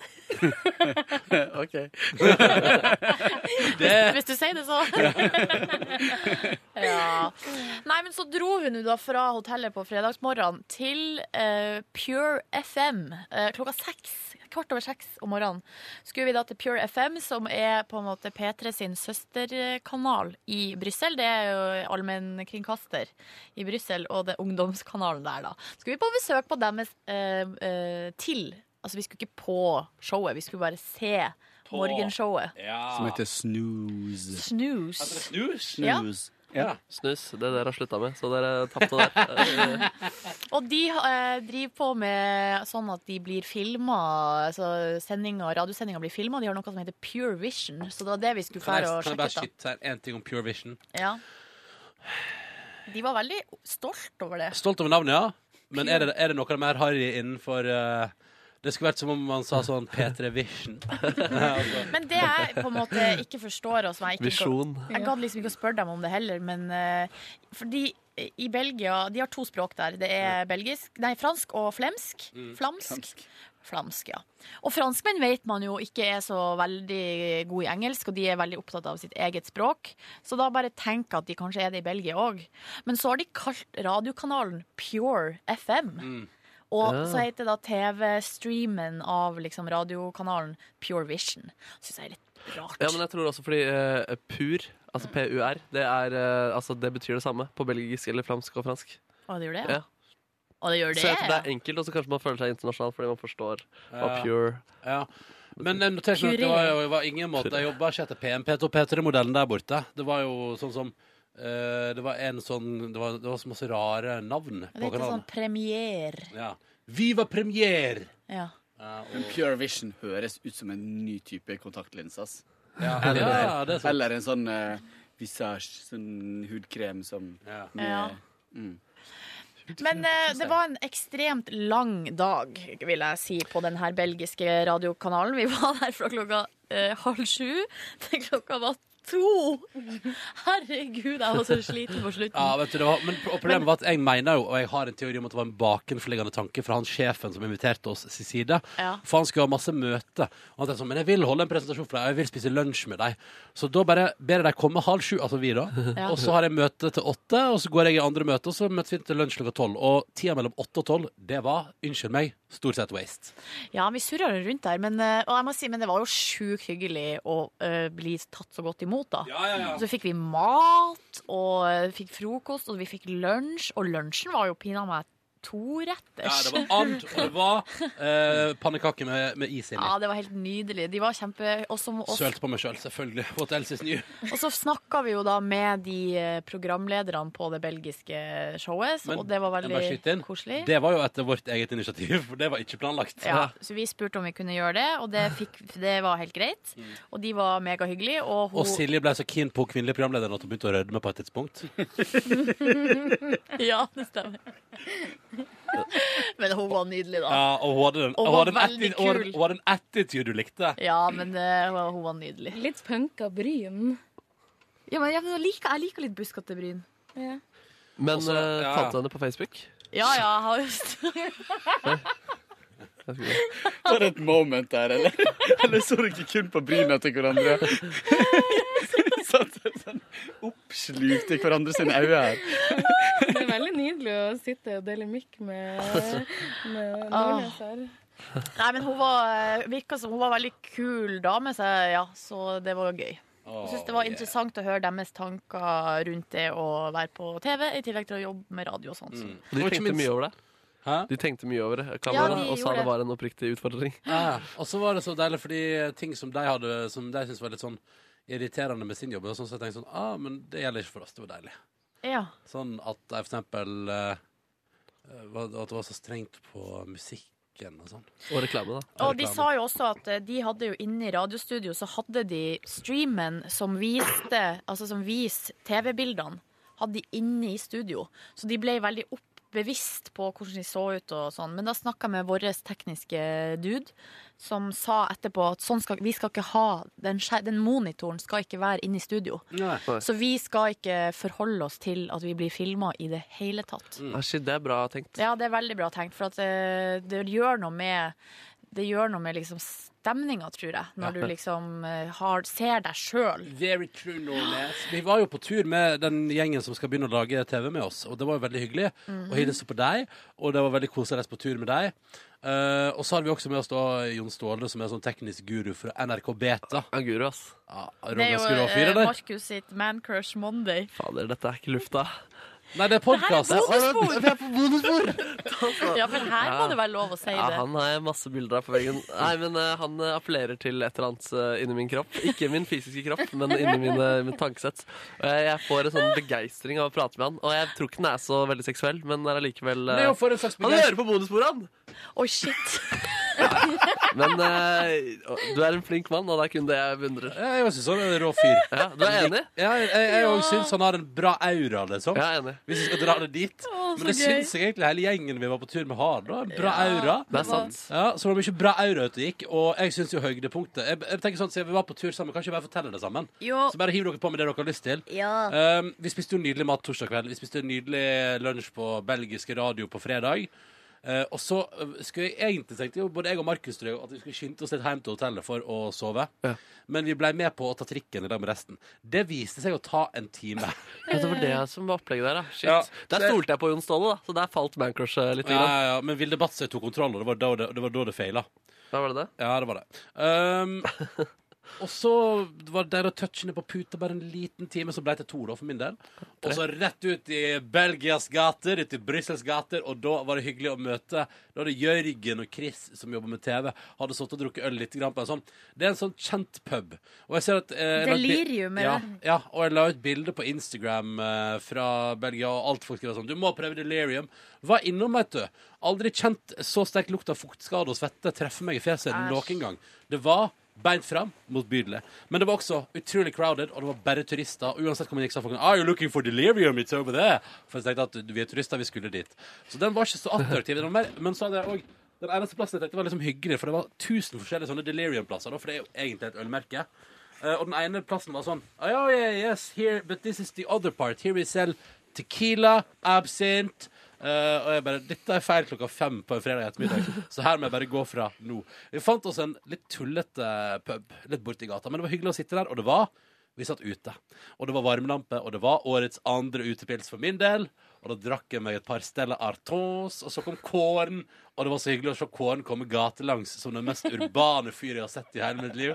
[SPEAKER 15] OK.
[SPEAKER 3] Hvis, hvis du sier det, så. ja. Nei, men så dro hun jo da fra hotellet på fredagsmorgenen til eh, Pure FM eh, klokka seks. Kvart over seks om morgenen skulle vi da til Pure FM, som er på en måte P3 sin søsterkanal i Brussel. Det er jo allmennkringkaster i Brussel, og det er ungdomskanalen der, da. Skulle vi på besøk på dem eh, eh, til Altså, vi skulle ikke på showet, vi skulle bare se morgenshowet.
[SPEAKER 15] Som heter snooze.
[SPEAKER 3] Snus.
[SPEAKER 2] Altså,
[SPEAKER 3] Ja.
[SPEAKER 5] Snus. Snus. Det dere har slutta med, så dere tapte der. Eh,
[SPEAKER 3] Og de eh, driver på med sånn at de blir filma. Altså sendinger- radiosendinger blir filma. De har noe som heter Pure Vision. Så det var det vi skulle
[SPEAKER 2] Kan jeg,
[SPEAKER 3] fære og
[SPEAKER 2] kan jeg bare
[SPEAKER 3] sjekke ut.
[SPEAKER 2] skyte her en ting om Pure Vision?
[SPEAKER 3] da. Ja. De var veldig stolt over det.
[SPEAKER 2] Stolt over navnet, ja. Men er det, er det noe mer harry innenfor eh, Det skulle vært som om man sa sånn P3 Vision. Ja, altså.
[SPEAKER 3] Men det jeg på en måte ikke forstår og som jeg ikke
[SPEAKER 2] Visjon.
[SPEAKER 3] Jeg gadd liksom ikke å spørre dem om det heller, men eh, fordi i Belgia De har to språk der. Det er belgisk, nei, fransk og flemsk.
[SPEAKER 14] Mm,
[SPEAKER 3] Flamsk.
[SPEAKER 14] flamsk.
[SPEAKER 3] Flamsk. ja. Og franskmenn vet man jo ikke er så veldig gode i engelsk, og de er veldig opptatt av sitt eget språk. Så da bare tenk at de kanskje er det i Belgia òg. Men så har de kalt radiokanalen Pure FM.
[SPEAKER 5] Mm.
[SPEAKER 3] Og
[SPEAKER 14] Ja.
[SPEAKER 3] så heter da TV-streamen av liksom radiokanalen Pure Vision. Syns jeg er litt rart.
[SPEAKER 5] Ja, men jeg tror også fordi eh, pur, altså PUR, det, er, eh, altså det betyr det samme på belgisk eller flamsk og fransk.
[SPEAKER 3] Å, det gjør det?
[SPEAKER 5] Ja.
[SPEAKER 3] Å, det gjør det,
[SPEAKER 5] Så jeg tror det
[SPEAKER 3] ja.
[SPEAKER 5] er enkelt, og så kanskje man føler seg internasjonal fordi man forstår hva
[SPEAKER 2] Ja.
[SPEAKER 5] pure
[SPEAKER 2] Ja. Men jeg noterte meg at det var, jo- det var ingen måte Jeg jobba ikke etter PMP2 P3-modellen der borte. Det var jo sånn som eh, Det var en sånn Det var, det var så masse rare navn
[SPEAKER 3] Det
[SPEAKER 2] på
[SPEAKER 3] heter
[SPEAKER 2] kanalen.
[SPEAKER 3] sånn premier.
[SPEAKER 2] Ja. Viva premier!
[SPEAKER 3] Ja.
[SPEAKER 15] Men Pure Vision høres ut som en ny type kontaktlinse. ass.
[SPEAKER 2] Ja.
[SPEAKER 15] Eller,
[SPEAKER 2] Ja, det er sant.
[SPEAKER 15] eller en sånn eh, visage, sånn hudkrem som med,
[SPEAKER 3] Ja.
[SPEAKER 15] Mm.
[SPEAKER 3] Men eh, det var en ekstremt lang dag, vil jeg si, på den her belgiske radiokanalen. Vi var der fra klokka eh, halv sju til klokka var to. Herregud, jeg var så sliten på slutten.
[SPEAKER 2] Ja, vet du, det var, men pro- problemet var at jeg mener jo, og jeg har en teori om at det var en bakenforliggende tanke fra han sjefen som inviterte oss sin side,
[SPEAKER 3] Ja.
[SPEAKER 2] for han skulle ha masse møte. Og han tenkte sånn, men jeg vil holde en presentasjon for deg, og jeg vil spise lunsj med deg. Så da bare ber jeg deg komme halv sju, altså vi da,
[SPEAKER 3] Ja.
[SPEAKER 2] og så har jeg møte til åtte, og så går jeg i andre møte, og så møtes vi til lunsj klokka tolv. Og tida mellom åtte og tolv, det var, unnskyld meg, stort sett waste.
[SPEAKER 3] Ja, vi surra rundt der, men, eh, og jeg må si, men det var jo sjukt hyggelig å eh, bli tatt så godt imot, da. Så fikk vi mat, og eh, fikk frokost, og vi fikk lunsj, og lunsjen var jo pinadø meg toretters.
[SPEAKER 2] Ja, det var and, og det var eh, pannekakke med, med is inni.
[SPEAKER 3] Ja, det var helt nydelig. De var kjempe... Og så, og,
[SPEAKER 2] Sølt på meg selv, selvfølgelig. What else is new?
[SPEAKER 3] og så snakka vi jo da med de eh, programlederne på det belgiske showet, så,
[SPEAKER 2] Men
[SPEAKER 3] og det var
[SPEAKER 2] jeg må bare skyte
[SPEAKER 3] veldig
[SPEAKER 2] inn.
[SPEAKER 3] koselig.
[SPEAKER 2] Det var jo etter vårt eget initiativ, for det var ikke planlagt.
[SPEAKER 3] Ja, så vi spurte om vi kunne gjøre det, og det, fikk, det var helt greit. Og de var megahyggelige. Og, hun,
[SPEAKER 2] Mm. Og Silje ble så keen på kvinnelig programleder at hun begynte å rødme på et tidspunkt.
[SPEAKER 3] Ja, det stemmer. Men hun var nydelig, da.
[SPEAKER 2] Ja, og hun hadde den,
[SPEAKER 3] Og
[SPEAKER 2] hun
[SPEAKER 3] var
[SPEAKER 2] hadde en
[SPEAKER 3] veldig
[SPEAKER 2] atti- hun hadde-
[SPEAKER 3] kul.
[SPEAKER 2] hun hadde en attitude du likte.
[SPEAKER 3] Ja, men eh, hun var- hun var nydelig.
[SPEAKER 14] Litt punka bryn.
[SPEAKER 3] Ja, men jeg liker, litt buskete bryn.
[SPEAKER 14] Ja.
[SPEAKER 5] Men
[SPEAKER 14] Også- ja,
[SPEAKER 5] eh,
[SPEAKER 14] ja.
[SPEAKER 5] fant du henne på Facebook?
[SPEAKER 3] Ja, ja, jeg har jo
[SPEAKER 15] Var det et moment der, eller? Eller så dere kun på bryna til hverandre? Sånn, sånn, sånn oppslukt i hverandre sine øyne her.
[SPEAKER 14] Det er veldig nydelig å sitte og dele mikk med, med Nordnes her.
[SPEAKER 3] Nei, men hun var, eh, virka som hun var veldig kul dame, så, jeg- ja, så det var gøy. Jeg synes det var
[SPEAKER 14] Åh, yeah.
[SPEAKER 3] interessant å høre deres tanker rundt det å være på TV, i tillegg til å jobbe med radio og sånt.
[SPEAKER 5] Mm. De tenkte mye over det. De tenkte mye over det,
[SPEAKER 3] Ja,
[SPEAKER 5] kameraet,
[SPEAKER 3] de
[SPEAKER 5] og sa
[SPEAKER 3] gjorde
[SPEAKER 5] det
[SPEAKER 3] det.
[SPEAKER 5] var en oppriktig utfordring.
[SPEAKER 2] Ja, og så var det så deilig, fordi ting som de hadde Som de syntes var litt sånn irriterende med sin jobb, og sånn, så jeg tenkte sånn ah, men det gjelder ikke for oss. Det var deilig.
[SPEAKER 3] Ja.
[SPEAKER 2] Sånn at jeg for eksempel eh, var- At det var så strengt på musikken og sånn.
[SPEAKER 16] Og reklame, da.
[SPEAKER 3] Og de sa jo også at eh, de hadde jo inne i radiostudio så hadde de streamen som viste altså som viser TV-bildene, hadde de inne i studio. Så de ble veldig oppbevisst på hvordan de så ut og sånn. Men da snakka jeg med vår tekniske dude, som sa etterpå at sånn skal, vi skal ikke ha den, skje- den monitoren skal ikke være inne i studio. Så vi skal ikke forholde oss til at vi blir filma i det hele tatt.
[SPEAKER 14] Mm.
[SPEAKER 5] Ah, shit, det er bra tenkt.
[SPEAKER 3] Ja, det er veldig bra tenkt, for at eh, det gjør noe med det gjør noe med liksom stemninga, tror jeg, når
[SPEAKER 2] Ja.
[SPEAKER 3] du liksom eh, har, ser deg sjøl.
[SPEAKER 2] Very true, Nordnes. Vi var jo på tur med den gjengen som skal begynne å lage TV med oss, og det var jo veldig hyggelig
[SPEAKER 3] Mhm.
[SPEAKER 2] å hilse på deg, og det var veldig koselig å reise på tur med deg. Eh, og så har vi også med oss da Jon Ståle, som er sånn teknisk guru fra NRK Beta.
[SPEAKER 5] En guru, ass.
[SPEAKER 2] Ja,
[SPEAKER 3] Det er
[SPEAKER 2] Ronja
[SPEAKER 3] jo
[SPEAKER 2] skulle ha
[SPEAKER 3] eh,
[SPEAKER 2] fire der.
[SPEAKER 3] Markus sitt Man Crush Monday.
[SPEAKER 5] Fader, dette er ikke lufta.
[SPEAKER 2] Nei, det er
[SPEAKER 3] podcast. Det her er bonusbord!
[SPEAKER 5] Vi er på bonusbord!
[SPEAKER 3] Ja, for her må
[SPEAKER 5] Ja.
[SPEAKER 3] det være lov å si
[SPEAKER 5] Ja,
[SPEAKER 3] det.
[SPEAKER 5] han har jeg masse bilder av på veggen. Nei, men eh, han eh, appellerer til et eller annet eh, inni min kropp. Ikke min fysiske kropp, men inni mine, mitt tankesett. Og jeg, jeg får en sånn begeistring av å prate med han. Og jeg tror ikke den er så veldig seksuell, men er allikevel eh,
[SPEAKER 3] Det er jo for en slags
[SPEAKER 5] Han
[SPEAKER 3] begeist-
[SPEAKER 5] hører på bonusbordet, han!
[SPEAKER 3] Oi, shit.
[SPEAKER 5] Men eh, du er en flink mann, og det er kun det jeg beundrer.
[SPEAKER 2] Jeg også så en rå fyr.
[SPEAKER 5] Ja, du er enig?
[SPEAKER 2] Ja, jeg, jeg, jeg også syns han har en bra aura, liksom.
[SPEAKER 5] Ja, jeg er enig.
[SPEAKER 2] Hvis vi skal dra det dit.
[SPEAKER 5] Å, så
[SPEAKER 2] Men det
[SPEAKER 5] gøy.
[SPEAKER 2] syns jeg egentlig hele gjengen vi var på tur med, har. da En bra
[SPEAKER 5] Ja,
[SPEAKER 2] aura.
[SPEAKER 5] det er sant.
[SPEAKER 2] Ja, så det var mye bra aura ute og gikk, og jeg syns jo høydepunktet jeg, jeg tenker sånn, Siden vi var på tur sammen, kan ikke vi bare fortelle det sammen?
[SPEAKER 3] Jo.
[SPEAKER 2] Så bare hiv dere på med det dere har lyst til.
[SPEAKER 3] Ja.
[SPEAKER 2] Um, vi spiste jo nydelig mat torsdag kveld. Vi spiste nydelig lunsj på belgiske radio på fredag. Eh, og så eh, skulle jeg egentlig tenkte jo både jeg og Markus tror jeg, at vi skulle skynde oss litt hjem til hotellet for å sove. Men vi ble med på å ta trikken i dag med resten. Det viste seg å ta en time.
[SPEAKER 5] Ja, det var det som var opplegget der, ja. Shit.
[SPEAKER 2] Ja,
[SPEAKER 5] der
[SPEAKER 2] det-
[SPEAKER 5] stolte jeg på Jon Ståle, da, så der falt mancrushet litt.
[SPEAKER 2] Ja,
[SPEAKER 5] grann.
[SPEAKER 2] ja, ja. Men Vilde Batse tok kontroll, og det var da det, det, var da det feila.
[SPEAKER 5] Da var det det?
[SPEAKER 2] Ja, det var det. Um, og så var det der å touche ned på puta bare en liten time, så ble det to da, for min del. Og så rett ut i Belgias gater, ut i Brussels gater, og da var det hyggelig å møte Da var det Jørgen og Chris som jobber med TV, hadde sittet og drukket øl litt grann på en sånn Det er en sånn kjent pub. Og jeg ser at eh, jeg la ut bi-
[SPEAKER 3] Delirium,
[SPEAKER 2] ja,
[SPEAKER 3] eller?
[SPEAKER 2] ja, og jeg la ut bilde på Instagram eh, fra Belgia, og alt folk skrev sånn Du må prøve delirium. Var innom, vet du. Aldri kjent så sterk lukt av fuktskade og svette treffe meg i fjeset
[SPEAKER 16] Æsj.
[SPEAKER 2] noen gang. Det var beint fram, motbydelig. Men det var også utrolig crowded, og det var bare turister. Og uansett hvor man gikk, sa folk Are you looking for delirium? It's over there. For jeg tenkte at vi er turister, vi skulle dit. Så den var ikke så attraktiv. Den var mer, men så hadde jeg òg den eneste plassen jeg tenkte var liksom hyggelig, for det var tusen forskjellige sånne delirium-plasser, da, for det er jo egentlig et ølmerke. Eh, og den ene plassen var sånn oh, yeah, yeah, yes, here, But this is the other part. Here we sell tequila, absint eh, Og jeg bare Dette er feil klokka fem på en fredag ettermiddag, så her må jeg bare gå fra nå. Vi fant oss en litt tullete pub litt borti gata, men det var hyggelig å sitte der, og det var vi satt ute. Og det var varmelampe, og det var årets andre utepils for min del. Og da drakk jeg meg et par Stella Artois, og så kom Kåren. Og det var så hyggelig å se Kåren komme gatelangs som den mest urbane fyr jeg har sett i hele mitt liv.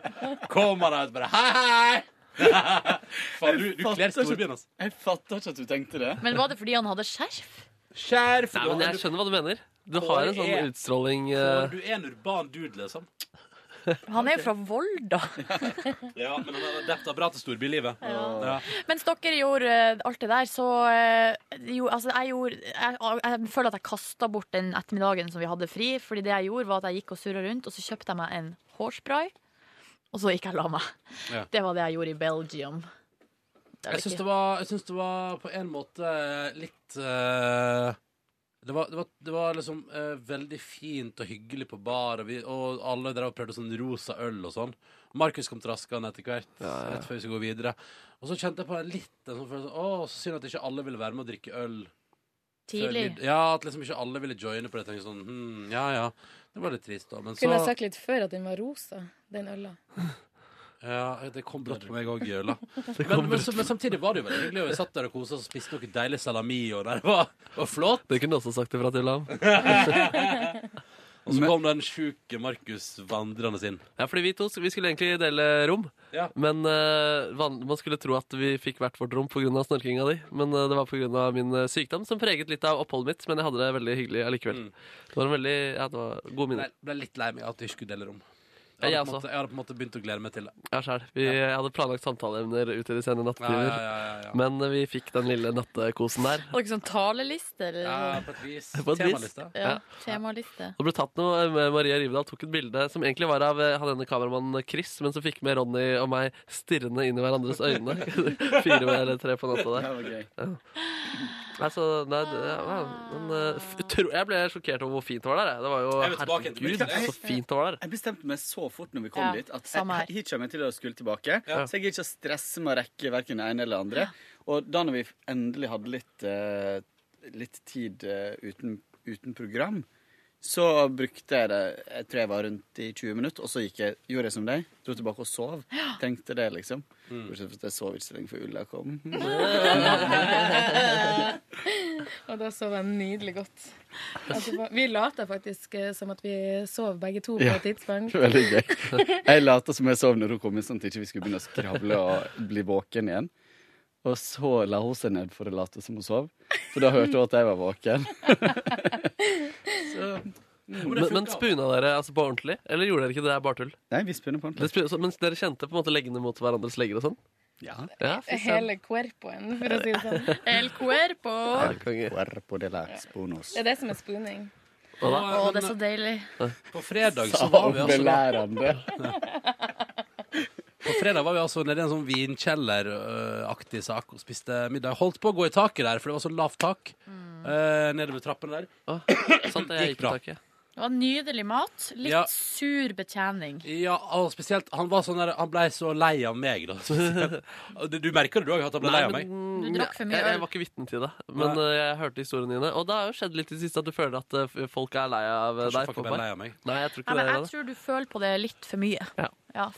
[SPEAKER 2] Kom han ut bare Hei, hei! Faen, du, du kler storbyen, altså.
[SPEAKER 15] Jeg fatter ikke at du tenkte det.
[SPEAKER 3] Men var det fordi han hadde skjerf?
[SPEAKER 2] Skjerf!
[SPEAKER 5] Nei, men jeg skjønner hva du mener. Du
[SPEAKER 2] Kåre
[SPEAKER 5] har en sånn
[SPEAKER 2] er-
[SPEAKER 5] utstråling
[SPEAKER 2] Kåren,
[SPEAKER 5] eh,
[SPEAKER 2] du er en urban dude, liksom.
[SPEAKER 3] Han er jo fra Volda.
[SPEAKER 2] Ja, men han er adept av bra til storbylivet. Ja.
[SPEAKER 3] Mens dere gjorde eh, alt det der, så eh, jo, altså, jeg, gjorde, jeg, jeg føler at jeg kasta bort den ettermiddagen som vi hadde fri. Fordi det jeg gjorde, var at jeg gikk og surra rundt, og så kjøpte jeg meg en hårspray. Og så gikk jeg og la meg.
[SPEAKER 2] Ja.
[SPEAKER 3] Det var det jeg gjorde i Belgium. Det er
[SPEAKER 2] Jeg
[SPEAKER 3] det
[SPEAKER 2] syns
[SPEAKER 3] ikke.
[SPEAKER 2] det, var- jeg syns det var på en måte litt eh, det, var, det, var, det var liksom eh, veldig fint og hyggelig på bar, og, vi, og alle drev og prøvde sånn rosa øl og sånn. Markus kom traskende etter hvert,
[SPEAKER 16] ja, ja.
[SPEAKER 2] rett før vi skulle gå videre. Og så kjente jeg på en litt en sånn følelse Å, så synd at ikke alle ville være med og drikke øl. før
[SPEAKER 14] Tidlig.
[SPEAKER 2] midd- Ja, at liksom ikke alle ville joine på det. Jeg tenkte sånn, hm, ja, ja. Det var litt trist, da. Men så
[SPEAKER 14] Kunne jeg sagt litt før at den var rosa, den øla?
[SPEAKER 2] ja, det kom brått på meg òg, Jøla.
[SPEAKER 14] Det
[SPEAKER 2] Men,
[SPEAKER 14] kom
[SPEAKER 2] men, så- men samtidig var det jo veldig hyggelig. og Vi satt der og kosa oss og spiste noe deilig salami. Og det var, det var flott.
[SPEAKER 5] Det kunne du også sagt ifra til ham.
[SPEAKER 2] Og så kom den sjuke Markus vandrende inn.
[SPEAKER 5] Ja, fordi vi to vi skulle egentlig dele rom,
[SPEAKER 2] Ja.
[SPEAKER 5] men eh, van- man skulle tro at vi fikk hvert vårt rom pga. snorkinga di. Men eh, det var pga. min eh, sykdom som preget litt av oppholdet mitt. Men jeg
[SPEAKER 2] Mm.
[SPEAKER 5] hadde det veldig hyggelig allikevel. Det var en veldig, ja, det var gode minner.
[SPEAKER 2] Jeg ble litt lei meg av at vi ikke skulle dele rom. Jeg,
[SPEAKER 5] Jeg
[SPEAKER 2] har på en måte, jeg har på en måte begynt å glede meg til det.
[SPEAKER 5] Ja, selv. Vi jeg hadde planlagt samtaleemner ut i de sene nattetimer,
[SPEAKER 2] Ja, ja, ja, ja, ja.
[SPEAKER 5] men eh, vi fikk den lille nattekosen der.
[SPEAKER 3] Har dere sånn taleliste? Eller?
[SPEAKER 2] Ja, på et vis.
[SPEAKER 5] På et vis.
[SPEAKER 2] Temaliste.
[SPEAKER 3] Ja, temaliste.
[SPEAKER 5] Det ble tatt noe med Maria Rivedal tok et bilde som egentlig var av eh, han ene kameramannen Chris, men som fikk med Ronny og meg stirrende inn i hverandres øyne. Fire eller tre på natta
[SPEAKER 15] Det
[SPEAKER 5] der.
[SPEAKER 15] var gøy.
[SPEAKER 5] Ja. Nei, så, Altså, nei, det, ja, men, eh, f-
[SPEAKER 2] Ah.
[SPEAKER 5] utro- jeg ble sjokkert over hvor fint det var der. jeg. Det var
[SPEAKER 15] Jeg
[SPEAKER 5] jo
[SPEAKER 15] vil tilbake
[SPEAKER 5] Herregud,
[SPEAKER 15] etterpå.
[SPEAKER 5] så fint det var der.
[SPEAKER 15] Jeg bestemte meg så fort når vi kom
[SPEAKER 5] Ja,
[SPEAKER 15] dit, at jeg,
[SPEAKER 5] samme her.
[SPEAKER 15] jeg, hit kommer jeg til å skulle tilbake. Så jeg gidder ikke å stresse med å rekke hverken det ene eller det andre. Og da når vi endelig hadde litt, eh, litt tid eh, uten, uten program, så brukte jeg det Jeg tror jeg var rundt i 20 minutter, og så gikk jeg, gjorde jeg som deg. Dro tilbake og sov. Tenkte det, liksom. Bortsett fra at jeg sov ikke så lenge før Ulla kom.
[SPEAKER 14] Og da sov jeg nydelig godt. Etterpå. Vi lata faktisk eh, som at vi sov begge to på
[SPEAKER 15] Ja,
[SPEAKER 14] et tidspunkt.
[SPEAKER 15] Veldig gøy. Jeg lata som jeg sov når hun kom inn, sånn at ikke vi ikke skulle begynne å skravle og bli våken igjen. Og så la hun seg ned for å late som hun sov. Så da hørte hun at jeg var våken.
[SPEAKER 5] Men, men spuna dere altså på ordentlig? Eller gjorde dere ikke det? Det er bare tull.
[SPEAKER 15] Nei, vi spunner på
[SPEAKER 5] ordentlig. men dere kjente på en måte leggene mot hverandres legger og sånn?
[SPEAKER 15] Ja.
[SPEAKER 5] fy søren.
[SPEAKER 14] Hele cuerpoen, for å si det sånn. El cuerpo.
[SPEAKER 15] Cuerpo de las bonos.
[SPEAKER 14] Det er det som er spooning.
[SPEAKER 15] Hva da?
[SPEAKER 3] Å, det er så deilig.
[SPEAKER 2] På fredag så var vi altså
[SPEAKER 15] Belærende.
[SPEAKER 2] På fredag var vi altså nede i en sånn vinkjelleraktig sak og spiste middag. Holdt på å gå i taket der, for det var så lavt tak eh, nede ved trappene der.
[SPEAKER 5] Sant,
[SPEAKER 2] jeg gikk i
[SPEAKER 3] Det var nydelig mat. Litt
[SPEAKER 2] Ja.
[SPEAKER 3] sur betjening.
[SPEAKER 2] Ja, og spesielt Han, var sånn der, han ble så lei av meg, da. spesielt. Du, du merker det, du òg, at han ble lei av meg.
[SPEAKER 5] men-
[SPEAKER 3] Du drakk for mye
[SPEAKER 5] jeg, jeg
[SPEAKER 3] øl.
[SPEAKER 5] var ikke vitne til det, men eh, jeg hørte historiene dine. Og det har jo skjedd litt i det siste at du føler at eh, f- folk er lei av eh,
[SPEAKER 2] Kanskje
[SPEAKER 5] deg.
[SPEAKER 2] folk er
[SPEAKER 5] Popeye.
[SPEAKER 2] lei av meg.
[SPEAKER 5] Nei, jeg tror
[SPEAKER 3] Nei,
[SPEAKER 5] ikke
[SPEAKER 3] men
[SPEAKER 5] det.
[SPEAKER 3] jeg tror du føler på det litt for mye.
[SPEAKER 5] Ja.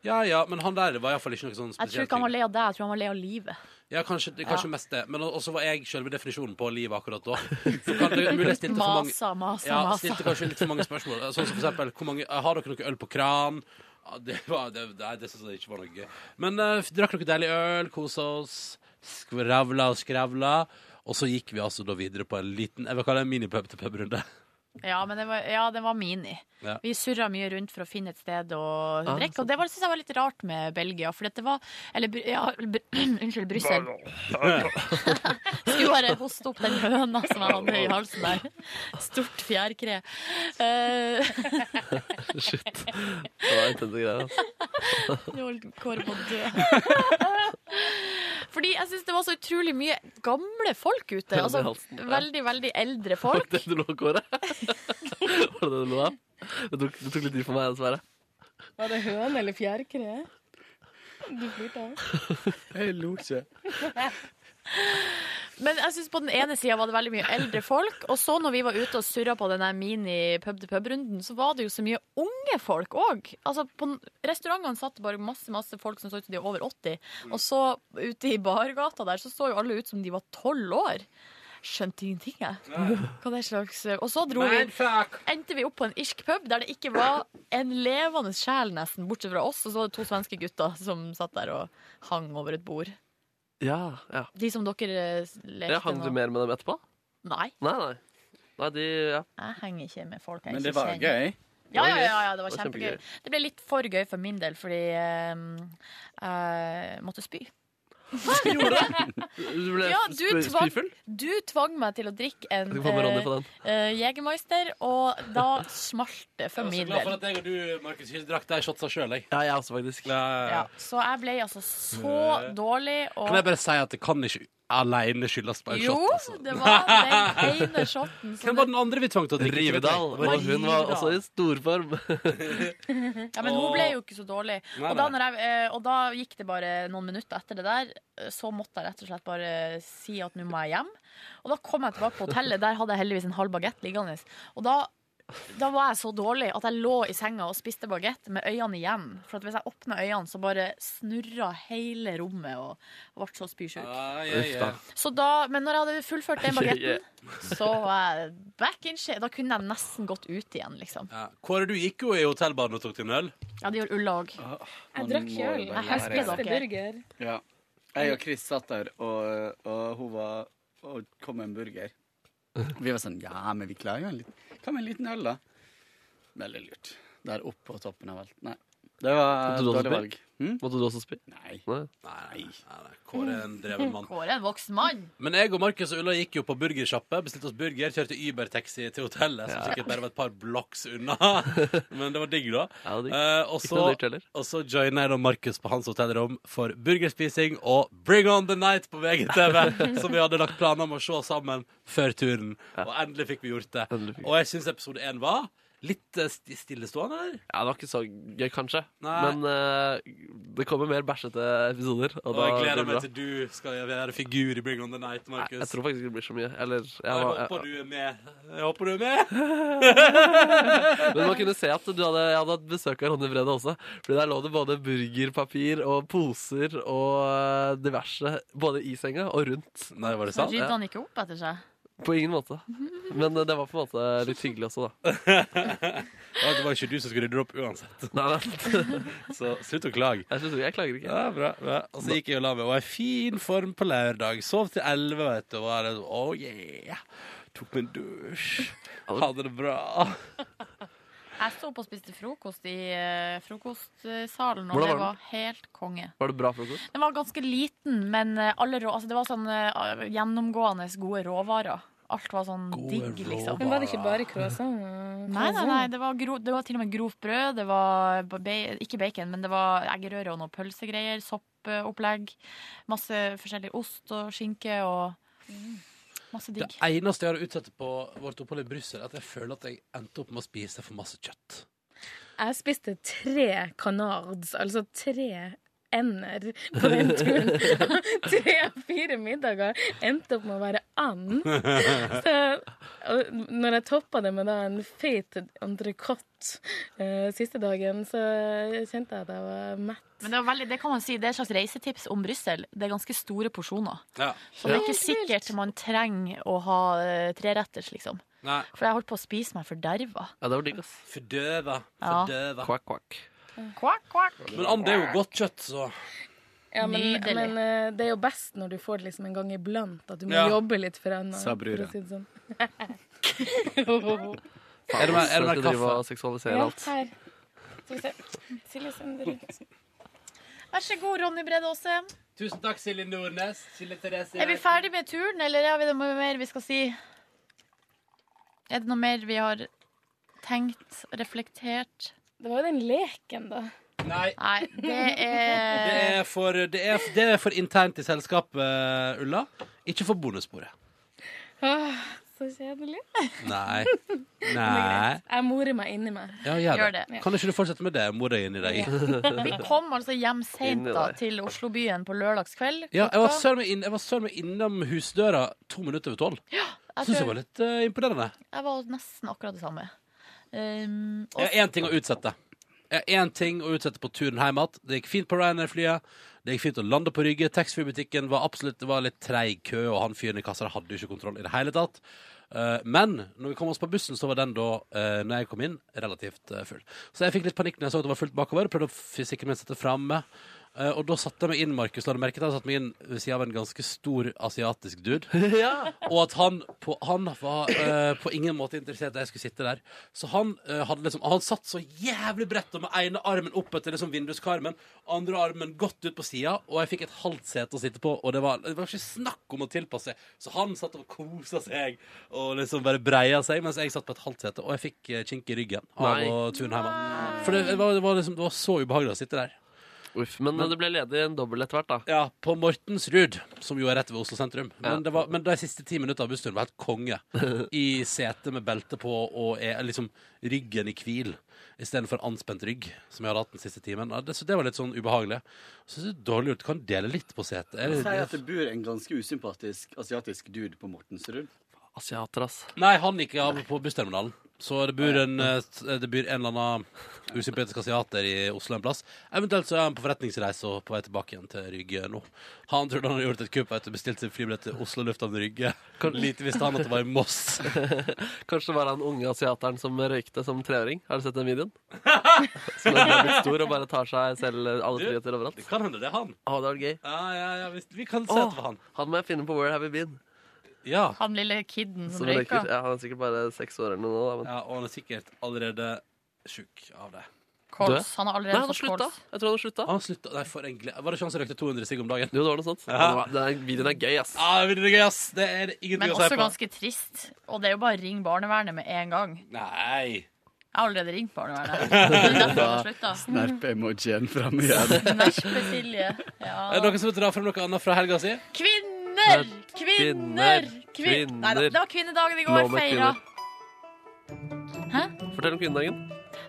[SPEAKER 2] Ja ja, men han der var iallfall ikke noe sånn
[SPEAKER 3] Jeg tror
[SPEAKER 2] spesielt.
[SPEAKER 3] ikke han var lei av deg, jeg tror han var lei av livet.
[SPEAKER 2] Ja, kanskje, det-
[SPEAKER 3] Ja.
[SPEAKER 2] kanskje mest det. Men også var jeg sjølve definisjonen på livet akkurat da. Så kan det mulig jeg stilte for mange
[SPEAKER 3] Masa, masa,
[SPEAKER 2] ja,
[SPEAKER 3] masa.
[SPEAKER 2] Stilte kanskje litt for mange spørsmål. Sånn som for eksempel hvor mange, Har dere noe øl på kran? Ja, Det, var- det, nei, det syns jeg ikke var noe gøy. Men eh, drakk dere deilig øl, kosa oss, skravla og skravla. Og så gikk vi altså da videre på en liten jeg vil kalle det en minipub til pubrunde.
[SPEAKER 3] Ja, men det var, ja, den var mini.
[SPEAKER 2] Ja.
[SPEAKER 3] Vi surra mye rundt for å finne et sted å
[SPEAKER 2] Ah,
[SPEAKER 3] drikke. Og det syns jeg var litt rart med Belgia. For det var Eller Bru- ja, Br- unnskyld, Brussel. Skulle bare hoste opp den høna som jeg hadde i halsen der. Stort fjærkre. Eh,
[SPEAKER 5] Shit. Det var intense greier. Altså.
[SPEAKER 3] Nå holdt Kåre på å dø. Fordi jeg syns det var så utrolig mye gamle folk ute.
[SPEAKER 5] Høna i
[SPEAKER 3] Altså,
[SPEAKER 5] halsen, ja.
[SPEAKER 3] veldig, veldig eldre
[SPEAKER 5] Var
[SPEAKER 3] folk.
[SPEAKER 5] det det du lå Kåre? Var det det du lå av? Det tok, det tok litt tid for meg, dessverre.
[SPEAKER 14] Var det høne eller fjærkre? Du flirte av.
[SPEAKER 15] Jeg lo ikke.
[SPEAKER 3] Men jeg synes på den ene sida var det veldig mye eldre folk, og så når vi var ute og surra på den mini-pub-til-pub-runden, så var det jo så mye unge folk òg. Altså, på n- restaurantene satt det bare masse masse folk som så ut som de var over 80, og så ute i bargata der så så jo alle ut som de var 12 år. Skjønte ingenting, jeg. Hva det slags eh, Og så dro vi,
[SPEAKER 2] Mindfuck.
[SPEAKER 3] endte vi opp på en irsk pub der det ikke var en levende sjel, nesten, bortsett fra oss, og så var det to svenske gutter som satt der og hang over et bord.
[SPEAKER 5] Ja, ja.
[SPEAKER 3] De som dere eh, lekte
[SPEAKER 5] Jeg hang du
[SPEAKER 3] med.
[SPEAKER 5] mer med dem etterpå?
[SPEAKER 3] Nei.
[SPEAKER 5] Nei, nei. nei de, ja.
[SPEAKER 3] Jeg henger ikke med folk jeg
[SPEAKER 5] Men
[SPEAKER 3] ikke
[SPEAKER 5] det var
[SPEAKER 3] kjenner.
[SPEAKER 5] gøy.
[SPEAKER 3] Ja,
[SPEAKER 5] Det var
[SPEAKER 3] ja,
[SPEAKER 5] gøy.
[SPEAKER 3] ja, ja, det var
[SPEAKER 5] Det var
[SPEAKER 3] kjempegøy.
[SPEAKER 5] kjempegøy.
[SPEAKER 3] Det ble litt for gøy for min del, fordi eh, jeg måtte spy.
[SPEAKER 5] Du ble
[SPEAKER 3] Ja, du
[SPEAKER 5] sp-
[SPEAKER 3] tvang,
[SPEAKER 5] spyfull?
[SPEAKER 3] du tvang meg til å drikke en
[SPEAKER 5] Jeg skal få med Ronny på den.
[SPEAKER 3] eh, eh, Jegermeister, og da smalt det for
[SPEAKER 2] Jeg
[SPEAKER 3] min
[SPEAKER 2] er så glad for
[SPEAKER 3] del.
[SPEAKER 2] at jeg og du Markus, ikke drakk de shotsa sjøl, jeg.
[SPEAKER 5] Ja, jeg også, faktisk.
[SPEAKER 3] Ja, så jeg ble altså så dårlig. Og
[SPEAKER 2] Kan jeg bare si at det kan ikke aleine skyldes på en
[SPEAKER 3] Jo,
[SPEAKER 2] shot? Altså.
[SPEAKER 3] det var den ene shoten som
[SPEAKER 2] Hvem var den andre vi tvang til å drikke?
[SPEAKER 5] Rivedal. Og hun var også i storform.
[SPEAKER 3] Ja, men hun
[SPEAKER 5] Åh.
[SPEAKER 3] ble jo ikke så dårlig.
[SPEAKER 5] Nei,
[SPEAKER 3] Og da,
[SPEAKER 5] nei.
[SPEAKER 3] når jeg, eh, og da gikk det bare noen minutter etter det der. eh, Så måtte jeg rett og slett bare si at nå må jeg hjem. Og da kom jeg tilbake på hotellet. Der hadde jeg heldigvis en halv bagett liggende. Og da, da var jeg så dårlig at jeg lå i senga og spiste bagett med øynene igjen. For at hvis jeg åpna øynene, så bare snurra hele rommet og ble så spysjuk.
[SPEAKER 2] ja.
[SPEAKER 3] Så da, men når jeg hadde fullført den
[SPEAKER 2] Ja, ja.
[SPEAKER 3] bagetten, så var jeg back in shape. Da kunne jeg nesten gått ut igjen, liksom.
[SPEAKER 2] Ja. Kåre, du gikk jo i hotellbaren og tok din øl.
[SPEAKER 3] Ja, det gjør Ulla òg.
[SPEAKER 2] Jeg drakk
[SPEAKER 15] må jo øl. bare
[SPEAKER 3] Jeg husker
[SPEAKER 15] lære.
[SPEAKER 3] dere.
[SPEAKER 14] Burger.
[SPEAKER 15] Ja. Jeg og Chris satt der, og, og hun var og kom med en burger. Vi var sånn Ja, men vi klarer jo en liten Hva med en liten øl, da? Veldig lurt. der oppe på toppen av alt. Nei. Det var
[SPEAKER 2] Måtte
[SPEAKER 15] et
[SPEAKER 2] du også
[SPEAKER 15] dårlig
[SPEAKER 2] spille?
[SPEAKER 15] valg. Hm?
[SPEAKER 2] Måtte du også spille?
[SPEAKER 15] Nei.
[SPEAKER 2] Nei. Nei. nei. Kåre er en dreven mann.
[SPEAKER 3] Kåre er en voksen mann.
[SPEAKER 2] Men jeg og Markus og Ulla gikk jo på burgersjappe, bestilte oss burger, kjørte Uber-taxi til hotellet, som
[SPEAKER 15] Ja.
[SPEAKER 2] sikkert bare var et par blocks unna. Men det var digg, da.
[SPEAKER 15] Ja, det var digg.
[SPEAKER 2] Eh, og
[SPEAKER 15] Ikke
[SPEAKER 2] så,
[SPEAKER 15] noe dyrt heller.
[SPEAKER 2] og så joina jeg da Markus på hans hotellrom for burgerspising og Bring on the night på VGTV, som vi hadde lagt planer om å se sammen før turen. Og endelig fikk vi gjort det. Og jeg syns episode én var litt eh, sti- stillestående, eller?
[SPEAKER 5] Ja, det var ikke så gøy, kanskje.
[SPEAKER 2] Nei.
[SPEAKER 5] Men eh, det kommer mer bæsjete episoder. Og,
[SPEAKER 2] Og
[SPEAKER 5] da
[SPEAKER 2] jeg
[SPEAKER 5] blir det
[SPEAKER 2] gleder meg
[SPEAKER 5] bra.
[SPEAKER 2] til du skal være figur i Bring on the night, Markus.
[SPEAKER 5] Jeg tror faktisk ikke det blir så mye. Eller jeg,
[SPEAKER 2] Jeg
[SPEAKER 5] var- jeg-
[SPEAKER 2] håper du er med. Jeg håper du er med.
[SPEAKER 5] Men man kunne se at du hadde, jeg hadde hatt besøk av Ronny Brede også. Fordi der lå det både burgerpapir og poser og eh, diverse. Både i senga og rundt.
[SPEAKER 2] Nei, var
[SPEAKER 3] Rydda han ikke opp etter seg?
[SPEAKER 5] På ingen måte. Men eh, det var på en måte litt hyggelig også, da.
[SPEAKER 2] Ja, det var ikke du som skulle rydde opp uansett. så slutt å klage.
[SPEAKER 5] Jeg, klager ikke.
[SPEAKER 2] Ja, bra, bra. Og så gikk jeg og la meg og var i fin form på lørdag. Sov til elleve, vet du. Og var sånn, oh yeah. Tok meg en dusj. Hadde det bra.
[SPEAKER 3] Jeg sto opp og spiste frokost i eh, frokostsalen, og
[SPEAKER 5] Hvordan
[SPEAKER 3] det
[SPEAKER 5] var den?
[SPEAKER 3] var helt konge.
[SPEAKER 5] Var det bra frokost?
[SPEAKER 3] Den var ganske liten, men eh, alle rå, altså det var sånn eh, gjennomgående gode råvarer. Alt var sånn digg, liksom.
[SPEAKER 14] Men var det ikke bare croissant? og
[SPEAKER 3] Nei, nei,
[SPEAKER 14] croissant?
[SPEAKER 3] nei det, var gro, det var til og med grovt brød. Det var ba- ikke bacon, men det var eggerøre og noe pølsegreier. Soppopplegg. Masse forskjellig ost og skinke og
[SPEAKER 5] Mm.
[SPEAKER 3] masse
[SPEAKER 2] Det
[SPEAKER 3] digg.
[SPEAKER 2] eneste jeg har utsatt på vårt opphold i Brussel, er at jeg føler at jeg endte opp med å spise for masse kjøtt.
[SPEAKER 14] Jeg spiste tre canards, altså tre ender på den turen. tre av fire middager endte opp med å være and. Så, og når jeg toppa det med da en fet entrecôte eh, siste dagen, så kjente jeg at jeg var mett.
[SPEAKER 3] Men det, var veldig, det kan man si, det er et slags reisetips om Brussel. Det er ganske store porsjoner.
[SPEAKER 2] Ja.
[SPEAKER 3] Så det er ikke sikkert man trenger å ha eh, treretters, liksom.
[SPEAKER 2] Nei.
[SPEAKER 3] For jeg holdt på å spise meg forderva.
[SPEAKER 5] Ja, det var digg, ass.
[SPEAKER 2] Fordøva.
[SPEAKER 3] Ja.
[SPEAKER 2] Fordøva.
[SPEAKER 5] Kvakk, kvakk.
[SPEAKER 3] Kvakk, kvakk.
[SPEAKER 2] Men and er jo godt kjøtt, så
[SPEAKER 14] Ja, men,
[SPEAKER 3] Nydelig.
[SPEAKER 14] men eh, det er jo best når du får det liksom en gang iblant, at du må
[SPEAKER 2] Ja.
[SPEAKER 14] jobbe litt for enden.
[SPEAKER 2] Sa brura.
[SPEAKER 14] for å si det sånn.
[SPEAKER 2] Er det mer- er det mer
[SPEAKER 5] Skal drive og
[SPEAKER 2] kaffe?
[SPEAKER 5] seksualisere alt.
[SPEAKER 14] Her. Skal vi se. Silje sender rundt.
[SPEAKER 3] Vær så god, Ronny Brede Aase.
[SPEAKER 2] Tusen takk, Silje Nordnes. Silje Therese.
[SPEAKER 3] Er vi ferdig med turen, eller har vi det noe mer vi skal si? Er det noe mer vi har tenkt, reflektert?
[SPEAKER 14] Det var jo den leken, da.
[SPEAKER 2] Nei.
[SPEAKER 3] det er
[SPEAKER 2] Det er for, det er, det er for internt i selskapet, Ulla. Ikke for bonussporet.
[SPEAKER 14] Åh, så kjedelig.
[SPEAKER 2] Nei. Nei.
[SPEAKER 14] greit. Jeg morer meg inni meg.
[SPEAKER 2] Ja, gjør det.
[SPEAKER 14] Ja.
[SPEAKER 2] Kan ikke du fortsette med det? Mor deg inn i deg.
[SPEAKER 3] Vi kom altså hjem
[SPEAKER 2] Inn i
[SPEAKER 3] seint
[SPEAKER 2] deg.
[SPEAKER 3] til Oslobyen på lørdagskveld.
[SPEAKER 2] Ja, jeg var
[SPEAKER 3] Klokka-
[SPEAKER 2] søren meg inn- jeg var søren meg innom husdøra to minutter over tolv.
[SPEAKER 3] jeg
[SPEAKER 2] Syns
[SPEAKER 14] altså-
[SPEAKER 3] tror-
[SPEAKER 2] jeg var litt eh, imponerende.
[SPEAKER 3] Jeg var nesten akkurat det samme. Um, og-
[SPEAKER 2] Jeg har én ting å utsette. Jeg har én ting å utsette på turen hjem igjen. Det gikk fint på Ryanair-flyet. Det gikk fint å lande på Rygge. Taxfree-butikken var absolutt det var litt treig kø, og han fyren i kassa der hadde jo ikke kontroll i det hele tatt. Eh, Men når vi kom oss på bussen, så var den da, eh, når jeg kom inn, relativt eh, full. Så jeg fikk litt panikk når jeg så at det var fullt bakover. Prøvde å f- sikre meg å sette framme. Eh, Og da satte jeg meg inn, Markus. La du merke til at jeg satte meg inn ved siden av en ganske stor asiatisk dude. Og at han på, han var eh, på ingen måte interessert i at jeg skulle sitte der. Så han eh, hadde liksom Han satt så jævlig bredt og med ene armen opp etter liksom vinduskarmen, andre armen godt ut på sida, og jeg fikk et halvt sete å sitte på, og det var, det var ikke snakk om å tilpasse seg. Så han satt og kosa seg og liksom bare breia seg, mens jeg satt på et halvt sete, og jeg fikk eh, kink i ryggen av
[SPEAKER 5] Nei.
[SPEAKER 2] å tune hjemme. For det, det, var, det, var liksom, det var så ubehagelig å sitte der.
[SPEAKER 5] Uff, men, eh,
[SPEAKER 2] Men-
[SPEAKER 5] det ble ledig en dobbel etter hvert, da.
[SPEAKER 2] Ja, på Mortensrud, som jo er rett ved Oslo sentrum.
[SPEAKER 5] Ja.
[SPEAKER 2] Men, det var, men de siste ti minuttene av bussturen var helt konge. I sete med belte på og er liksom ryggen i hvil istedenfor anspent rygg, som jeg hadde hatt den siste timen. Ja, det- Så det var litt sånn ubehagelig. Så det er dårlig gjort. Kan dele litt på setet. Er
[SPEAKER 14] sånn.
[SPEAKER 15] Si
[SPEAKER 2] det-
[SPEAKER 15] at det bor en ganske usympatisk asiatisk dude på Mortensrud.
[SPEAKER 5] Asiater, ass.
[SPEAKER 2] Nei, han gikk av på bussterminalen. Så det bor en, eh, det bor en eller annen usympatisk asiater i Oslo en plass. Eventuelt så er han på forretningsreise og på vei tilbake igjen til Rygge nå. Han trodde han hadde gjort et kupp etter å bestilt sin flybillett til Oslo lufthavn Rygge. Lite visste han at det var i Moss.
[SPEAKER 5] Kanskje det var han unge asiateren som røykte som treåring. Har du sett den videoen? Som er blitt stor og bare tar seg selv eh, alle friheter overalt. Det
[SPEAKER 2] kan hende det er han.
[SPEAKER 5] Å, det var gøy.
[SPEAKER 2] Ja, ja, ja, visst. vi kan se at det var han.
[SPEAKER 5] Han må jeg finne på Where Have You Been.
[SPEAKER 2] Ja.
[SPEAKER 3] Han lille kiden som
[SPEAKER 5] Som røyker.
[SPEAKER 3] røyka.
[SPEAKER 5] Ja, han er sikkert bare seks år eller noe. Da, men.
[SPEAKER 2] Ja, og han er sikkert allerede sjuk av det.
[SPEAKER 3] Kols. Han har allerede
[SPEAKER 2] Nei, han har
[SPEAKER 3] fått
[SPEAKER 2] slutta.
[SPEAKER 3] kols.
[SPEAKER 2] Jeg tror han har slutta. Han slutta. Nei, for en glede. Var det ikke han som røykte 200 sigg om dagen?
[SPEAKER 16] Jo, det var noe sånt.
[SPEAKER 2] Ja.
[SPEAKER 16] Den er- videoen er gøy, ass.
[SPEAKER 2] Ja, det blir gøy, ass. Det er
[SPEAKER 3] Men
[SPEAKER 2] ingenting å
[SPEAKER 3] også
[SPEAKER 2] si på.
[SPEAKER 3] ganske trist. Og det er jo bare å ringe barnevernet med en gang.
[SPEAKER 2] Nei.
[SPEAKER 3] Jeg har allerede ringt barnevernet. Det er derfor han har slutta.
[SPEAKER 2] Mm.
[SPEAKER 15] Snerp-emojien fram igjen.
[SPEAKER 3] Silje. Ja.
[SPEAKER 2] Er det noen som vil dra frem noe annet fra helga si?
[SPEAKER 3] Kvinner! Kvinner! Kvin... Nei da, det var kvinnedagen i går.
[SPEAKER 16] Lov med
[SPEAKER 3] Feira.
[SPEAKER 16] Fortell om kvinnedagen.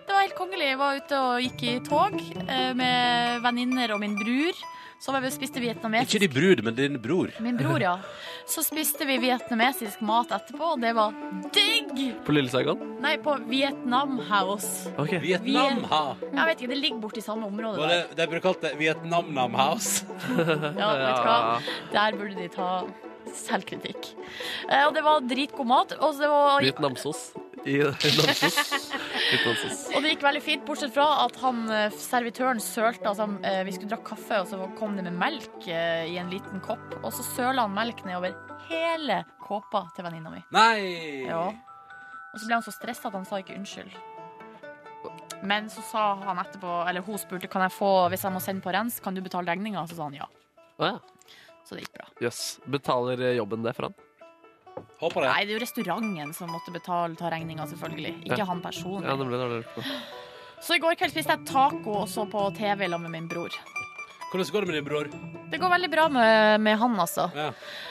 [SPEAKER 3] Det var helt kongelig. Jeg var ute og gikk i tog eh, med venninner og min bror. Så var vi og spiste vietnamesisk
[SPEAKER 2] Ikke din brud, men din bror.
[SPEAKER 3] Min bror, ja. Så spiste vi vietnamesisk mat etterpå, og det var digg!
[SPEAKER 16] På Lille Saigon.
[SPEAKER 3] Nei, på Vietnam House.
[SPEAKER 16] Ok.
[SPEAKER 2] Vietnam, ha.
[SPEAKER 3] Jeg vet ikke, det ligger borti samme område
[SPEAKER 2] Var
[SPEAKER 3] der.
[SPEAKER 2] det, de bruker alt det Vietnam-nam house.
[SPEAKER 3] Ja, vet du hva? Der burde de ta selvkritikk. Eh, Og det var dritgod mat, og det, var,
[SPEAKER 16] Vietnamsos. I Namsos. Vietnamsos.
[SPEAKER 3] og det gikk veldig fint, bortsett fra at han, eh, servitøren sølte, altså eh, vi skulle drakke kaffe, og så kom det med melk eh, i en liten kopp, og så søla han melk nedover hele kåpa til venninna mi.
[SPEAKER 2] Nei!
[SPEAKER 3] Ja. Og så ble han så stressa at han sa ikke unnskyld. Men så sa han etterpå, eller hun spurte kan jeg få, hvis jeg må sende på rens, kan du betale regninga? Så sa han ja.
[SPEAKER 16] Å ja.
[SPEAKER 3] Så det gikk bra.
[SPEAKER 16] Jøss. Betaler eh, jobben det for han?
[SPEAKER 2] Håper
[SPEAKER 3] Nei, det er jo restauranten som måtte betale, ta regninga, selvfølgelig. Ikke
[SPEAKER 16] Ja.
[SPEAKER 3] han
[SPEAKER 16] Ja,
[SPEAKER 3] personlig.
[SPEAKER 16] nemlig, det har jeg lurt på.
[SPEAKER 3] Så i går kveld spiste jeg taco og så på TV sammen med min bror.
[SPEAKER 2] Hvordan går det med din bror?
[SPEAKER 3] Det går veldig bra med, med han, altså.
[SPEAKER 2] Ja.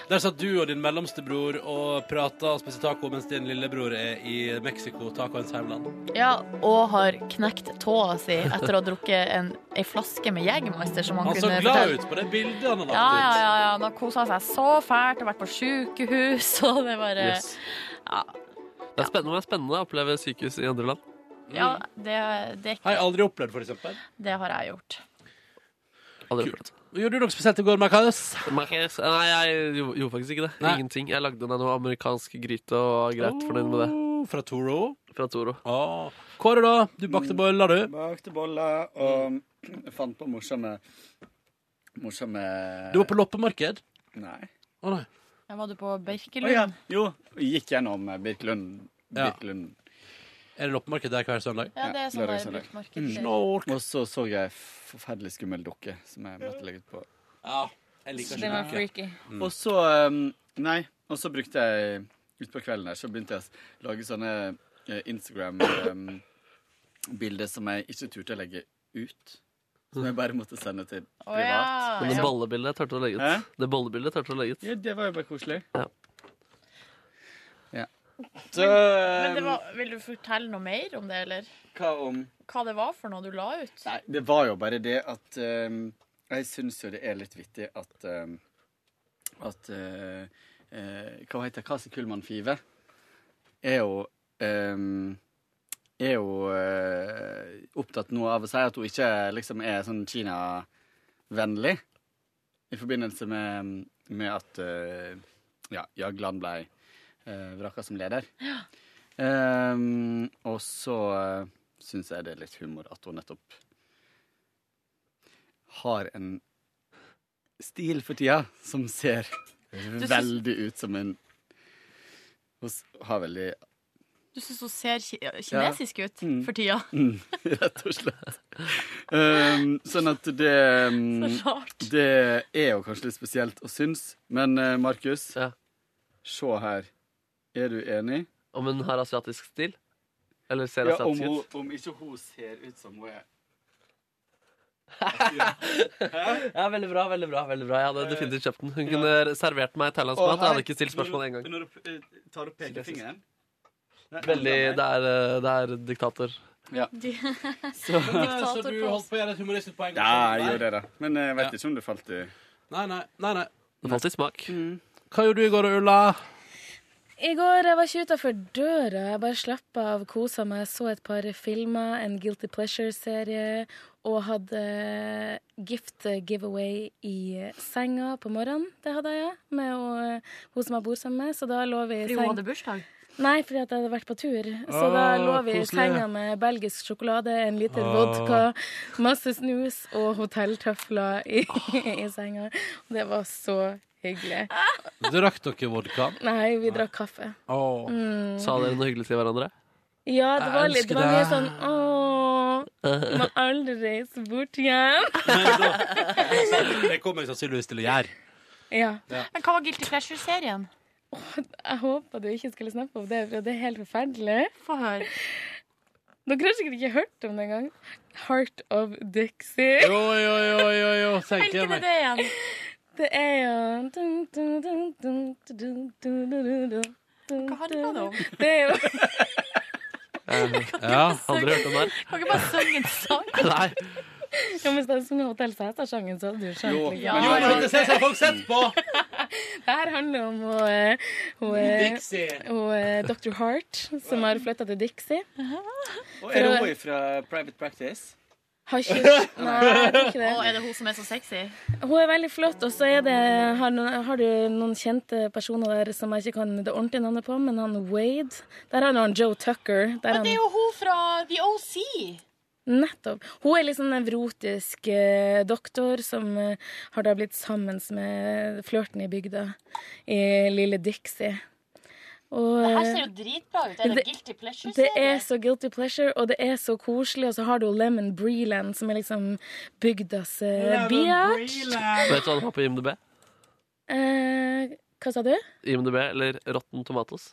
[SPEAKER 2] Der satt du og din mellomste bror og prata og spiste taco, mens din lillebror er i Mexico, tacoens hjemland.
[SPEAKER 3] Ja, Og har knekt tåa si etter å ha drukket en, ei flaske med Jegermeister. som han,
[SPEAKER 2] Han så
[SPEAKER 3] kunne
[SPEAKER 2] glad
[SPEAKER 3] fortelle-
[SPEAKER 2] ut på det bildet han har lagt
[SPEAKER 3] Ja, ja,
[SPEAKER 2] ut.
[SPEAKER 3] ja, ja. Han har kosa seg så fælt og vært på sjukehus, og det bare
[SPEAKER 16] Yes. Det er spennende, det er spennende å oppleve sykehus i andre land.
[SPEAKER 15] Mm.
[SPEAKER 3] Ja, det, det, er
[SPEAKER 2] Har
[SPEAKER 3] ikke,
[SPEAKER 2] jeg aldri opplevd, for eksempel.
[SPEAKER 3] det har jeg gjort.
[SPEAKER 16] Aldri hørt.
[SPEAKER 2] Gjorde du noe spesielt i går, Marcus?
[SPEAKER 16] Marcus, Nei, jeg gjo- gjorde faktisk ikke det.
[SPEAKER 2] Nei.
[SPEAKER 16] Ingenting. Jeg lagde meg noe amerikansk gryte og var greit fornøyd med det.
[SPEAKER 2] Oh, Fra Toro?
[SPEAKER 16] Fra Toro.
[SPEAKER 2] Kåre, da? Du bakte boller, du?
[SPEAKER 15] Bakte boller og fant på morsomme Morsomme
[SPEAKER 2] Du var på loppemarked?
[SPEAKER 15] Nei.
[SPEAKER 2] Å nei.
[SPEAKER 3] Jeg var du på
[SPEAKER 15] Å ja.
[SPEAKER 3] Birkelund?
[SPEAKER 15] Jo, gikk gjennom eh, Birkelund.
[SPEAKER 2] Ja.
[SPEAKER 15] Birkelund.
[SPEAKER 2] Er det loppemarked der hver søndag?
[SPEAKER 3] Ja, det er sånn
[SPEAKER 15] lørdag,
[SPEAKER 3] der
[SPEAKER 15] søndag.
[SPEAKER 3] bruktmarked.
[SPEAKER 15] Mm.
[SPEAKER 2] Snork.
[SPEAKER 15] Og så så jeg en forferdelig skummel dukke som jeg måtte legge ut på.
[SPEAKER 2] Ja, jeg liker
[SPEAKER 14] Det var
[SPEAKER 2] ikke
[SPEAKER 14] freaky.
[SPEAKER 15] Og så um, Nei, og så brukte jeg utpå kvelden der, så begynte jeg å lage sånne eh, Instagram-bilder som jeg ikke turte å legge ut. Som jeg bare måtte sende til
[SPEAKER 3] Å, ja.
[SPEAKER 15] privat.
[SPEAKER 16] Men det bollebildet turte å legge
[SPEAKER 15] Hæ?
[SPEAKER 16] ut. Det bollebildet turte å legge ut.
[SPEAKER 15] Ja, det var jo bare koselig.
[SPEAKER 16] Ja.
[SPEAKER 15] Ja. Så
[SPEAKER 3] Men det
[SPEAKER 15] um,
[SPEAKER 3] var, vil du fortelle noe mer om det, eller?
[SPEAKER 15] hva om
[SPEAKER 3] Hva det var for noe du la ut?
[SPEAKER 15] Nei, det var jo bare det at ehm, Jeg syns jo det er litt vittig at ehm, At eh, eh, Hva heter Kasi Kullmann Five? Er jo ehm, Er jo eh, opptatt nå av å si at hun ikke liksom er sånn Kina-vennlig. I forbindelse med, ehm, med at eh, ja, Jagland ble uh, vraka som leder. Ehm, og så uh, syns jeg det er litt humor at hun nettopp har en stil for tida som ser
[SPEAKER 3] syns-
[SPEAKER 15] veldig ut som en Hun s- har veldig
[SPEAKER 3] Du syns hun ser ki kinesisk ut for tida.
[SPEAKER 15] Mm, Rett og slett. Ehm, sånn at det um,
[SPEAKER 3] Så rart.
[SPEAKER 15] Det er jo kanskje litt spesielt å synes, men eh, Markus, se her. Er du enig?
[SPEAKER 16] Om hun har asiatisk stil? Eller ser
[SPEAKER 15] Ja, om,
[SPEAKER 16] asiatisk
[SPEAKER 15] hun,
[SPEAKER 16] ut?
[SPEAKER 15] om ikke hun ser ut som hun er.
[SPEAKER 16] Ja, veldig bra, veldig bra. veldig bra. Jeg hadde definitivt kjøpt den. Hun kunne servert meg thailandsk mat.
[SPEAKER 15] Og
[SPEAKER 16] Jeg hadde
[SPEAKER 15] her,
[SPEAKER 16] ikke stilt spørsmål engang.
[SPEAKER 15] Når du, når du eh, tar opp pekefingeren
[SPEAKER 16] Veldig Det er, eh, det er diktator.
[SPEAKER 15] Ja.
[SPEAKER 2] Så, så du holdt på å gjøre et humoristisk poeng?
[SPEAKER 15] Ja, jeg gjør det, da. Men eh, jeg vet ikke om det falt i
[SPEAKER 2] Nei, nei, nei, nei.
[SPEAKER 16] Det falt i smak.
[SPEAKER 2] Hva gjorde du i går, Ulla?
[SPEAKER 14] I går jeg var ikke utafor døra. Jeg bare slappa av, kosa meg, så et par filmer, en Guilty Pleasure-serie, og hadde Eh, gift giveaway i eh, senga på morgenen. Det hadde jeg, med å- eh, hun som jeg bor sammen med. Så da lå vi i
[SPEAKER 15] sånn-
[SPEAKER 3] Fordi hun hadde bursdag?
[SPEAKER 14] Nei, fordi at jeg hadde vært på tur. Så
[SPEAKER 3] Åh,
[SPEAKER 14] da lå vi i
[SPEAKER 3] koselig.
[SPEAKER 14] senga med belgisk sjokolade, en liten
[SPEAKER 3] Åh.
[SPEAKER 14] vodka, masse snus og hotelltøfler i, i senga. Og det var så hyggelig.
[SPEAKER 2] Drakk dere vodka?
[SPEAKER 14] Nei, vi drakk kaffe.
[SPEAKER 2] Åh.
[SPEAKER 14] Mm.
[SPEAKER 16] Sa dere noe hyggelig til hverandre?
[SPEAKER 14] Ja, det
[SPEAKER 16] Jeg
[SPEAKER 14] var litt
[SPEAKER 16] elsker
[SPEAKER 14] det var mye
[SPEAKER 16] deg.
[SPEAKER 14] sånn Å, Du må aldri reise bort igjen.
[SPEAKER 2] Det kommer jeg sannsynligvis til å gjøre.
[SPEAKER 14] Ja.
[SPEAKER 2] Ja.
[SPEAKER 14] Men hva var Guilty Pleasure-serien? jeg håpa du ikke skulle snakke om det, for det er helt forferdelig. Få høre. Dere har sikkert ikke hørt om det engang. Heart of Dixie.
[SPEAKER 2] Jo, jo, jo, jo, jo. tenker jeg
[SPEAKER 14] Hvilken er
[SPEAKER 2] meg.
[SPEAKER 14] det igjen? Det er jo dun, dun, dun, dun, dun, dun, dun, dun, dun, dun. Hva handler det om? Det er jo
[SPEAKER 2] Ja, aldri hørt om det.
[SPEAKER 14] Kan ikke bare synge en sang?
[SPEAKER 2] Nei.
[SPEAKER 14] Ja, men Hvis du sunget Hotell Sæter-sangen, så hadde du skjønt.
[SPEAKER 2] Jo,
[SPEAKER 14] liksom.
[SPEAKER 2] jo, men det ser seg folk sett på!
[SPEAKER 14] Det her handler om hun, eh, hun, eh,
[SPEAKER 15] Dixie.
[SPEAKER 14] hun, eh, Dr. Hart, som har flytta til Dixie.
[SPEAKER 15] Og er
[SPEAKER 14] For
[SPEAKER 15] det
[SPEAKER 14] å-
[SPEAKER 15] hun fra Private Practice?
[SPEAKER 14] Har ikke, nei, jeg tror ikke det.
[SPEAKER 3] Å, er det hun som er så sexy?
[SPEAKER 14] Hun er veldig flott, og så er det, har, noen- har du noen kjente personer der som jeg ikke kan det ordentlige navnet på, men han Wade Der har du han Joe Tucker. Der
[SPEAKER 3] Men
[SPEAKER 14] han,
[SPEAKER 3] det er jo hun fra The OC!
[SPEAKER 14] Ehm, Nettopp. Hun er litt sånn nevrotisk eh, doktor som eh, har da blitt sammen med flørten i bygda, i lille Dixie. Og,
[SPEAKER 3] Det her
[SPEAKER 14] eh,
[SPEAKER 3] ser jo dritbra ut. Er det,
[SPEAKER 14] det-
[SPEAKER 3] Guilty
[SPEAKER 14] det
[SPEAKER 3] Pleasure-serie?
[SPEAKER 14] er så guilty pleasure, og det er så koselig. Og så har du Lemon Breeland, som er liksom bygdas uh,
[SPEAKER 16] Lemon
[SPEAKER 14] biatch.
[SPEAKER 16] Vet du hva han har på IMDb?
[SPEAKER 14] Eh, hva sa du?
[SPEAKER 16] IMDb eller Rotten Tomatoes?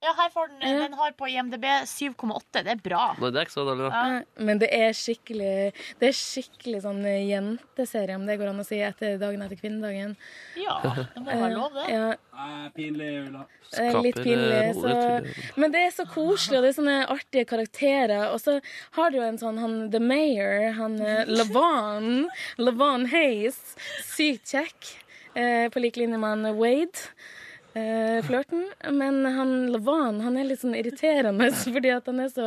[SPEAKER 3] Ja, her får den, den har på IMDb 7,8. Det er bra.
[SPEAKER 16] Nei, det er ikke så dårlig, da.
[SPEAKER 14] Eh, Men det er skikkelig Det er skikkelig sånn eh, jenteserie, om det går an å si, etter dagen etter kvinnedagen.
[SPEAKER 3] Ja, det må være lov, det.
[SPEAKER 14] Eh, ja.
[SPEAKER 2] Pinlig, Ulla.
[SPEAKER 14] Eh, Litt pinlig. Så... Men det er så koselig, og det er sånne artige karakterer. Og så har du jo en sånn han The Mayor, han eh, Lavan, Lavan Hayes. Sykt kjekk. Eh, på lik linje med han Wade. Eh, flørten. Men han Lavan han er litt sånn irriterende fordi at han er så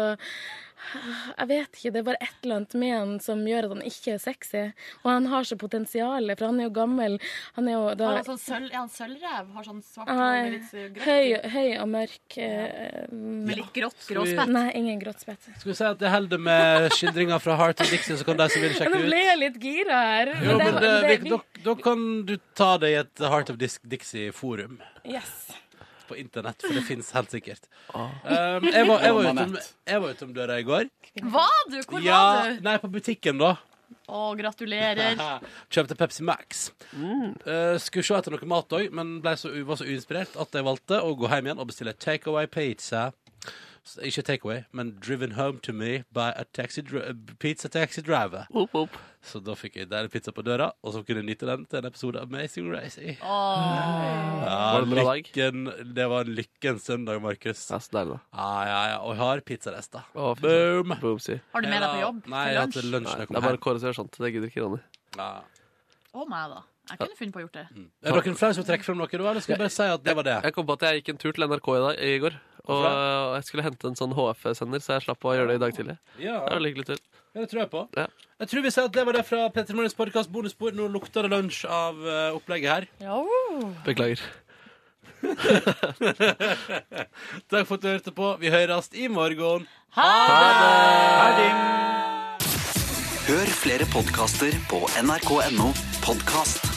[SPEAKER 14] jeg vet ikke, det er bare et eller annet med han som gjør at han ikke er sexy. Og han har så potensial, for han er jo gammel. Han er jo da
[SPEAKER 3] Har han sånn sølv, er han sølvrev? Har sånn svart hår
[SPEAKER 14] Nei,
[SPEAKER 3] med litt eh, grått?
[SPEAKER 14] høy, høy og mørk. eh,
[SPEAKER 3] Med litt grått
[SPEAKER 2] grå spett?
[SPEAKER 14] Nei, ingen grått spett.
[SPEAKER 2] Skal vi si at det holder med skildringa fra Heart of Dixie, så kan de som vil
[SPEAKER 14] Ja,
[SPEAKER 2] sjekke
[SPEAKER 14] Nå ble
[SPEAKER 2] ut
[SPEAKER 14] jeg litt gira her.
[SPEAKER 2] jo, men eh, det,
[SPEAKER 14] det-
[SPEAKER 2] vi, da, da kan du ta det i et Heart of Dis- Dixie-forum
[SPEAKER 14] Yes.
[SPEAKER 2] på internett, for det fins helt sikkert. Um, jeg, var, jeg, var utom, jeg var utom døra i går.
[SPEAKER 3] Var du? Hvor
[SPEAKER 2] ja,
[SPEAKER 3] var du?
[SPEAKER 2] Nei, på butikken, da.
[SPEAKER 3] Å, gratulerer.
[SPEAKER 2] Kjøpte Pepsi Max. Eh, skulle se etter noe mat òg, men ble så, var så uinspirert at jeg valgte å gå hjem igjen og bestille takeaway pizza. S- Ikke takeaway, men driven home to me by a taxi dri- eh, pizza taxi driver. Så da fikk jeg deilig pizza på døra, og så kunne jeg nyte den til en episode av Amazing Racy. Ja,
[SPEAKER 16] Var det en bra dag?
[SPEAKER 2] lykken, det var en lykkens søndag, Markus.
[SPEAKER 16] Ja, så deilig, da.
[SPEAKER 2] Ja, ja, ja. Og jeg har pizzarester.
[SPEAKER 16] Å, fy
[SPEAKER 2] Boom!
[SPEAKER 16] søren. Boom, si.
[SPEAKER 3] Har du med deg på jobb?
[SPEAKER 2] Nei,
[SPEAKER 3] Til
[SPEAKER 2] jeg har til
[SPEAKER 3] lunsj?
[SPEAKER 2] lunsj
[SPEAKER 16] Nei, det
[SPEAKER 2] når jeg
[SPEAKER 16] er
[SPEAKER 2] kommer hjem.
[SPEAKER 16] bare Kåre som gjør sånt. Det gidder ikke Ronny.
[SPEAKER 3] Å, meg, da. Jeg kunne funnet på å gjort det.
[SPEAKER 2] Er dere flaue som trekker frem noe, da? Eller skal jeg bare si at det var det?
[SPEAKER 16] Jeg kom på at jeg gikk en tur til NRK i, dag, i går. Og og jeg skulle hente en sånn HF-sender, så jeg slapp å gjøre det i dag tidlig.
[SPEAKER 2] Ja.
[SPEAKER 16] Det var veldig hyggelig tur.
[SPEAKER 2] Ja, det tror jeg på.
[SPEAKER 16] Ja.
[SPEAKER 2] Jeg tror vi sier at det var det fra Petter Morgens podkast Bonusbord. Nå lukter det lunsj av eh, opplegget her.
[SPEAKER 16] Beklager.
[SPEAKER 2] Takk for at du hørte på. Vi høres i morgen.
[SPEAKER 1] Ha
[SPEAKER 2] det!
[SPEAKER 1] Hør flere podkaster på nrk.no podkast.